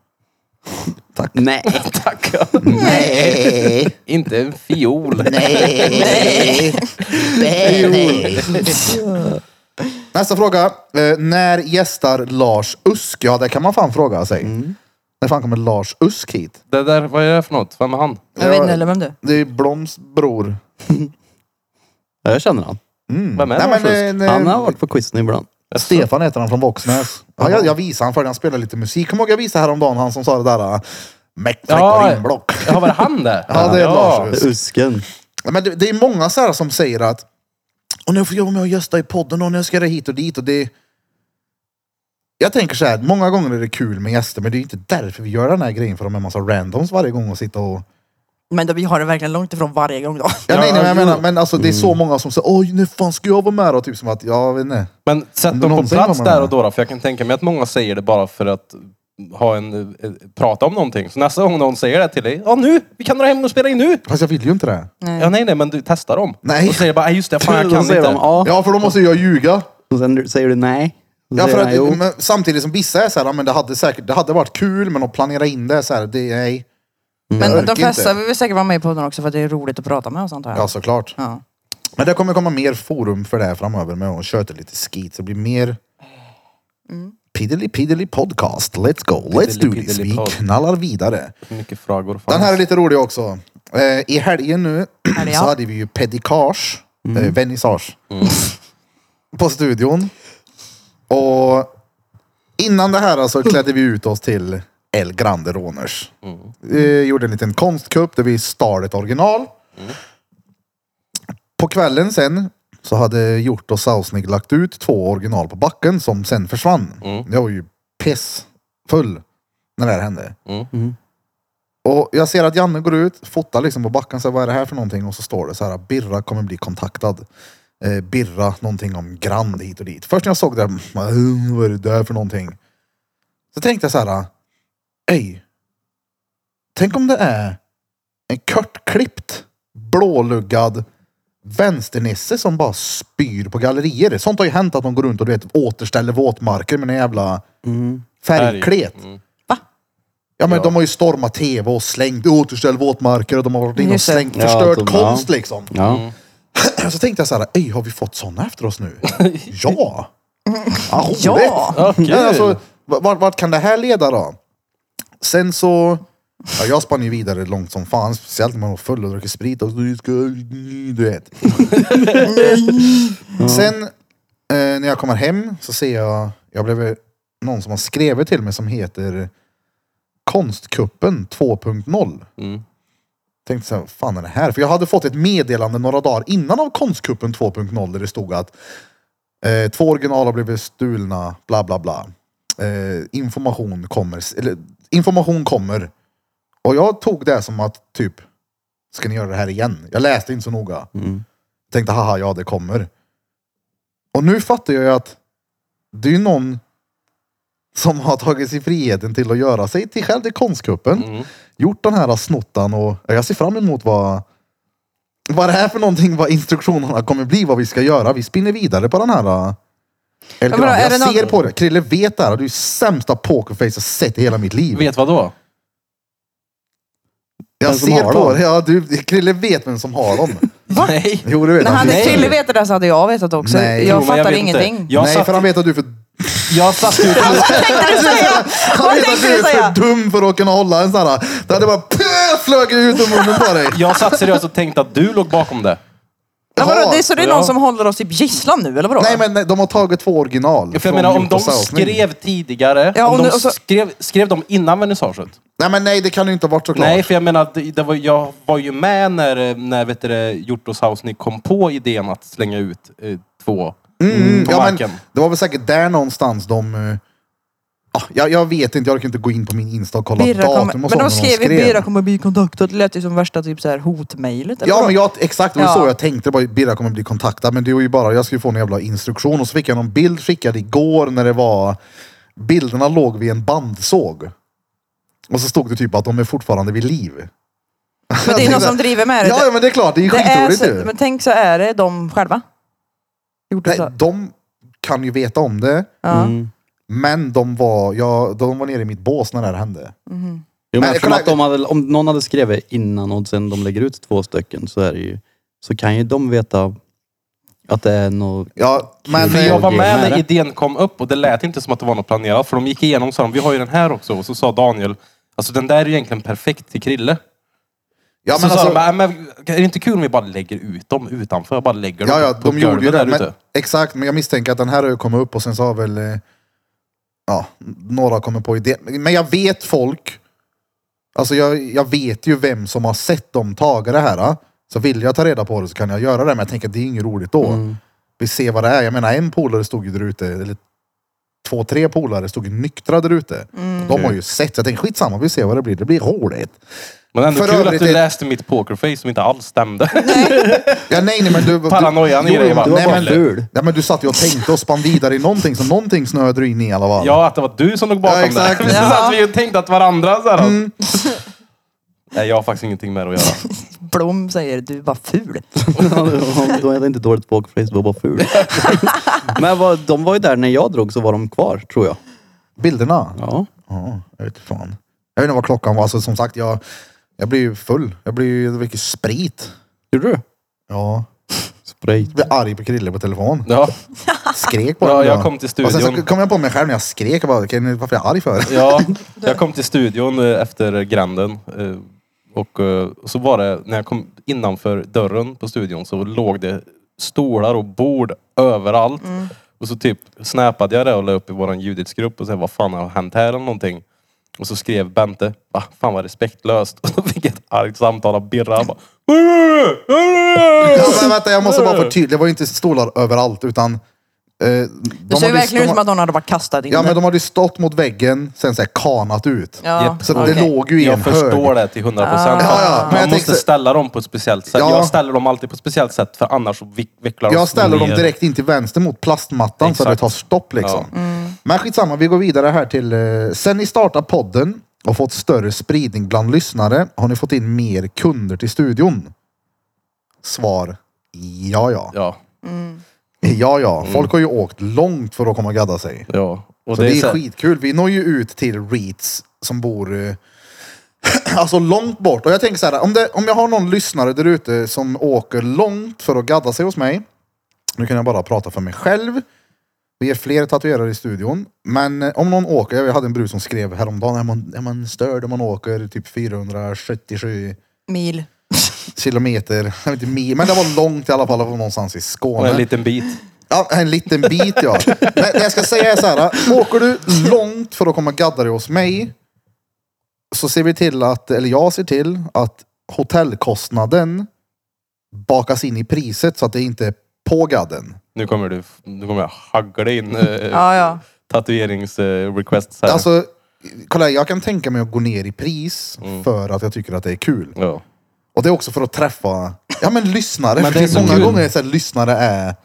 S5: Nej.
S1: Tack.
S2: Nej,
S1: (laughs) Inte en fiol.
S2: nej, nej. Nästa fråga. Eh, när gästar Lars Usk? Ja, det kan man fan fråga sig. När fan kommer Lars Usk hit?
S1: Det där, vad är det för något? Vem är han?
S4: Jag vet inte heller vem du
S2: Det är Bloms bror.
S5: Ja, jag känner han.
S1: Vem är
S2: Nej,
S1: Lars Usk?
S2: men, eh, nej,
S5: Han har varit på quizen ibland.
S2: Stefan heter han från Våxnäs. Ja, jag, jag visade han för han spelade lite musik. Kommer ihåg jag visade häromdagen han som sa det där. äh, Meck, fläck och
S1: Ja.
S2: rimblock.
S1: Ja, var det han det?
S2: Ja, det är Lars Usk.
S5: Usken.
S2: Men det, det är många så här som säger att och nu får jag vara med och gästa i podden och nu ska det hit och dit och det... Jag tänker så här, många gånger är det kul med gäster men det är ju inte därför vi gör den här grejen för de är en massa randoms varje gång och sitta och...
S4: Men då, vi har det verkligen långt ifrån varje gång då.
S2: Ja, nej, nej, men jag
S1: jo.
S2: menar, men alltså det är så många som säger oj, nu fan ska jag vara med då? Typ som att, ja, jag vet inte.
S1: Men sätt
S2: Men
S1: dem på
S2: någonting
S1: plats
S2: kommer
S1: där
S2: med.
S1: och då, då, för jag kan tänka mig att många säger det bara för att ha en, eh, prata om någonting. Så nästa gång någon säger det till dig, ja nu, vi kan dra hem och spela in nu.
S2: Fast jag vill ju inte det.
S1: Ja nej nej, men du testar dem.
S2: Nej.
S1: Och säger bara, "Nej, just det, fan jag
S5: (laughs) Då
S1: kan
S5: säger
S1: inte.
S5: de ja.
S2: Ja, för då måste jag ljuga.
S5: Och sen säger du nej. Då
S2: Ja,
S5: säger
S2: för
S5: han jo.
S2: att, men, samtidigt som vissa är så här, ja, men det hade säkert, det hade varit kul, men att planera in det så här, det är... Jag
S4: Men
S2: orkar
S4: de flesta
S2: inte.
S4: vill säkert vara med i podden också för att det är roligt att prata med oss antar jag.
S2: Ja, såklart.
S4: Ja.
S2: Men det kommer komma mer forum för det här framöver med att köta lite skit. Så det blir mer piddly piddly podcast. Let's go, let's
S1: Piddly
S2: do this.
S1: piddly
S2: Vi
S1: pod.
S2: knallar vidare.
S1: Hur mycket frågor fanns?
S2: Den här är lite rolig också. Eh, I helgen nu
S4: Helgen.
S2: (clears throat) så hade vi ju pedikage, eh, vernissage, (laughs) på studion. Och innan det här så klädde vi ut oss till El Grande Råners. Eh, gjorde en liten konstkupp där vi stal ett original. På kvällen sen så hade Hjort och Sausnig lagt ut två original på backen som sen försvann. Jag var ju pissfull när det här hände. Och jag ser att Janne går ut, fotar liksom på backen, så här, vad är det här för någonting? Och så står det så här, Birra kommer bli kontaktad. Eh, Birra, någonting om Grand hit och dit. Först när jag såg det, "Mm, vad är det där för någonting? Så tänkte jag så här, ej, tänk om det är en kortklippt, blåluggad vänsternisse som bara spyr på gallerier. Sånt har ju hänt att de går runt och du vet, återställer våtmarker med en jävla färgklet. Ja men de har ju stormat tv och slängt återställ våtmarker och de har varit inne och
S4: Just det.
S2: slängt
S5: Ja,
S2: förstört
S5: de- ja.
S2: konst liksom.
S5: Ja.
S1: Mm.
S2: Så tänkte jag så här, ej har vi fått sådana efter oss nu? ja! ja! roligt.
S4: Ja.
S1: Ja, kul.
S2: Nej, alltså, vart, vart kan det här leda då? Sen så... Ja, jag spann ju vidare långt som fan, speciellt när man var full och druckit sprit. Och, du ska- du vet.
S1: (laughs)
S2: Sen eh, när jag kommer hem så ser jag, jag blev någon som har skrivit till mig som heter Konstkuppen 2.0.
S1: Mm.
S2: Tänkte så här, vad fan är det här? För jag hade fått ett meddelande några dagar innan av Konstkuppen 2.0 där det stod att eh, två original har blivit stulna, bla bla bla. Eh, information kommer, eller information kommer. Och jag tog det som att typ, ska ni göra det här igen? Jag läste inte så noga. Tänkte haha, ja det kommer. Och nu fattar jag ju att det är ju någon som har tagit sig friheten till att göra sig till själv till konstkuppen. Gjort den här snottan och ja, jag ser fram emot vad, vad det här för någonting, vad instruktionerna kommer bli, vad vi ska göra. Vi spinner vidare på den här. eh, Eller,
S4: vadå, är
S2: jag
S4: det någon-
S2: ser på det. Krille vet det här. Du är sämsta pokerface jag sett i hela mitt liv.
S1: Vet vad då?
S2: jag
S5: vem som
S2: ser
S5: har
S2: på
S5: dem?
S2: det. Ja, du, Krille vet vem som har dem.
S1: (laughs) Nej.
S2: Jo, det vet
S4: När
S2: han.
S4: hade
S1: Nej.
S4: Krille vetat det så hade jag vetat också.
S2: Nej. Jo,
S1: men
S4: jag fattar
S1: vet
S4: ingenting.
S1: Inte. Jag,
S2: Nej,
S1: satt,
S2: för han vet att du är för
S1: jag satt ut...
S4: Tänkte du säga?
S2: Han
S4: Vad
S2: vet att
S4: tänkte
S2: du
S4: du
S2: är för
S4: säga?
S2: dum för att kunna hålla en sån här. Det hade bara pö, flög ut ur munnen
S1: (laughs)
S2: på dig.
S1: Jag satt seriöst och tänkte att du låg bakom det.
S4: Ja, vadå, det är så det är någon
S1: Ja.
S4: som håller oss typ gisslan nu eller vadå?
S2: Nej men nej, de har tagit två original.
S1: För
S2: från
S1: jag menar om
S2: Utah
S1: de
S2: Southwind.
S1: skrev tidigare,
S4: Ja, och
S1: om
S4: nu- alltså-
S1: de
S4: och så-
S1: skrev, skrev de innan vernissaget?
S2: Nej men nej det kan ju inte ha varit såklart.
S1: Nej, för jag menar, att det, det var, jag var ju med när, när vet du, det, Hjort Saus, ni kom på idén att slänga ut eh, två
S2: Mm,
S1: på
S2: ja, men,
S1: marken.
S2: det var väl säkert där någonstans de... eh, ah, jag, jag vet inte, jag orkar inte gå in på min Insta och kolla
S4: Birra
S2: datum
S4: kommer,
S2: och
S4: men
S2: så,
S4: de skrev ju
S2: skrev.
S4: Birra kommer bli kontaktad. Det lät ju som värsta typ så här hotmejlet. eller
S2: Ja
S4: vadå?
S2: men jag, exakt, det var
S4: Ja.
S2: så jag tänkte. Det var ju, Birra kommer bli kontaktad. Men det var ju bara, jag skulle få en jävla instruktion. Och så fick jag någon bild skickad igår när det var, bilderna låg vid en bandsåg. Och så stod det typ att de är fortfarande vid liv.
S4: men det är någon som driver med det.
S2: Ja, ja men det är klart, det är ju
S4: det är
S2: skitroligt
S4: så,
S2: ju.
S4: men tänk så är det de själva. Gjort det
S2: Nej,
S4: så.
S2: De kan ju veta om det.
S4: Ja.
S2: Men de var, ja, de var nere i mitt bås när det här hände.
S5: Jo,
S2: Men
S5: men eftersom
S2: kolla-
S5: att de hade, om någon hade skrivit innan och sen de lägger ut två stycken så är det ju, så kan ju de veta att det är något...
S2: Ja, men...
S1: För jag var med när
S5: Nära.
S1: idén kom upp och det lät inte som att det var något planerat. För de gick igenom och sa de, vi har ju den här också. Och så sa Daniel, alltså den där är ju egentligen perfekt till Krille.
S2: ja,
S1: så
S2: men
S1: sa
S2: alltså,
S1: de, "Nej, men är det inte kul om vi bara lägger ut dem utanför? Jag bara lägger dem
S2: ja, ja,
S1: på
S2: de gjorde ju
S1: golvet
S2: det.
S1: där
S2: Men,
S1: ute.
S2: exakt, men jag misstänker att den här har ju kommit upp och sen så har väl... eh, Ja, några kommit på idén. Men jag vet folk. Alltså jag, jag vet ju vem som har sett dem taga det här. ah. Så vill jag ta reda på det så kan jag göra det. Men jag tänker att det är inget roligt då.
S1: Mm.
S2: Vi ser vad det är. Jag menar en polare stod ju där ute, eller två, tre polare stod ju nyktra där ute. De har ju sett. Så jag tänker skitsamma, vi ser vad det blir. Det blir roligt.
S1: Men ändå
S2: För
S1: kul att
S2: övrigt
S1: du
S2: är-
S1: läste mitt pokerface som inte alls stämde.
S2: Ja, nej, nej, men du,
S1: Paranoian
S2: du,
S1: i dig, va?
S2: du,
S1: Du var
S2: nej,
S1: bara
S2: men,
S5: ful.
S2: nej, men du satt ju och tänkte och spann vidare i någonting, så någonting snöade du in i i alla fall.
S1: ja, att det var du som låg bakom
S2: Ja, exakt.
S1: det. Så
S4: Ja.
S1: satt vi ju och tänkte att varandra så här. Nej, jag har faktiskt ingenting med det att göra.
S4: Blom säger du var ful.
S5: (laughs) de hade inte dåligt pokerface, de var bara (laughs) ful. men vad, de var ju där när jag drog så var de kvar, tror jag.
S2: Bilderna?
S5: Ja.
S2: Ja, jag vet fan. Jag vet inte vad klockan var, alltså, som sagt, jag, jag blir ju full. Jag blir ju, det dricker sprit.
S5: Gjorde du?
S2: Ja.
S5: Spray.
S2: Jag blev arg på Krille på telefon.
S1: Ja,
S2: Skrek på
S1: Ja,
S2: honom.
S1: jag kom till studion.
S2: Och sen så kom jag på mig själv när jag skrek. Jag bara, "Okej, nu- varför är jag arg för? (laughs)
S1: ja. Jag kom till studion eh, efter gränden. eh, Och eh, så var det, när jag kom innanför dörren på studion så låg det stolar och bord överallt. Och så typ snäpade jag det och la upp i våran Judits-grupp och sa vad fan har hänt här eller någonting. Och så skrev Bente, va fan vad respektlöst. Och så fick jag ett argt samtal av Birra. Han bara, (laughs)
S2: Ja, men vänta, jag måste bara förtydliga. Det var ju inte stolar överallt, utan Eh,
S4: Det
S2: de
S4: ser ju
S2: hade
S4: verkligen
S2: de
S4: ut som
S2: har-
S4: att någon hade bara kastat in
S2: Ja,
S4: den.
S2: men de hade ju stått mot väggen, sen så här kanat ut.
S4: Ja,
S1: Japp.
S2: Så
S4: okej.
S2: det låg ju i en
S1: Jag förstår
S2: hög.
S1: det till 100 procent.
S2: Ja, ja, men
S1: man måste
S2: jag tänkte-
S1: ställa dem på ett speciellt sätt.
S2: Ja.
S1: Jag ställer dem alltid på ett speciellt sätt för annars så vi- vecklar de
S2: Jag ställer dem
S1: ner.
S2: direkt in till vänster mot plastmattan så det
S1: Exakt.
S2: tar stopp liksom. Men skitsamma, vi går vidare här till... Eh, sen ni startade podden och fått större spridning bland lyssnare har ni fått in mer kunder till studion? Svar ja, ja.
S1: Ja, Mm.
S2: Ja, ja. Folk har ju åkt långt för att komma och gadda sig.
S1: ja. Och
S2: Så det, är
S1: så här-
S2: skitkul. Vi når ju ut till REITs som bor eh, (clears throat) alltså långt bort. Och jag tänker så här, om, det, om jag har någon lyssnare där ute som åker långt för att gadda sig hos mig. Nu kan jag bara prata för mig själv. Vi är fler tatuerare i studion. Men eh, om någon åker, jag hade en brud som skrev häromdagen, är man, är man störd om man åker typ 477
S4: Mil.
S2: kilometer, (laughs) jag vet inte mil, men det var långt i alla fall, det var någonstans i
S1: Och
S2: Skåne.
S1: en liten bit.
S2: Ja, en liten bit ja. Men det jag ska säga är så här. Åker du långt för att komma och gadda dig hos mig. Så ser vi till att, eller jag ser till att hotellkostnaden bakas in i priset så att det inte är på gadden.
S1: Nu kommer du, nu kommer jag haggla
S2: (laughs)
S1: in eh,
S4: Ja, ja.
S1: tatueringsrequests här.
S2: Alltså, kolla här, jag kan tänka mig att gå ner i pris
S1: Mm.
S2: för att jag tycker att det är kul.
S1: ja.
S2: Och det är också för att träffa, ja men lyssnare.
S1: Men
S2: för
S1: det är
S2: det
S1: så
S2: är många
S1: kul.
S2: gånger så här, lyssnare är,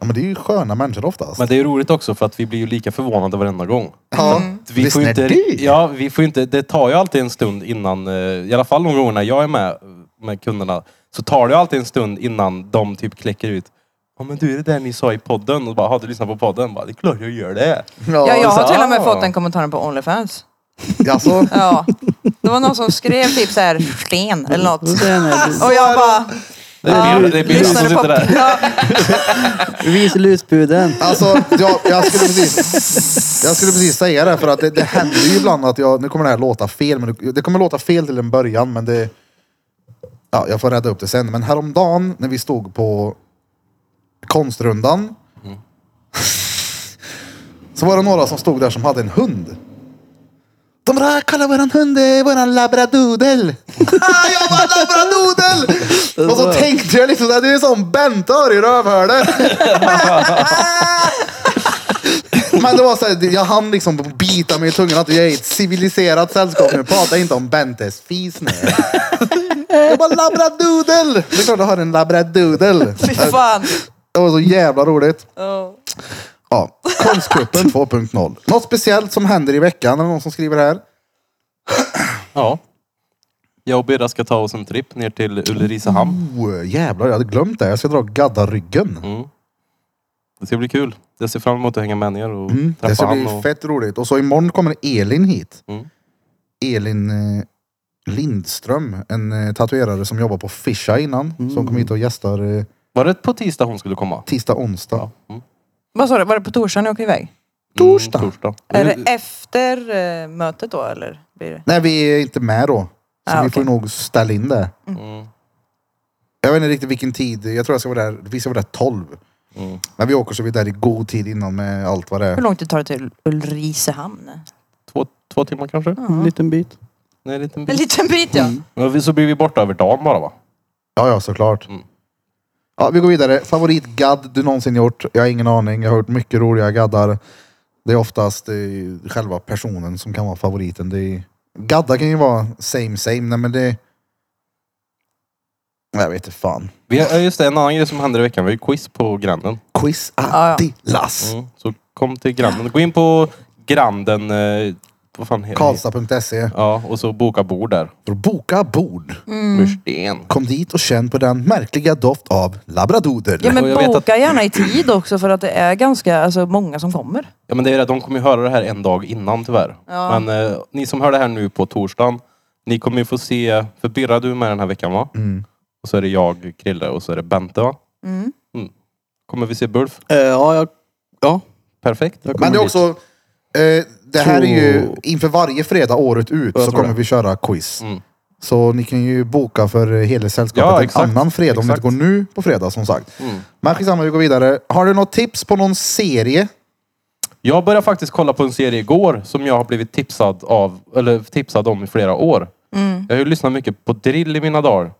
S2: ja men det är ju sköna människor oftast.
S1: Men det är roligt också för att vi blir ju lika förvånade varenda gång.
S2: ja,
S4: Mm.
S1: Vi får ju
S2: lyssnar
S1: inte,
S2: du?
S1: ja, vi får ju inte, det tar ju alltid en stund innan, eh, i alla fall de gångerna jag är med med kunderna, så tar det ju alltid en stund innan de typ kläcker ut Ja men du, är det där ni sa i podden? Och bara, har du lyssnat på podden? Bara, det är klart jag gör det.
S4: ja, jag
S1: så-
S4: har till och med
S1: ah.
S4: fått den kommentaren på Onlyfans.
S2: Alltså,
S4: Ja. Det var någon som skrev typ så här sten eller något. Och jag bara...
S1: Det är Birra- det är Birra som
S4: lyssnade
S1: sitter
S4: på...
S1: där.
S4: Ja,
S5: Visa lusbuden.
S2: Alltså, jag, jag, skulle precis, jag skulle precis säga det, för att det, det händer ju ibland att jag, nu kommer det här låta fel, men det, det kommer låta fel till en början, men det, ja, jag får rädda upp det sen. Men häromdagen när vi stod på konstrundan, så var det några som stod där som hade en hund. De bara, kolla våran hund, det är våran labradoodle. (laughs) Ah, jag var labradoodle! Och så tänkte jag liksom, det är som Bentör i rövhålet. (laughs) Men det var så här, jag hann liksom bita mig i tungan att jag är i ett civiliserat sällskap nu. Prata inte om Bentes fis nu. Jag bara labradoodle! Det är klart du har en labradoodle.
S4: fy fan.
S2: Det var så jävla roligt.
S4: Ja.
S2: Ja, (laughs) konstkuppen 2.0. Något speciellt som händer i veckan? Är det någon som skriver här?
S1: Ja. Jag och Birra ska ta oss en tripp ner till Ulricehamn.
S2: Oh, jävlar, jag hade glömt det. Jag ska dra och gadda ryggen.
S1: Mm. Det ska bli kul. Jag ser fram emot att hänga med ner och
S2: Mm. Det
S1: träffa
S2: ska
S1: han.
S2: bli
S1: Och...
S2: fett roligt. Och så imorgon kommer Elin hit.
S1: Mm.
S2: Elin eh, Lindström, en eh, tatuerare som jobbar på Fisha innan. Som kom hit och gästar eh,
S1: Var det på tisdag hon skulle komma?
S2: tisdag, onsdag.
S1: Ja. Mm.
S4: Vad sa du, var det på torsdagen ni åker iväg?
S2: Torsdag.
S1: Mm, torsdag.
S4: Är det efter eh, mötet då eller? Blir det?
S2: Nej, vi är inte med då. Så
S4: Ah,
S2: vi får
S4: okej.
S2: nog ställa in det.
S1: Mm.
S2: Jag vet inte riktigt vilken tid. Jag tror jag ska vara där. Vi ska vara där 12.
S1: Mm.
S2: Men vi åker så vi är där i god tid innan med allt vad det
S4: Hur
S2: är.
S4: lång tid tar det till Ulricehamn? Mm.
S1: Två, två timmar kanske?
S5: En liten bit.
S1: Nej, en liten
S4: En
S1: bit.
S4: liten bit ja.
S1: Ja, vi- Så blir vi borta över dagen bara va?
S2: Ja, ja, såklart.
S1: Mm.
S2: Ja, vi går vidare. Favoritgadd du någonsin gjort? Jag har ingen aning. Jag har hört mycket roliga gaddar. Det är oftast eh, själva personen som kan vara favoriten. Det är... Gaddar kan ju vara same same. Nej, men det... Jag vet inte fan.
S1: Vi har, ja, just det, en annan grej som händer i veckan. Vi har ju quiz på Granden.
S2: Quiz
S4: ja.
S2: Attilas.
S1: Mm. Så kom till Granden. Gå in på Granden... Eh, vad fan heter det?
S2: Karlstad.se.
S1: Ja, och så boka bord där.
S2: För att E. boka bord.
S4: Mm.
S1: Med sten.
S2: Kom dit och känn på den märkliga doft av labradoodle.
S4: Ja
S1: Och
S4: men
S1: jag vet
S4: boka gärna i tid också för att det är ganska alltså, många som kommer.
S1: Ja men det är det, de kommer ju höra det här en dag innan tyvärr.
S4: Ja.
S1: Men eh, ni som hör det här nu på torsdagen, ni kommer ju få se, för Birra du är med den här veckan va?
S2: Mm.
S1: Och så är det jag, Krille och så är det Bente va?
S4: Mm.
S1: Kommer vi se Bulf?
S5: Eh, ja, jag, ja,
S1: Perfekt.
S5: jag kommer
S2: Men det är
S5: dit.
S2: också... Eh, det här är ju
S5: Så-
S2: inför varje fredag året ut
S1: Jag
S2: så
S1: tror
S2: kommer
S1: det.
S2: vi köra quiz.
S1: Mm.
S2: Så ni kan ju boka för eh, hela sällskapet
S1: Ja,
S2: en
S1: exakt.
S2: annan fredag om det inte
S1: Exakt.
S2: går nu på fredag som sagt.
S1: Mm.
S2: Men skitsamma, vi går vidare. Har du något tips på någon serie?
S1: Jag började faktiskt kolla på en serie igår som jag har blivit tipsad, av, eller tipsad om i flera år. Jag har ju lyssnat mycket på drill i mina dagar.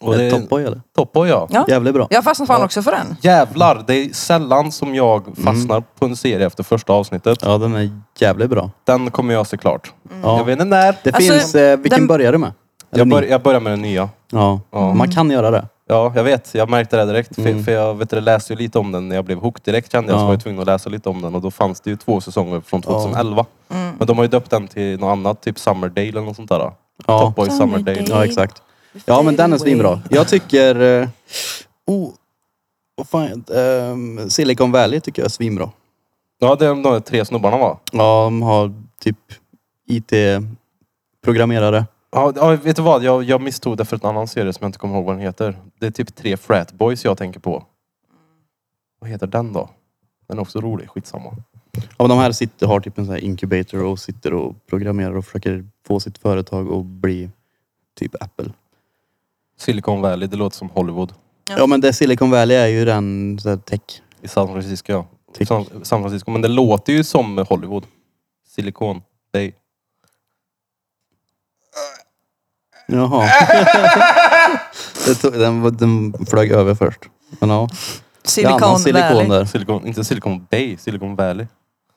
S1: Och
S5: det...
S1: det-
S5: Topboy eller?
S1: Toppoy ja.
S4: Ja.
S5: Jävligt bra.
S4: Jag fastnade fan också för den.
S1: Jävlar, det är sällan som
S5: Mm.
S1: jag fastnar på en serie efter första avsnittet.
S5: Ja, den är jävligt bra.
S1: Den kommer jag se klart.
S5: Mm. Ja.
S1: Jag vet inte när.
S5: Det
S4: Alltså,
S5: finns... Eh, vilken
S4: den-
S5: börjar du med? Eller
S1: Jag,
S5: ni?
S1: bör, jag börjar med den nya.
S5: ja. Man kan göra det.
S1: Ja, jag vet. Jag märkte det direkt. För, för jag vet, du, läste ju lite om den när jag blev hooked direkt kände jag. Så
S5: Mm. Ja.
S1: var jag tvungen att läsa lite om den. Och då fanns det ju två säsonger från 2011. Men de har ju döpt den till något annat. Typ Summerdale eller något sånt där.
S5: Ja.
S1: Topboy Summerdale.
S4: Summerdale.
S5: Ja, exakt. Ja, men den är svinbra. Jag tycker... Eh, oh, vad fan, ehm, Silicon Valley tycker jag är svinbra.
S1: Ja, det är de där tre snubbarna va?
S5: Ja, de har typ IT-programmerare.
S1: Ja, ja, vet du vad? Jag, jag misstog det för en annan serie som jag inte kommer ihåg vad den heter. Det är typ tre frat boys jag tänker på. Vad heter den då? Den är också rolig. Skitsamma.
S5: Ja, men de här sitter, har typ en sån här incubator och sitter och programmerar och försöker få sitt företag att bli typ Apple.
S1: Silicon Valley, det låter som Hollywood.
S4: Ja.
S5: Ja, men det Silicon Valley är ju den så här, tech.
S1: I San Francisco ja.
S5: Tyck.
S1: San, San Francisco. Men det låter ju som Hollywood. Silicon Bay. (laughs)
S5: Jaha. det tog, den, var- den flög över först. Men ja, det är
S4: Silicon
S5: annan silikon
S4: Valley.
S5: där.
S1: Silicon, inte Silicon Bay, Silicon Valley.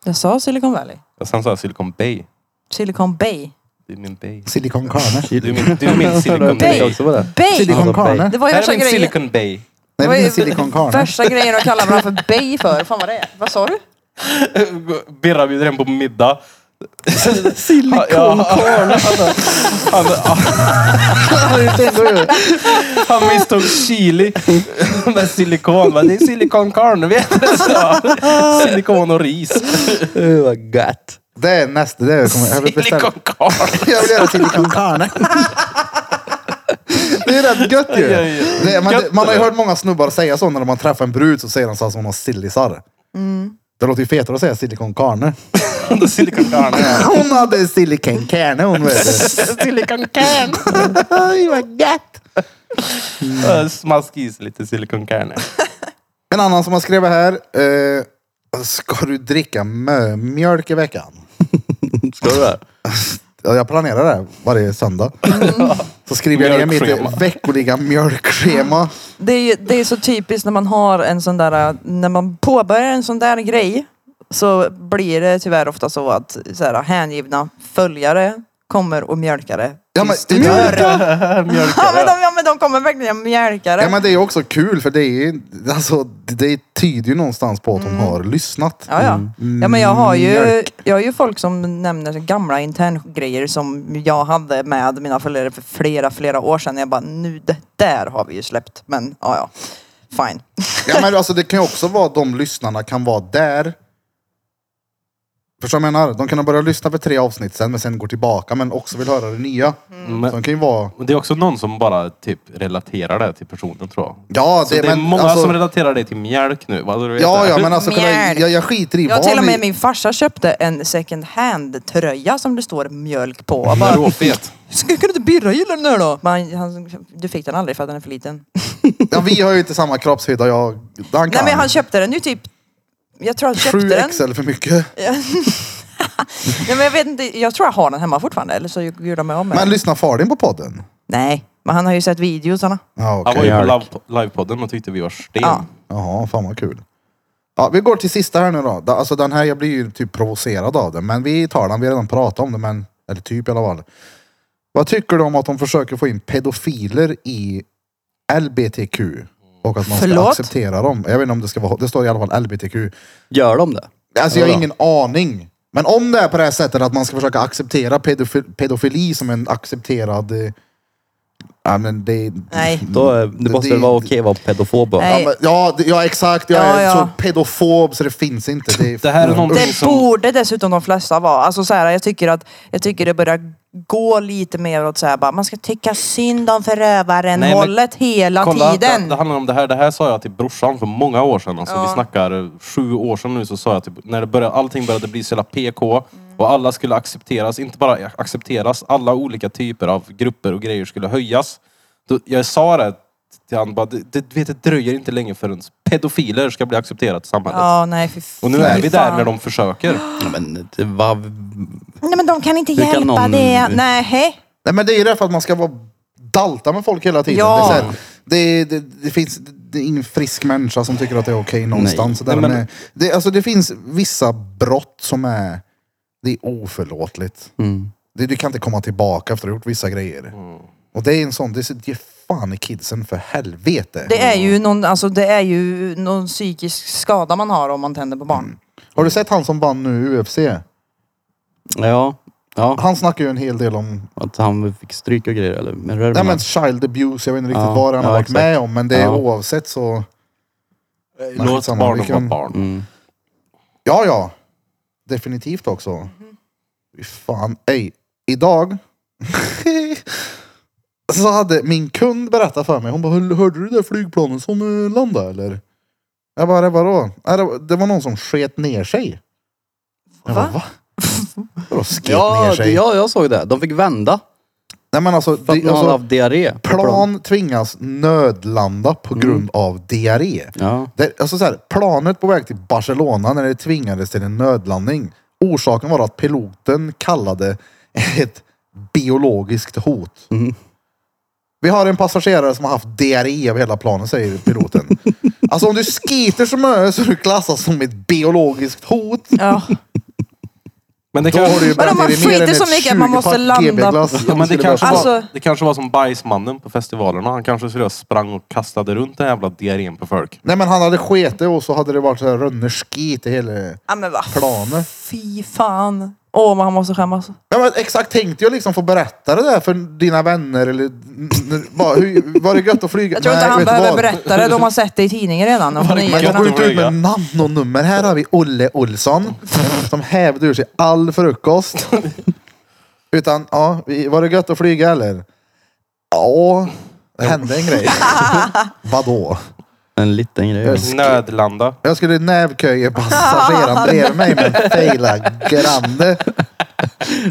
S4: Jag sa Silicon Valley.
S1: Jag sen sa jag Silicon Bay.
S4: Silicon Bay.
S1: Det är min Bay.
S2: Silicon Carne.
S1: Du är min, du är (laughs) min Silicon
S4: Bay.
S1: Bay. också på det.
S4: Bay!
S2: Silicon
S5: Alltså,
S2: Carne.
S4: Det var ju
S1: Här är
S4: värsta
S1: min
S4: grejen.
S1: Silicon Bay. (laughs)
S2: Nej,
S4: Det var
S2: men
S4: ju
S2: Silicon Carne.
S4: Värsta grejen att kalla varandra för Bay för. Fan vad det är. Vad sa du?
S1: Birra bjuder hem på middag. Silikonkorn.
S5: (laughs)
S1: Han, han,
S2: (laughs)
S1: han misstog chili med silikon. Men det är silikonkorn, vet du så. Silikon och ris.
S5: Uh, vad gött.
S2: Det är nästa. Det jag kommer jag vill beställa.
S1: Silikonkorn.
S2: Jag vill göra Silicon Carne. Det är rätt gött ju.
S1: Ja, ja, ja.
S2: Det, man,
S1: Gött,
S2: man har ju
S1: eller?
S2: hört många snubbar säga så när de har träffat en brud så säger de så att hon har sillisar. Det låter ju fetare att säga Silicon Carne.
S1: (laughs) Silikonkorn.
S2: (laughs) Hon hade Silicon Carne hon
S4: (laughs)
S2: vet du.
S1: Silicon can.
S2: (laughs) Oj, vad gött.
S1: Eh, Smask i sig lite silikonkorn.
S2: En annan som har skrivit här. Eh, ska du dricka mö- mjölk i veckan?
S5: Ska du det?
S2: Ja, Jag planerar det varje söndag.
S4: Mm.
S2: Så skriver jag ner
S1: Mjölkschema.
S2: mitt veckoliga mjölkschema.
S4: Det är, ju- det är så typiskt när man har en sån där, äh, när man påbörjar en sån där grej så blir det tyvärr ofta så att så här, hängivna följare kommer och mjölkar det.
S2: Ja, men
S4: tills
S2: det
S4: du dör.
S2: där,
S1: (laughs)
S4: Ja men, de, ja men de kommer verkligen mjölka det.
S2: ja, men det är ju också kul för det, är, ju- alltså, det tyder ju någonstans på att hon har lyssnat. Mm,
S4: Mm. Ja, ja. ja men jag har ju,
S2: Mjölk.
S4: jag har ju folk som nämner gamla interngrejer som jag hade med mina följare för flera, flera år sedan. Jag bara, nu det där har vi ju släppt. Men ja, ja. Fine.
S2: Ja, men alltså, det kan ju också vara att de lyssnarna kan vara där. Förstår du vad jag menar? De kan ha börjat lyssna för tre avsnitt sen men sen går tillbaka men också vill höra det nya.
S1: Mm.
S2: Så de kan ju vara...
S1: Det är också någon som bara typ relaterar det till personen tror jag.
S2: Ja,
S1: Så det är
S2: men,
S1: många
S2: alltså,
S1: som relaterar det till mjölk nu. Vad du vet
S2: Ja,
S1: det.
S2: ja, men alltså kunna,
S4: Mjölk.
S2: jag, jag skiter i
S4: Jag
S2: vad
S4: till och
S2: ni-
S4: med min farsa köpte en second hand tröja som det står mjölk på. Jag
S1: Den är
S4: bara,
S1: råfet.
S4: ska kan inte Birra gilla den här då? Men han, du fick den aldrig för att den är för liten.
S2: Ja, vi har ju inte samma kroppshöjd och jag... Han kan.
S4: Nej men han köpte den ju typ, jag tror han köpte
S2: Sju
S4: den.
S2: XL för mycket.
S4: Nej, men jag, vet inte, jag tror jag har den hemma fortfarande eller så gjorde de mig av med
S2: Men
S4: den.
S2: lyssnar far din på podden?
S4: Nej, men han har ju sett videosarna.
S2: Ja,
S1: Han
S2: okej.
S1: var ju på
S5: Mjölk.
S1: live- livepodden och tyckte vi var sten.
S4: Ja.
S2: Jaha, fan vad kul. Ja, vi går till sista här nu då. Da- Alltså den här, jag blir ju typ provocerad av den. Men vi tar den, vi har redan pratat om det. Men, eller typ i alla fall. Vad tycker du om att de försöker få in pedofiler i LBTQ? Och att man ska
S4: Förlåt?
S2: acceptera dem. Jag vet inte om det ska vara, det står i alla fall LBTQ.
S5: Gör de det?
S2: Alltså jag
S5: Ja,
S2: har
S5: då.
S2: ingen aning. Men om det är på det här sättet att man ska försöka acceptera pedofil, pedofili som en accepterad... eh, Ja men det...
S4: Nej.
S5: Då är,
S1: Mm.
S5: det måste väl vara okej att vara pedofob? va?
S2: Ja,
S4: Nej.
S2: men, ja, det- ja exakt, jag
S4: Ja,
S2: är
S4: ja.
S2: så pedofob så det finns inte. Det, är,
S1: Det här är någonting
S4: Det
S1: som...
S4: borde dessutom de flesta vara. Alltså så här, jag tycker att jag tycker det börjar gå lite mer åt så här, bara, man ska tycka synd om förövaren
S1: Nej, men-
S4: hållet hela
S1: Kolla, det,
S4: tiden.
S1: det handlar om det här. Det här sa jag till brorsan för många år sedan. Alltså, Vi snackar sju år sedan nu så sa jag till, när det började, allting började bli så jävla PK och alla skulle accepteras, inte bara accepteras, alla olika typer av grupper och grejer skulle höjas. Då, jag sa det till han bara, det, det, vet, det dröjer inte länge förrän pedofiler ska bli accepterat i samhället.
S4: Ja, nej, fy
S1: Och nu är vi där
S4: fan.
S1: när de försöker.
S5: Ja, men det var...
S4: Nej men de kan inte
S5: Hur kan
S4: hjälpa
S5: någon-
S4: det. Nej, hej.
S2: nej men det är ju därför att man ska vara dalta med folk hela tiden.
S4: Ja.
S2: Det, är så här, det, det, det finns det är ingen frisk människa som tycker att det är okej någonstans.
S1: Nej,
S2: Där
S1: men-
S2: med, det, alltså, det finns vissa brott som är, det är oförlåtligt.
S1: Mm.
S2: Det, du kan inte komma tillbaka efter att ha gjort vissa grejer. Och det är en sån, det är ge fan i kidsen för helvete.
S4: Det är ju någon, alltså det är ju någon psykisk skada man har om man tänder på barn.
S2: Har du sett han som vann nu UFC?
S5: Ja. Ja,
S2: Han snackar ju en hel del om
S5: att han fick stryk och grejer eller? Men rör
S2: Nej
S5: man-
S2: men child abuse, jag vet inte riktigt
S5: Mm. Ja,
S2: vad han har
S5: ja,
S2: varit
S5: exakt.
S2: med om men det är
S5: Ja.
S2: oavsett så... Nej,
S1: Låt
S2: skitsamma,
S1: barnen
S2: vi kan-
S1: vara barn.
S5: Mm.
S2: Ja ja, definitivt också. Fy fan, ey. Idag (laughs) så hade min kund berättat för mig, hon bara "Hör- hörde du det där flygplanen som eh, landade eller? Jag bara vadå? Nej, det var- Det var någon som sket ner sig. Jag bara,
S4: Va?
S2: va? Vadå sket ner
S5: Ja, det-
S2: sig?
S5: ja, jag såg det. De fick vända.
S2: Nej men alltså,
S5: För att
S2: det,
S5: någon hade
S2: alltså
S5: haft diarré. på plan.
S2: plan tvingas nödlanda på
S5: Mm.
S2: grund av diarré.
S5: Ja.
S2: Det, alltså så här, planet på väg till Barcelona när det tvingades till en nödlandning. Orsaken var att piloten kallade ett biologiskt hot.
S1: Mm.
S2: Vi har en passagerare som har haft diarré över hela planen,
S1: (laughs)
S2: säger piloten. alltså om du skiter så mycket så du klassas som ett biologiskt hot.
S4: Ja.
S1: Men det
S2: Då har du ju
S1: kanske,
S4: Vadå, man
S2: bränt i mer
S4: skiter
S2: än
S4: så
S2: ett
S4: mycket att man måste
S2: 20-pack
S4: landa-
S2: GB-glass.
S1: ja, men det,
S2: Skulle
S1: kanske
S2: bara-
S4: Alltså-
S1: var, det kanske var som bajsmannen på festivalerna. Han kanske seriöst sprang och kastade runt den jävla diarrén på folk.
S2: Nej men han hade sketit och så hade det varit så här rönnerskit i hela...
S4: ja men vad
S2: (laughs) Planer.
S4: Fy fan. Åh, men han måste skämmas.
S2: Ja, men exakt, tänkte jag liksom få berätta det där för dina vänner eller n- n- bara, hur, var det gött att flyga?
S4: Jag tror inte
S2: Nej,
S4: han
S2: vet du
S4: behöver
S2: vad?
S4: berätta det. De har sett det i tidningen redan. och på
S2: Man
S1: gött
S4: nyheterna.
S2: går
S1: att
S2: inte ut
S1: flyga.
S2: med namn och nummer. Här har vi Olle Olsson som hävde ur sig all frukost. Utan, ja, vi- var det gött att flyga eller? Ja, det hände en grej. Vadå?
S5: En liten grej.
S1: Nödlanda.
S2: Jag skulle nävköja passageraren bredvid mig men failade grande.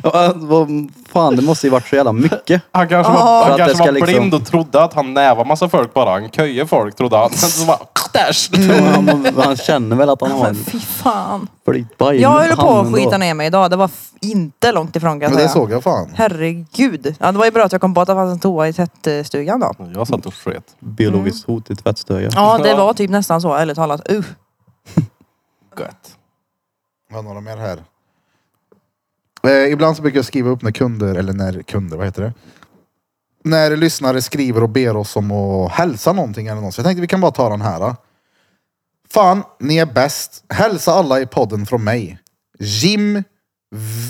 S5: Ja, vad fan, det måste ju varit så jävla mycket. (laughs)
S1: Han kanske
S4: Ja.
S1: var,
S5: För
S1: han
S5: att det
S1: kanske
S5: ska
S1: var
S5: liksom-
S1: blind och trodde att han nävar massa folk bara. Han köjer folk trodde han. Sen så bara...
S5: Mm.
S1: Dash!
S5: Han, han känner väl att han har en
S4: Fy fan.
S5: flytbaj. i
S4: Jag höll på att
S5: handen då.
S4: skita ner mig idag. Det var f- inte långt ifrån kan
S2: Men det
S4: jag säga.
S2: såg jag fan.
S4: Herregud. Ja, det var ju bra att jag kom på att det fanns en toa i tvättstugan då.
S1: Jag satt och sket.
S5: Biologiskt hot i tvättstugan.
S4: Ja, det var typ nästan så, ärligt talat. Uh.
S1: Gött.
S2: Jag har några mer här. Eh, ibland så brukar jag skriva upp när kunder, eller när kunder, vad heter det? När lyssnare skriver och ber oss om att hälsa någonting eller något. Så jag tänkte vi kan bara ta den här. Då. Fan, ni är bäst. Hälsa alla i podden från mig. Jim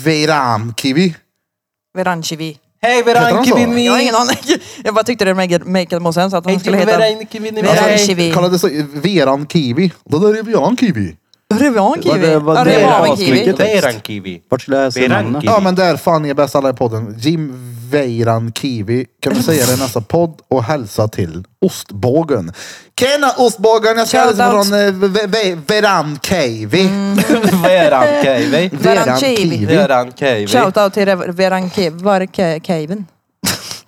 S2: Veramkivi.
S4: Veranchivi.
S7: Hej
S4: Jag har
S7: Verankivini!
S4: ingen aning. (laughs) Jag bara tyckte det make, make it more sense att han skulle heta Veranchivi.
S2: Kolla det så, Veran Kiwi. Det där är Veran Kiwi.
S5: Vad- vad-
S4: Revankivi.
S5: vad-
S4: Ja,
S5: det är
S4: Revankivi. (laughs)
S5: avsnittet.
S1: Verankivi.
S5: Vart skulle jag se
S1: Beranki.
S5: namnet?
S2: Ja men där, fan ni är bäst alla i podden. Jim Veiran Kiwi. Kan du säga det i nästa podd och hälsa till Ostbågen. Tjena Ostbågen! Jag ska
S4: Shoutout.
S2: hälsa från eh, Ve- Ve- Veran Kiwi.
S1: Mm, Verankivi.
S2: Veran
S4: Veran Kiwi.
S2: Kiwi.
S1: Verankivi.
S4: Shoutout till Rev- Verankivi. Var är Ke- Kevin?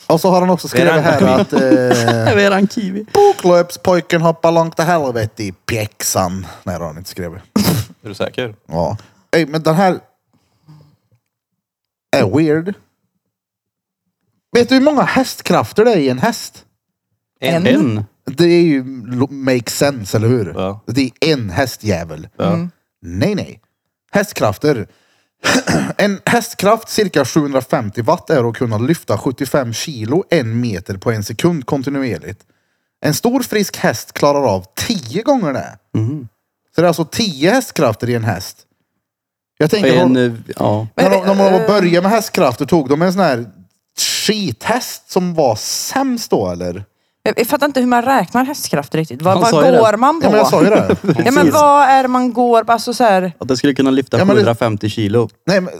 S2: Och så har han också skrivit
S1: Veran
S2: här att eh,
S5: Jag är en kiwi.
S2: boklöpspojken hoppar långt till helvete i pjäxan. Nej det har han inte skrivit.
S1: Är du säker?
S2: Ja. Ey, men den här är weird. Vet du hur många hästkrafter det är i en häst?
S4: En.
S5: En?
S2: Det är ju lo- make sense, eller hur?
S1: Ja.
S2: Det är en hästjävel.
S1: Ja.
S2: Nej, nej. Hästkrafter. (clears throat) en hästkraft cirka 750 watt är att kunna lyfta 75 kilo en meter på en sekund kontinuerligt. En stor frisk häst klarar av 10 gånger det. Så det är alltså 10 hästkrafter i en häst. Jag tänker,
S5: En,
S2: de,
S5: eh, ja.
S2: när de, när de började med hästkrafter tog de en sån här skithäst som var sämst då eller?
S4: Jag, jag fattar inte hur man räknar hästkrafter riktigt. Vad,
S5: Han
S4: vad
S5: sa ju det.
S4: går man på?
S2: Ja men jag sa ju det.
S4: (laughs) Ja, men vad är det man går på? Alltså så här,
S5: Att det skulle kunna lyfta
S2: Ja, men det-
S5: 750 kilo
S2: Nej, men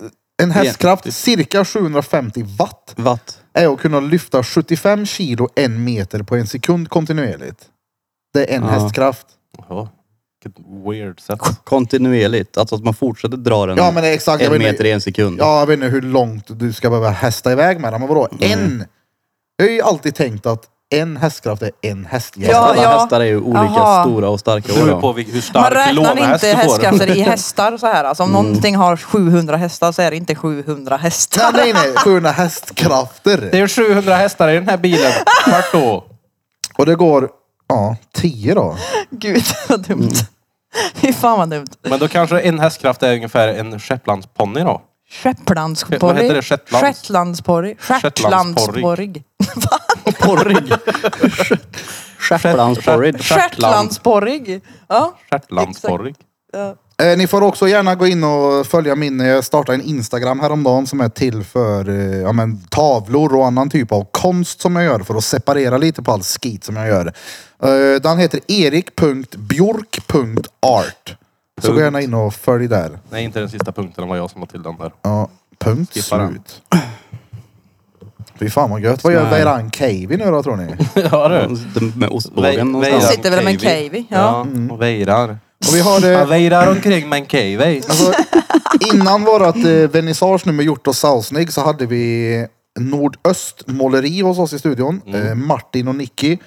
S2: en hästkraft cirka 750 watt
S5: watt.
S2: är att kunna lyfta 75 kilo en meter på en sekund kontinuerligt. Det är en
S5: Ja.
S2: hästkraft.
S1: Ja. Vilket weird sätt.
S5: Kontinuerligt. Alltså att man fortsätter dra den
S2: Ja men det är exakt. Jag
S5: en
S2: vet,
S5: meter
S2: inte,
S5: i en sekund.
S2: ja, jag
S5: Mm.
S2: vet inte hur långt du ska behöva hästa iväg med den. Men vadå en? Jag har ju alltid tänkt att en hästkraft är en hästgäst.
S4: Ja,
S5: alla
S4: ja.
S5: hästar är ju olika
S4: Aha.
S5: stora och
S1: Det
S5: starka.
S1: beror
S5: och-
S1: på vil- hur
S4: Man
S1: stark
S4: räknar
S1: lånehäst
S4: inte
S1: du får.
S4: hästkrafter i hästar så här. Alltså
S5: Mm.
S4: om någonting har 700 hästar så är det inte 700 hästar.
S5: (laughs)
S2: Nej, nej, nej. 700 hästkrafter.
S1: Det är 700 hästar i den här bilen. Vart då?
S2: Och det går, ja, 10 då.
S4: Gud vad dumt. Mm. Fy fan vad dumt.
S1: Men då kanske en hästkraft är ungefär en shetlandsponny då?
S4: Shetlandsporrig.
S1: Vad heter det? Shetlands?
S4: Shetlandsporrig. Shetlandsporrig.
S5: Porrig. Shetlandsporrig.
S4: Shetlandsporrig. Ja.
S1: Shetlandsporrig.
S2: Eh, ni får också gärna gå in och följa min, jag startade en Instagram häromdagen som är till för eh, ja, men, tavlor och annan typ av konst som jag gör för att separera lite på all skit som jag gör. Eh, den heter erik.bjork.art. Så gå
S1: Punkt.
S2: gärna in och följ där.
S1: Nej, inte den sista punkten. Det var jag som la till den där.
S2: Ja, punkt
S1: Skippa den.
S2: slut. Fy fan vad gött. Vad gör Veiran Cavey nu då tror ni?
S1: (laughs) ja du.
S5: Med ostbågen
S1: Ve-
S4: Han
S1: Veirar
S5: någonstans.
S4: sitter väl med en cavey, ja.
S1: och vejrar.
S2: Och vi
S1: (laughs)
S2: har
S1: Han
S2: Mm. eh,
S1: vejrar omkring med en cavey.
S2: Alltså, innan vårat eh, vernissage nu med Hjort och Sausnig så hade vi Nordöstmåleri hos oss i studion. Eh, Martin och Nicky.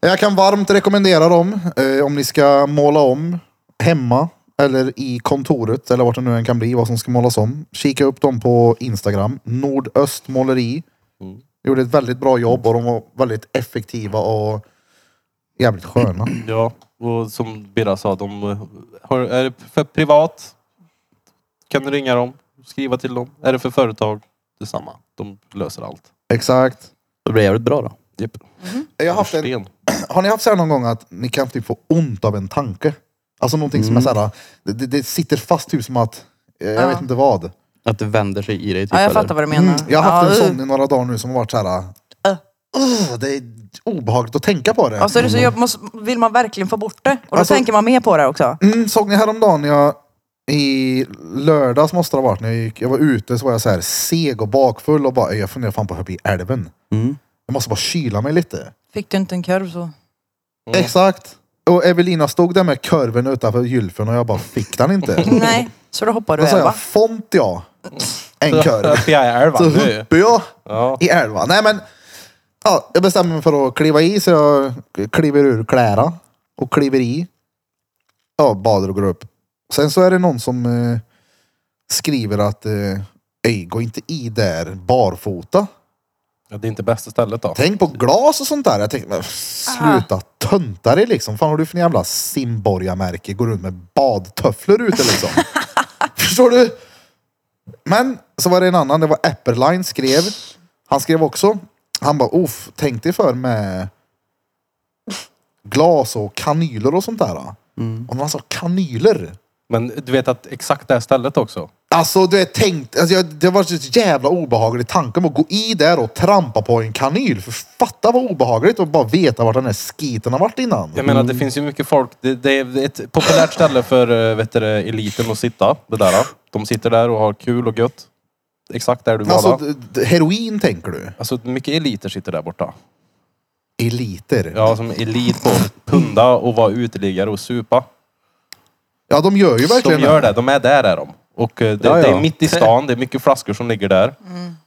S2: Jag kan varmt rekommendera dem eh, om ni ska måla om hemma eller i kontoret eller vart det nu än kan bli vad som ska målas om. Kika upp dem på Instagram. Nordöstmåleri. Gjorde ett väldigt bra jobb och de var väldigt effektiva och jävligt sköna.
S1: Ja, och som Birra sa, de eh, har, är det för privat kan du ringa dem, skriva till dem. Är det för företag, detsamma. De löser allt.
S2: Exakt.
S5: Det blir jävligt bra då.
S1: Japp.
S2: Jag har haft en
S1: Sten.
S2: Har ni haft så här någon gång att ni kan typ få ont av en tanke? Alltså någonting som är så här, det- det, det sitter fast typ som att, eh, jag
S4: Ja.
S2: vet inte vad.
S5: Att det vänder sig i dig. Typ,
S4: ja, jag
S5: eller?
S4: fattar vad du menar.
S2: Mm, jag har haft
S4: ja,
S2: en
S4: uh.
S2: sån i några dagar nu som har varit så här,
S4: Äh.
S2: "Ugh, det är obehagligt att tänka på det.
S4: Och så är det så jobb, måste, vill man verkligen få bort det. Och då
S2: Alltså-
S4: tänker man mer på det också.
S2: Mm, såg ni häromdagen när jag i lördags måste det ha varit, när jag, gick, jag var ute så var jag så här seg och bakfull och bara, jag funderar fan på att hoppa i älven.
S5: Mm.
S2: Jag måste bara kyla mig lite.
S4: Fick du inte en korv så...
S2: Exakt. Och Evelina stod där med kurven utanför gylfen och jag bara, fick den inte?
S4: Nej, så då hoppar
S2: Då
S4: du
S2: sa jag
S4: elva.
S2: font ja.
S1: Mm. (laughs)
S2: En kurv.
S1: Uppe i älvan
S2: Så
S1: nu.
S2: hoppade jag
S1: Ja.
S2: i älvan. Nej men. Ja, jag bestämmer mig för att kliva i så jag kliver ur kläderna och kliver i. Ja, badar och går upp. Sen så är det någon som eh, skriver att eh, "Ey, gå inte i där barfota.
S1: Ja, det är inte bästa stället då.
S2: Tänk på glas och sånt där. Jag tänkte, men sluta tönta dig liksom. Fan har du för jävla simborgarmärke? Går runt med badtöfflor ute liksom. Förstår du? Men så var det en annan, det var Apperline skrev. Han skrev också, han bara off, tänk dig för med glas och kanyler och sånt där. Och när han sa kanyler,
S1: Men du vet att exakt det här stället också.
S2: Alltså du är tänkt, alltså, jag, det var så jävla obehaglig tanke om att gå i där och trampa på en kanyl. För fatta vad obehagligt att bara veta vart den här skiten har varit innan.
S1: Jag menar, det finns ju mycket folk. Det, det är ett populärt ställe för eh, vet du, det, eliten att sitta. Det där. då. De sitter där och har kul och gött. Exakt där du var.
S2: alltså
S1: Alltså,
S2: d- d- heroin tänker du?
S1: alltså mycket eliter sitter där borta.
S2: Eliter. Ja.
S1: Ja, som elit på punda och vara uteliggare och supa.
S2: de gör ju verkligen
S1: De gör det. De är där är de. Och eh, det,
S5: Ja, ja.
S1: det är mitt i stan. Det är mycket flaskor som ligger där.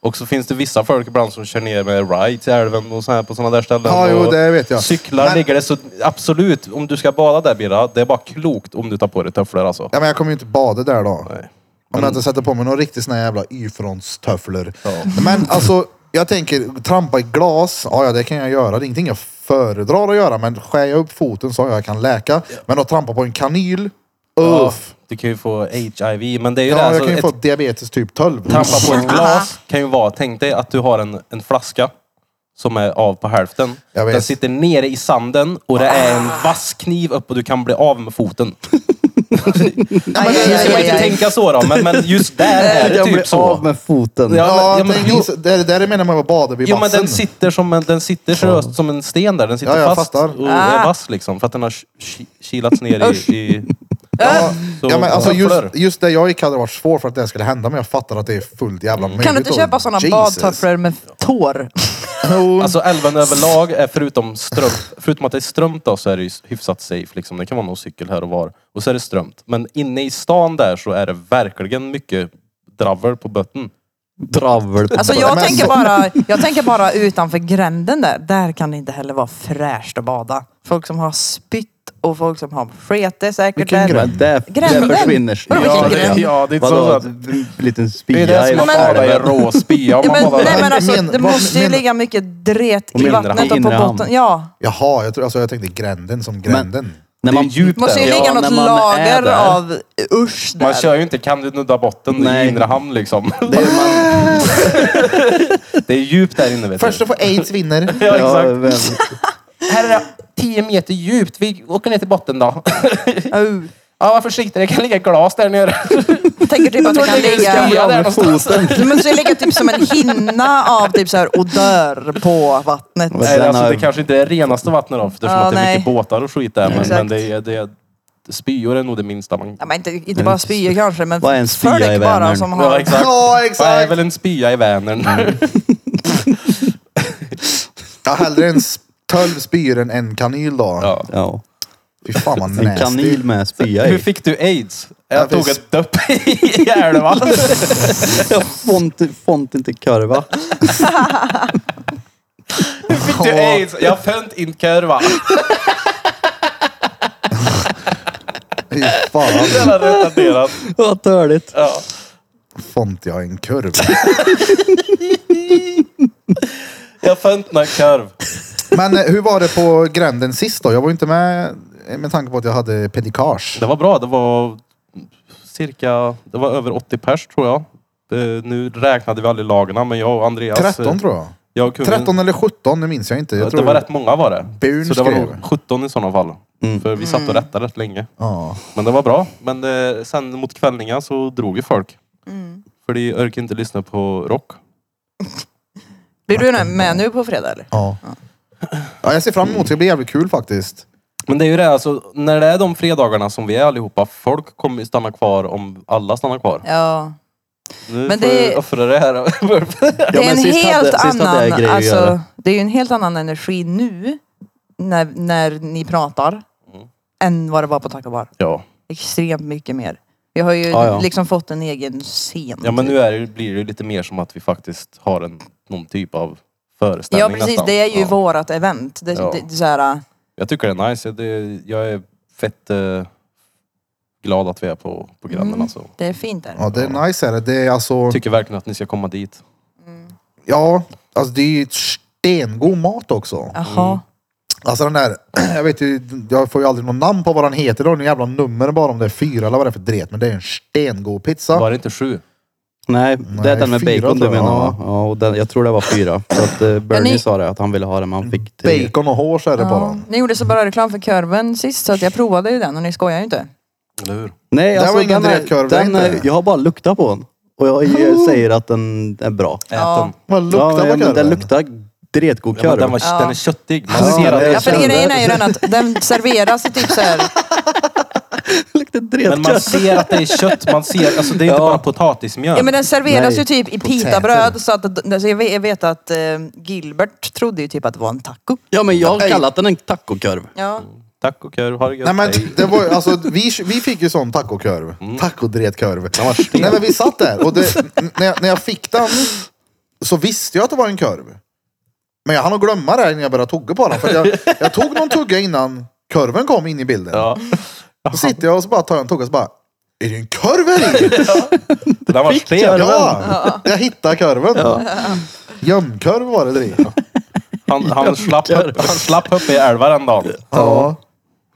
S1: Och så finns det vissa folk ibland som kör ner med rides i älven och så här på sådana där ställen.
S2: Ja, jo,
S1: och
S2: det vet jag.
S1: Cyklar
S2: Men-
S1: ligger det. Så absolut, om du ska bada där Birra, det är bara klokt om du tar på dig tofflor alltså.
S2: Ja, men jag kommer ju inte bada där då.
S1: Nej.
S2: Om jag inte sätter på mig någon riktigt sån här jävla Y-frontstöfflor. Men alltså, jag tänker trampa i glas. Ja, ja, det kan jag göra. Det är ingenting jag föredrar att göra. Men skär jag upp foten så ja, jag kan läka. Men att trampa på en kanyl,
S1: Ja,
S2: uff.
S1: du kan ju få HIV, men det är ju
S2: Ja,
S1: det.
S2: jag
S1: Alltså,
S2: kan ju
S1: ett,
S2: få diabetes typ 12.
S1: Trampa på ett glas kan ju vara, tänk dig att du har en, en flaska som är av på hälften.
S2: Jag vet.
S1: Den sitter nere i sanden och det är en vass kniv upp och du kan bli av med foten.
S4: Aj, aj,
S1: Nu ska
S4: aj,
S1: man
S4: aj,
S1: inte
S4: aj.
S1: tänka så då, men, men just där är det
S5: Jag
S1: typ
S5: blir av
S1: så.
S5: med foten.
S1: Ja,
S2: Ja,
S1: men-
S2: tänk,
S1: jo.
S2: just- det är det är det menar man med badar vid
S1: Jo men den
S2: bassen.
S1: sitter, som en, den sitter seriöst som en sten där. Den sitter
S2: Ja, jag
S1: fast
S2: fattar.
S1: och är vass liksom. För att den har ki- ki- kilats ner i... i
S2: Ja,
S1: så-
S2: ja, men alltså just,
S1: tofflor.
S2: just det jag gick hade varit svårt för att det skulle hända, men jag fattar att det är fullt jävla
S1: Mm.
S2: möjligt.
S4: Kan du inte
S2: och-
S4: köpa sådana
S2: Jesus.
S4: badtofflor med tår?
S2: Jo,
S1: Alltså älven överlag är förutom strömt, förutom att det är strömt då så är det ju hyfsat safe liksom. Det kan vara någon cykel här och var. Och så är det strömt. Men inne i stan där så är det verkligen mycket dravel på botten.
S5: dravel på
S4: Alltså jag
S2: Men-
S4: tänker, bara, jag tänker bara utanför gränden där. Där kan det inte heller vara fräscht att bada. Folk som har spytt och folk som har skete säkert.
S2: Vilken
S4: där.
S2: gränd?
S5: Men det,
S4: Gränden?
S5: det försvinner.
S4: Vadå,
S1: Ja,
S4: vilken gränd?
S1: det, ja, det är så
S5: Vadå,
S1: att...
S5: en liten
S1: Det
S5: spia?
S1: är det
S5: i
S1: som att
S4: men-
S1: bada i
S5: havet.
S1: rå spia. Om
S4: Ja,
S1: man
S4: men,
S1: badar
S4: nej men
S2: Men-
S4: alltså
S2: men-
S4: det
S2: vad-
S4: måste ju
S2: men-
S4: ligga mycket dret
S1: Och
S4: i
S1: mindre
S4: vattnet och på
S5: inre hamn.
S4: botten. Ja.
S2: Jaha, jag, tror, alltså, jag tänkte gränden som gränden.
S5: När
S1: det
S5: man,
S1: är djupt
S4: Det måste ju
S1: där.
S4: ligga
S5: Ja,
S4: något
S5: när man är
S4: lager
S5: där.
S4: av usch där.
S1: Man kör ju inte kan du nudda botten
S5: Nej.
S1: i inre hamn liksom.
S5: det är man,
S1: (laughs) Det är djupt där inne vet du.
S2: Första får
S1: (laughs)
S2: aids vinner.
S1: Ja,
S5: ja,
S1: exakt.
S5: men,
S1: Här är det 10 meter djupt. Vi åker ner till botten då.
S4: Au.
S1: Ja, var försiktig. Det kan ligga glas där nere.
S4: Jag tänker typ att det
S1: (laughs)
S4: kan
S1: det är
S4: ligga...
S1: skam.
S5: ja,
S1: där
S5: med foten.
S4: Det måste ju ligga typ som en hinna av typ så här odör på vattnet.
S5: Men
S1: Nej,
S5: den
S1: alltså,
S5: har-
S1: det kanske inte är det renaste vattnet då, eftersom
S4: Ja,
S1: att det är
S4: nej.
S1: mycket båtar och skit där. Men,
S4: Exakt.
S1: men det är, det är, spyor är nog det minsta man...
S4: Ja, men inte, inte bara spyor kanske men
S5: Vad är en spya i
S4: folk bara
S5: Vänern?
S4: som
S1: Ja,
S4: har...
S1: exakt.
S2: Ja,
S1: Det är
S2: exakt.
S1: väl en spya i Vänern.
S2: Ja, hellre en s- tolv spyor än en kanyl då.
S1: Ja.
S5: ja.
S4: Mm.
S2: Fy fan vad
S5: En
S2: nasty.
S5: kanil med
S1: (laughs)
S5: spya
S1: Hur
S5: i.
S1: fick du aids?
S2: Ja,
S1: Jag
S2: det är
S1: tog
S2: s-
S1: ett döpp i älvan.
S5: (laughs) Font, font inte kurva.
S1: Fick du aids? Jag fönt inte kurva.
S2: Fy fan.
S1: Jävla retarderat.
S5: Vad törligt.
S1: Ja.
S2: Font jag en kurv.
S1: Jag fönt någon kurv.
S2: Men eh, hur var det på gränden sist då? Jag var ju inte med eh, med tanke på att jag hade pedikage.
S1: Det var bra. Det var cirka... Det var över 80 pers tror jag. Eh, Nu räknade vi aldrig lagarna, men jag och Andreas...
S2: 13
S1: eh,
S2: tror jag.
S1: jag och kunden-
S2: 13 eller 17, nu minns jag inte. Jag tror
S1: det var rätt många var det.
S2: Burn
S1: så det var
S2: skrev.
S1: nog 17 i sådana fall. För vi satt och rättade rätt länge.
S2: Ja.
S1: Men det var bra. Men eh, sen mot kvällningar så drog ju folk.
S4: Mm.
S1: För de orkade inte lyssna på rock.
S4: Blir du med nu på fredag eller?
S2: Ja. ja. Jag ser fram emot det. Det blir jävligt kul faktiskt.
S1: Men det är ju det, alltså, när det är de fredagarna som vi är allihopa, folk kommer ju stanna kvar om alla stannar kvar.
S4: Ja.
S1: Nu
S4: Men
S1: får
S4: det-
S1: vi offra det här. (laughs)
S5: Ja,
S4: Det är
S5: men
S4: en
S5: sist hade-
S4: helt
S5: sist hade jag
S4: annan,
S5: grejer att göra.
S4: alltså, det är ju en helt annan energi nu när, när ni pratar än vad det var på Taco Bar.
S1: ja.
S4: Extremt mycket mer. Vi har ju
S5: Ja, ja.
S4: liksom fått en egen scen.
S1: ja, men
S4: typ.
S1: nu är det, blir det ju lite mer som att vi faktiskt har en, någon typ av föreställning
S4: ja precis,
S1: nästan.
S4: det är ju
S1: Ja.
S4: vårat event. Det,
S1: Ja.
S4: det, det, är så här,
S1: Jag tycker det är nice. Det, jag är fett eh, glad att vi är på, på grannen alltså.
S4: det är fint där.
S2: Ja, det är nice är det. Det är alltså...
S1: Tycker verkligen att ni ska komma dit.
S2: Ja, alltså det är ju stengod mat också.
S4: Jaha.
S2: Alltså den där, (clears throat) jag vet ju, jag får ju aldrig något namn på vad den heter. Det har ju jävla nummer bara om det är fyra eller vad det är för dret. Men det är en stengod pizza.
S1: Var det inte sju?
S5: Nej, det är den med
S2: fyra
S5: bacon
S2: tror
S5: du
S2: jag.
S5: menar va? Ja, och den, jag tror det var fyra. Så att eh, Bernie
S4: ni-
S5: sa det, att han ville ha det, men han fick tre.
S2: Bacon och hår så är det på
S4: Ja.
S2: den.
S4: Ni gjorde så bra reklam för korven sist så att jag provade ju den och ni skojar ju inte.
S1: Eller hur?
S5: Nej,
S2: Det
S5: alltså,
S2: var ingen
S5: den är-
S2: direktkorv, det är
S5: den är-
S2: inte.
S5: Jag har bara luktat på den. Och jag jag säger att den är bra.
S4: Ja.
S2: Vad
S5: ja,
S2: luktar
S5: men
S2: på
S5: Den
S2: korven?
S5: luktar dretgod
S1: Ja, men
S5: korv.
S1: den, var,
S5: (laughs)
S4: Ja.
S1: den är köttig. Man
S5: Ja,
S1: ser att
S5: det
S1: det
S5: är
S1: är
S4: Ja, för
S5: kände-
S4: grejen är ju den att den serveras i typ så här.
S5: luktar
S1: men man
S5: dretkorv.
S1: ser att det är kött. Man ser, alltså det är inte bara potatismjöl.
S4: Ja men den serveras
S5: Nej,
S4: ju typ i pitabröd så att alltså, jag vet- jag vet att eh, Gilbert trodde ju typ att det var en taco.
S5: Ja, men jag har kallat den en tacokorv.
S4: Ja.
S1: Tack och kör. Ha det
S2: Nej
S1: gött.
S2: men
S1: Hej.
S2: det var alltså, vi, vi fick ju sån tacokorv. Tacodretkorv. Nej men vi satt där och det, n- när, jag, när jag fick den så visste jag att det var en korv. Men jag hann nog glömma det innan jag började tugga på den. För att jag, jag tog någon tugga innan korven kom in i bilden.
S1: Ja.
S2: Då sitter jag och så bara tar jag en tugga och så bara, är det en korv här i?
S1: Den var stel.
S2: Ja! Jag hittade korven. Gömkorv var det det ja.
S1: Han, han, slapp, upp- han slapp upp i älva den dagen.
S2: ja.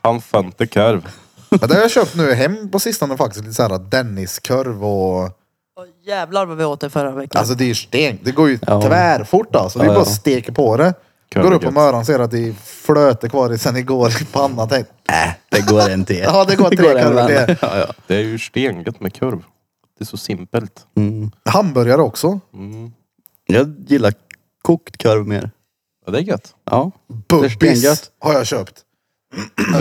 S1: Han fönte korv.
S2: Men det har jag köpt nu hem på sistone faktiskt. Lite såhär Denniskorv och...
S4: Och jävlar vad vi åt det förra veckan.
S2: Alltså det är ju sten. Det går ju
S5: Ja.
S2: tvärfort alltså. Det är
S5: Ja,
S2: bara
S5: ja.
S2: steker på det.
S1: Kör
S2: går
S1: det
S2: upp på
S1: gött.
S2: morgonen ser att det är flöte kvar i- sen igår i pannan. Tänk,
S5: Det går en till.
S2: Äh, (laughs) ja det går tre
S5: en
S2: korvar
S5: vän.
S2: till.
S5: Ja, ja.
S1: Det är ju stengött med korv. Det är så simpelt.
S2: Hamburgare också.
S5: Jag gillar kokt korv mer.
S1: Ja, det är gött.
S5: Ja. Det är
S2: Bubbis
S5: stengött.
S2: har jag köpt.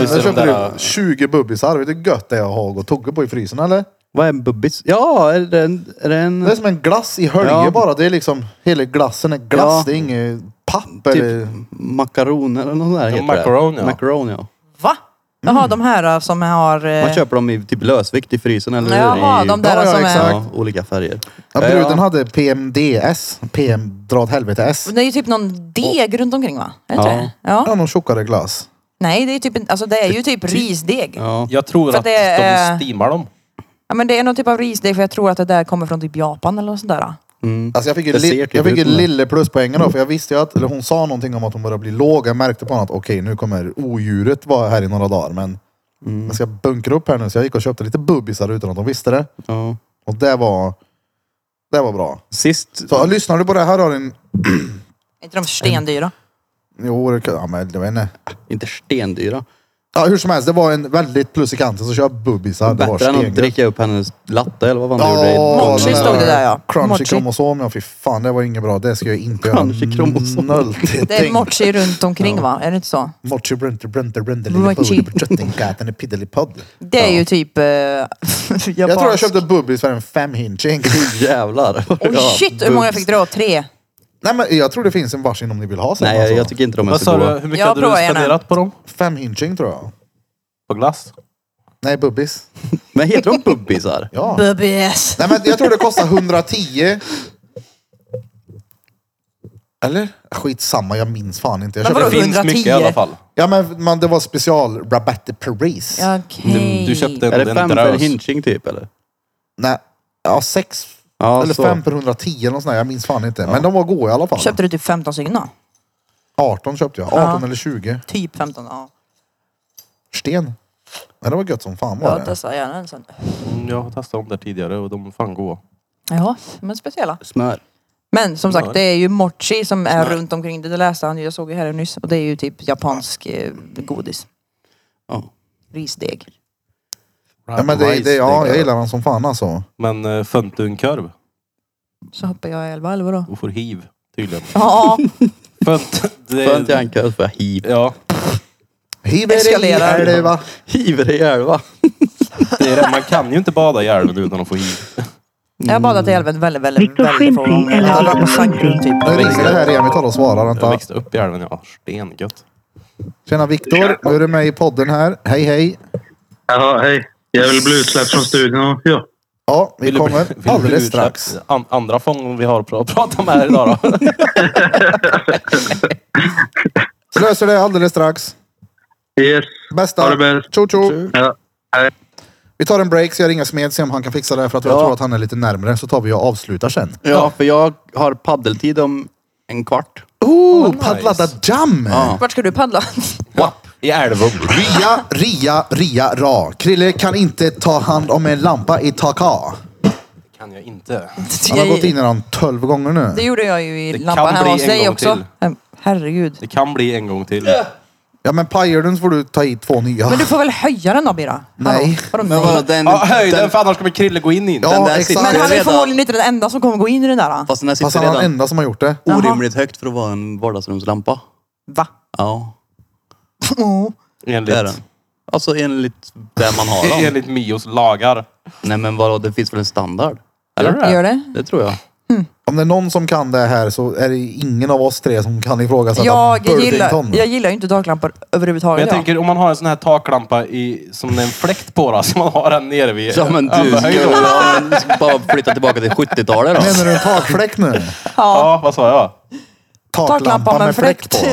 S1: Visst är
S2: Jag
S1: de
S2: köpte
S1: där-
S2: typ 20 bubbisar. Vet du gött det jag har och tugga på i frysen eller?
S5: Vad är en bubbis? Ja, är det en... Är det en
S2: Det är som en glass i hölje
S5: Ja.
S2: bara. Det är liksom, hela glassen är glass.
S5: Ja.
S2: Det är inget papper.
S5: typ makaroner eller något sånt
S1: Ja,
S5: där heter det.
S1: macaron, ja.
S5: Macaron, ja.
S4: Va? Jaha, de här eh, som har... eh,
S5: Man köper dem i typ lösvikt i frysen eller
S4: Jaha,
S5: i
S4: de där
S2: Ja, ja,
S4: som är...
S2: exakt.
S5: ja, olika färger.
S2: Ja,
S5: Ja,
S2: bruden
S5: ja.
S2: hade PMDS. PM dra åt helvete S.
S4: Det är ju typ någon deg runt omkring va? Är det inte
S5: Ja.
S4: det? ja.
S2: Ja, någon tjockare glas.
S4: Nej, det är, typ, en- alltså, det är ju typ risdeg. Ja.
S5: Ja.
S1: Jag tror
S4: För
S1: att
S4: det är-
S1: de steamar dem.
S4: men det är någon typ av risdeg för jag tror att det där kommer från typ Japan eller något sånt där.
S5: Mm.
S2: Alltså jag fick ju,
S5: Det ser
S2: li-
S5: typ
S2: jag fick
S5: ut
S2: ju
S5: som det.
S2: lille pluspoängen då, för jag visste ju att, eller hon sa någonting om att hon började bli låg. Jag märkte på henne att okej, nu kommer odjuret vara här i några dagar, men
S5: Mm.
S2: Alltså, jag ska bunkra upp här nu. Så jag gick och köpte lite bubbisar utan att de visste det.
S5: Ja.
S2: Och det var, det var bra.
S5: Sist...
S2: Så lyssnar du på det här har du en...
S4: Är inte de stendyra?
S2: Jo, det kan- ja, men jag vet inte.
S5: Inte stendyra.
S2: Ja, hur som helst, det var en väldigt plus i kanten. Så kör bubbisar. Det var
S5: Bättre än att
S2: stengött.
S5: dricka upp hennes latte eller vad fan du gjorde.
S2: Ja,
S4: Mochi
S2: den
S4: stod
S2: där
S4: det där, ja.
S2: Crunchy
S4: Mochi.
S2: kromosom, ja fy fan det var inget bra. Det ska jag inte göra.
S5: Crunchy kromosom.
S2: Nölltitting.
S4: Det är mochi runt omkring va? Är det inte så?
S2: Mochi brunter brunter brunter lille
S4: Mochi.
S2: puddel köttingkatten är
S4: (laughs)
S2: piddelipodd.
S4: Det är ju typ... Eh, (laughs)
S2: Jag tror jag köpte bubbis för en femhinching.
S5: (laughs) Jävlar.
S4: Oh shit, hur många fick du då? Tre?
S2: Nej men jag tror det finns en varsin om ni vill ha sån.
S5: Nej, jag,
S2: alltså.
S5: jag tycker inte de är
S1: Vad
S5: så
S1: sa du?
S5: goda.
S1: Hur mycket
S4: Jag
S1: hade du
S4: provar gärna.
S1: spenderat på dem?
S2: Femhinching tror jag.
S1: På glass?
S2: Nej bubbis.
S5: Men heter de
S1: (laughs)
S5: bubbisar?
S2: Ja.
S4: Bubbis.
S2: Nej men jag tror det kostar 110. Eller? Skitsamma, jag minns fan inte. Jag
S4: Men
S1: Det
S4: vadå?
S2: köpte...
S1: finns
S4: 110.
S1: mycket i alla fall.
S2: Ja men man, det var special rabatt i Paris.
S4: Okej.
S1: Du köpte
S5: Är
S1: en,
S5: det
S1: en
S5: fem för en
S1: drös.
S5: hinching typ eller?
S2: Nej, ja sex
S5: Ja,
S2: eller
S5: så.
S2: fem per 110 eller något sånt där. Jag minns fan inte. Men de var goda i alla fall.
S4: Köpte du typ 15 stycken då?
S2: 18 köpte jag. 18
S4: Ja.
S2: eller 20.
S4: Typ 15, ja.
S2: Sten. Nej, det var gött som fan var
S4: Jag
S2: det.
S4: testar gärna en sån.
S1: Mm, Jag har testat dem där tidigare och de är fan goda.
S4: Ja, men speciella.
S5: Smör.
S4: Men som
S1: Ja.
S4: sagt, det är ju mochi som är runt omkring det. Det läste han ju, jag såg ju här nyss. Och det är ju typ japansk eh, godis.
S5: Ja.
S4: Risdeg.
S2: Ja, men det, det,
S1: Rice,
S2: ja, jag
S1: det-
S2: gillar den som fan alltså.
S1: Men eh, föntunkorv
S4: Så hoppar jag i elva, eller vadå?
S1: och får hiv tydligen.
S4: Ja,
S1: (laughs) Fönt... det-
S5: Skönt jag inte för hiv.
S1: Ja,
S2: Hiver i
S4: Eskalerar.
S2: elva.
S5: Hiver i elva.
S1: det är det. Man kan ju inte bada i älven utan att få hiv.
S4: jag har badat i älven väldigt, väldigt,
S8: Victor
S4: väldigt få
S8: Schinting
S4: gånger.
S8: eller
S4: Jag har varit på
S8: Adam
S4: Sankt typ.
S2: Nu ringer det här igen. Vi tar och svarar.
S1: Jag
S2: Vänta.
S1: växte upp i älven, ja. Stengött.
S2: Tjena Viktor. Nu är du med i podden här. Hej hej.
S6: Ja, hej. Jag vill bli utsläppt från studion. Ja.
S2: Ja, vi
S1: Vill du bli-
S2: kommer
S1: vill du bli
S2: alldeles
S1: utsläppt?
S2: strax.
S1: An, andra fång vi har att pra- (laughs) prata med här idag då.
S2: Så löser det alldeles strax.
S6: Yes. Ha
S2: Bästa.
S6: det bäst.
S2: Tjo tjo.
S6: Ja.
S2: Vi tar en break så jag ringer Smed se om han kan fixa det här för att jag
S5: Ja.
S2: tror att han är lite närmare. Så tar vi och avslutar sen.
S5: Ja, för jag har paddeltid om en kvart.
S2: Oh,
S1: nice.
S2: paddlada jam!
S5: Ja.
S4: Vart ska du paddla? (laughs)
S1: I älven.
S2: Ria, ria, ria, ra. Krille kan inte ta hand om en lampa i taka.
S1: kan jag inte.
S2: Han har gått in i den tolv gånger
S4: Det
S2: nu.
S4: gjorde jag ju i
S1: Det
S4: lampan
S1: kan
S4: hemma
S1: bli
S4: hos
S1: en
S4: dig
S1: gång
S4: också.
S1: till. Ah.
S4: Hem- Herregud.
S1: Det kan bli en gång till.
S2: Ja men pajar den så får du ta i två nya.
S4: Men du får väl höja den då Bira?
S2: Nej.
S4: Vadå,
S5: Men vadå,
S4: nej?
S5: den,
S1: Ja, höjden,
S5: den,
S1: för annars kommer Krille gå in i den.
S2: Ja,
S5: den där
S2: exakt.
S5: sitter
S2: Men
S4: Men han är
S5: redan,
S4: förmodligen inte den enda som kommer gå in i den där. då.
S5: Fast den där
S2: Fast
S5: sitter
S2: han är den
S5: redan
S2: enda som har gjort det.
S4: Jaha.
S5: orimligt högt för att vara en vardagsrumslampa.
S4: Va?
S5: Ja,
S4: Oh.
S5: det är den.
S1: Enligt,
S5: Alltså enligt där man har (laughs) dem.
S1: enligt Mios lagar.
S5: Nej men vadå, det finns väl en standard?
S1: Gör
S5: Eller?
S1: det?
S4: Gör det?
S5: Det tror jag.
S2: Om det är någon som kan det här så är det ingen av oss tre som kan ifrågasätta
S4: Jag gillar,
S2: Burlington.
S4: jag gillar ju inte taklampor
S1: Men
S4: överhuvudtaget.
S1: jag
S4: ja.
S1: tänker om man har en sån här taklampa i, som det är en fläkt på då, (laughs) som man har den nere vid
S5: Ja men du
S1: överhöjden.
S5: skulle ha en- bara flytta tillbaka till 70-talet då.
S2: Menar du en takfläkt nu?
S1: Ja, vad sa jag?
S2: Taklampa med fläkt på.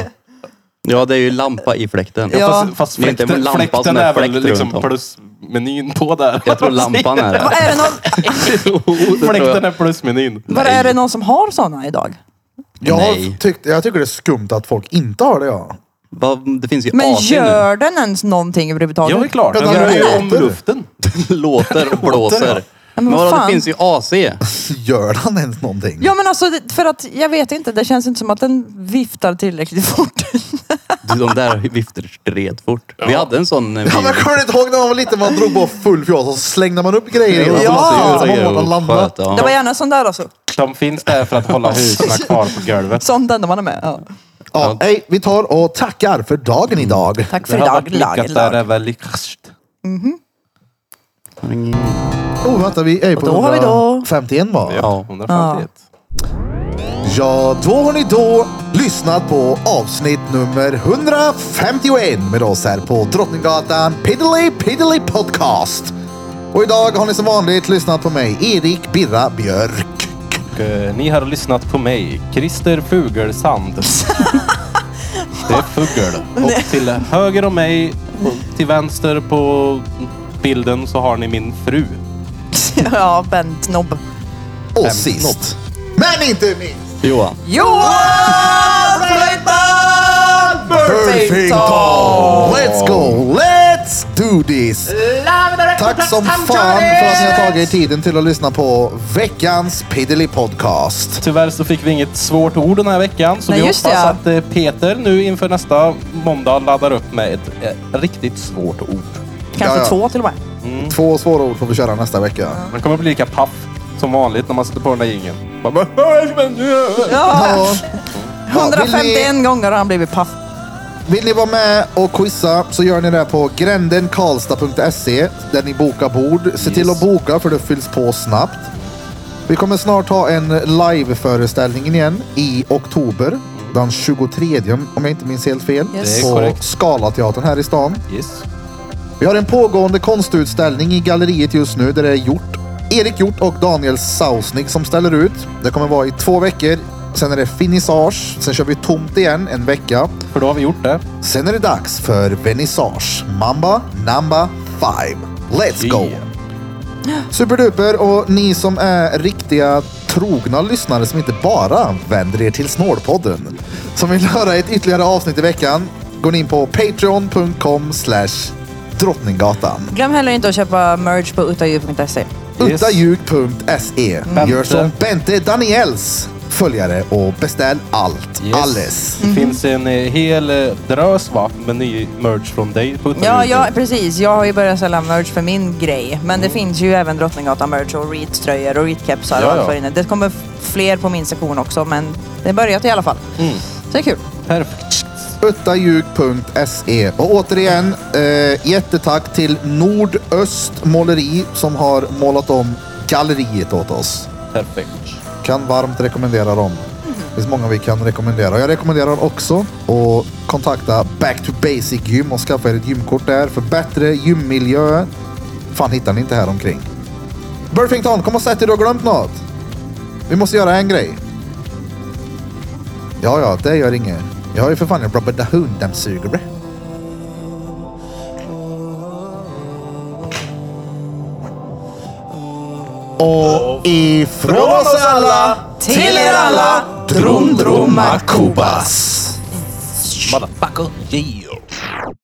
S5: Ja det är ju lampa i fläkten.
S4: Ja.
S1: Fast, fast
S5: Det är inte
S1: fläkten,
S5: en lampa
S1: fläkten
S5: som är
S1: är väl
S5: fläkt
S1: liksom
S5: runt om.
S1: plusmenyn på där.
S5: Jag tror lampan är
S4: (laughs) Vad
S5: det.
S4: är det någon,
S5: (laughs) Jo, det tror
S1: (laughs) Fläkten
S5: jag.
S1: är plusmenyn.
S4: vad är det någon som har sådana idag?
S2: Jag,
S5: Nej.
S2: tyckte, jag tycker det är skumt att folk inte har det ja.
S5: Vad- Det finns ju
S4: Men
S5: AC nu.
S4: gör den ens någonting överhuvudtaget?
S1: Ja, det är klart. Den
S2: Men den
S1: rör ju
S2: låter.
S1: om luften.
S5: (laughs) Låter och blåser.
S4: Men
S5: Men
S4: vad
S5: vadå,
S4: fan?
S5: det finns ju AC.
S2: Gör han ens någonting?
S4: Ja men alltså det- för att jag vet inte, det känns inte som att den viftar tillräckligt fort.
S5: Du, de där vifter stred fort. Vi hade en sån när vi...
S2: Ja, men kommer du inte ihåg när man var liten? Man drog på full fjås och så slängde man upp grejer.
S5: Ja,
S2: och så
S4: Ja.
S2: låtsades
S5: så
S2: som
S5: grejer
S2: om man
S5: och
S2: landade.
S5: sköt, ja.
S4: Det var gärna sån där alltså.
S1: De finns där för att hålla husarna kvar på
S5: (laughs)
S1: golvet.
S4: Sån den när man är med. Ja.
S2: Ja, hej, vi tar och tackar för dagen
S4: Mm.
S2: idag.
S4: Tack för
S1: Det har
S4: idag.
S1: varit
S4: Lag,
S1: lyckat där
S4: lag.
S1: är väl lyckast.
S2: Oh, vänta, vi är på
S4: då har vi då-
S2: 151 va?
S1: Ja, 151.
S2: Ja, då har ni då lyssnat på avsnitt nummer 151 med oss här på Drottninggatan Piddly Piddly Podcast. Och idag har ni som vanligt lyssnat på mig, Erik Birra Björk.
S1: Och, eh, ni har lyssnat på mig, Christer
S4: (laughs)
S1: Fugelsand. Det är Fugel. Och till höger om mig, och till vänster på bilden så har ni min fru.
S4: (laughs) ja, Bent Nobb.
S2: Och sist, men inte minst,
S5: Johan.
S4: Johan Flöjtman Burfington!
S2: Let's go! Let's do this! Tack som fan för att ni har tagit er tiden till att lyssna på veckans Piddly Podcast.
S1: Tyvärr så fick vi inget svårt ord den här veckan. Så vi
S4: Nej,
S1: hoppas
S4: just det, ja.
S1: att eh, Peter nu inför nästa måndag laddar upp med ett eh, riktigt svårt ord.
S4: Kanske
S2: Ja, ja.
S4: två till och med.
S2: Två svåra ord får vi köra nästa vecka.
S1: Man kommer bli lika paff som vanligt när man sätter på den där jingeln. Man bara,
S4: Ja,
S2: Ja. Ja, vill ni-
S4: 151 gånger har han blivit paff.
S2: Vill ni vara med och quizza så gör ni det på grändenkarlstad.se där ni bokar bord. Se till att boka för det fylls på snabbt. Vi kommer snart ha en live-föreställning igen i oktober. Den 23 om jag inte minns helt fel.
S4: Yes. Det
S1: är
S2: På
S1: korrekt.
S2: Scalateatern här i stan.
S1: yes.
S2: Vi har en pågående konstutställning i galleriet just nu där det är gjort. Erik Hjort och Daniel Sausnik som ställer ut. Det kommer vara i två veckor. Sen är det finissage. Sen kör vi tomt igen en vecka.
S1: För då har vi gjort det.
S2: Sen är det dags för vernissage. Mamba number five. Let's go!
S1: Yeah.
S2: Superduper och ni som är riktiga trogna lyssnare som inte bara vänder er till Snålpodden. Som vill höra ett ytterligare avsnitt i veckan går ni in på patreon.com slash drottninggatan.
S4: Glöm heller inte att köpa merch på uttaljud.se.
S1: Yes.
S2: Uttaljug.se. E. Gör som Bente Daniels följare och beställ allt.
S1: Yes.
S2: Alles.
S4: Mhm.
S1: Det finns en eh, hel eh, drös va, med ny merch från dig på
S4: Ja,
S1: Uttahusen.
S4: ja, precis. Jag har ju börjat sälja merch för min grej. Men det finns ju även Drottninggatan-merch och Reed-tröjor och Reed-kepsar och
S1: Ja, ja.
S4: allt vad det är. Det kommer f- fler på min sektion också, men det har börjat i alla fall. Så det är kul.
S1: Perfekt.
S2: uttaljug.se. E. Och återigen, eh, jättetack till Nordöst Måleri som har målat om galleriet åt oss.
S1: Perfekt.
S2: Kan varmt rekommendera dem. Det finns många vi kan rekommendera. Jag rekommenderar också att kontakta Back to Basic Gym och skaffa er ett gymkort där för bättre gymmiljö. Fan hittar ni inte här omkring. Burfington, kom och sätt dig, du har glömt något. Vi måste göra en grej. Ja, ja, det gör inget. Jag har ju för fan en Robert the Hood-dammsugare. Och ifrån oss alla
S4: Till er alla!
S2: Drumdrumma Kubas.
S1: Motherfucker. Yeah.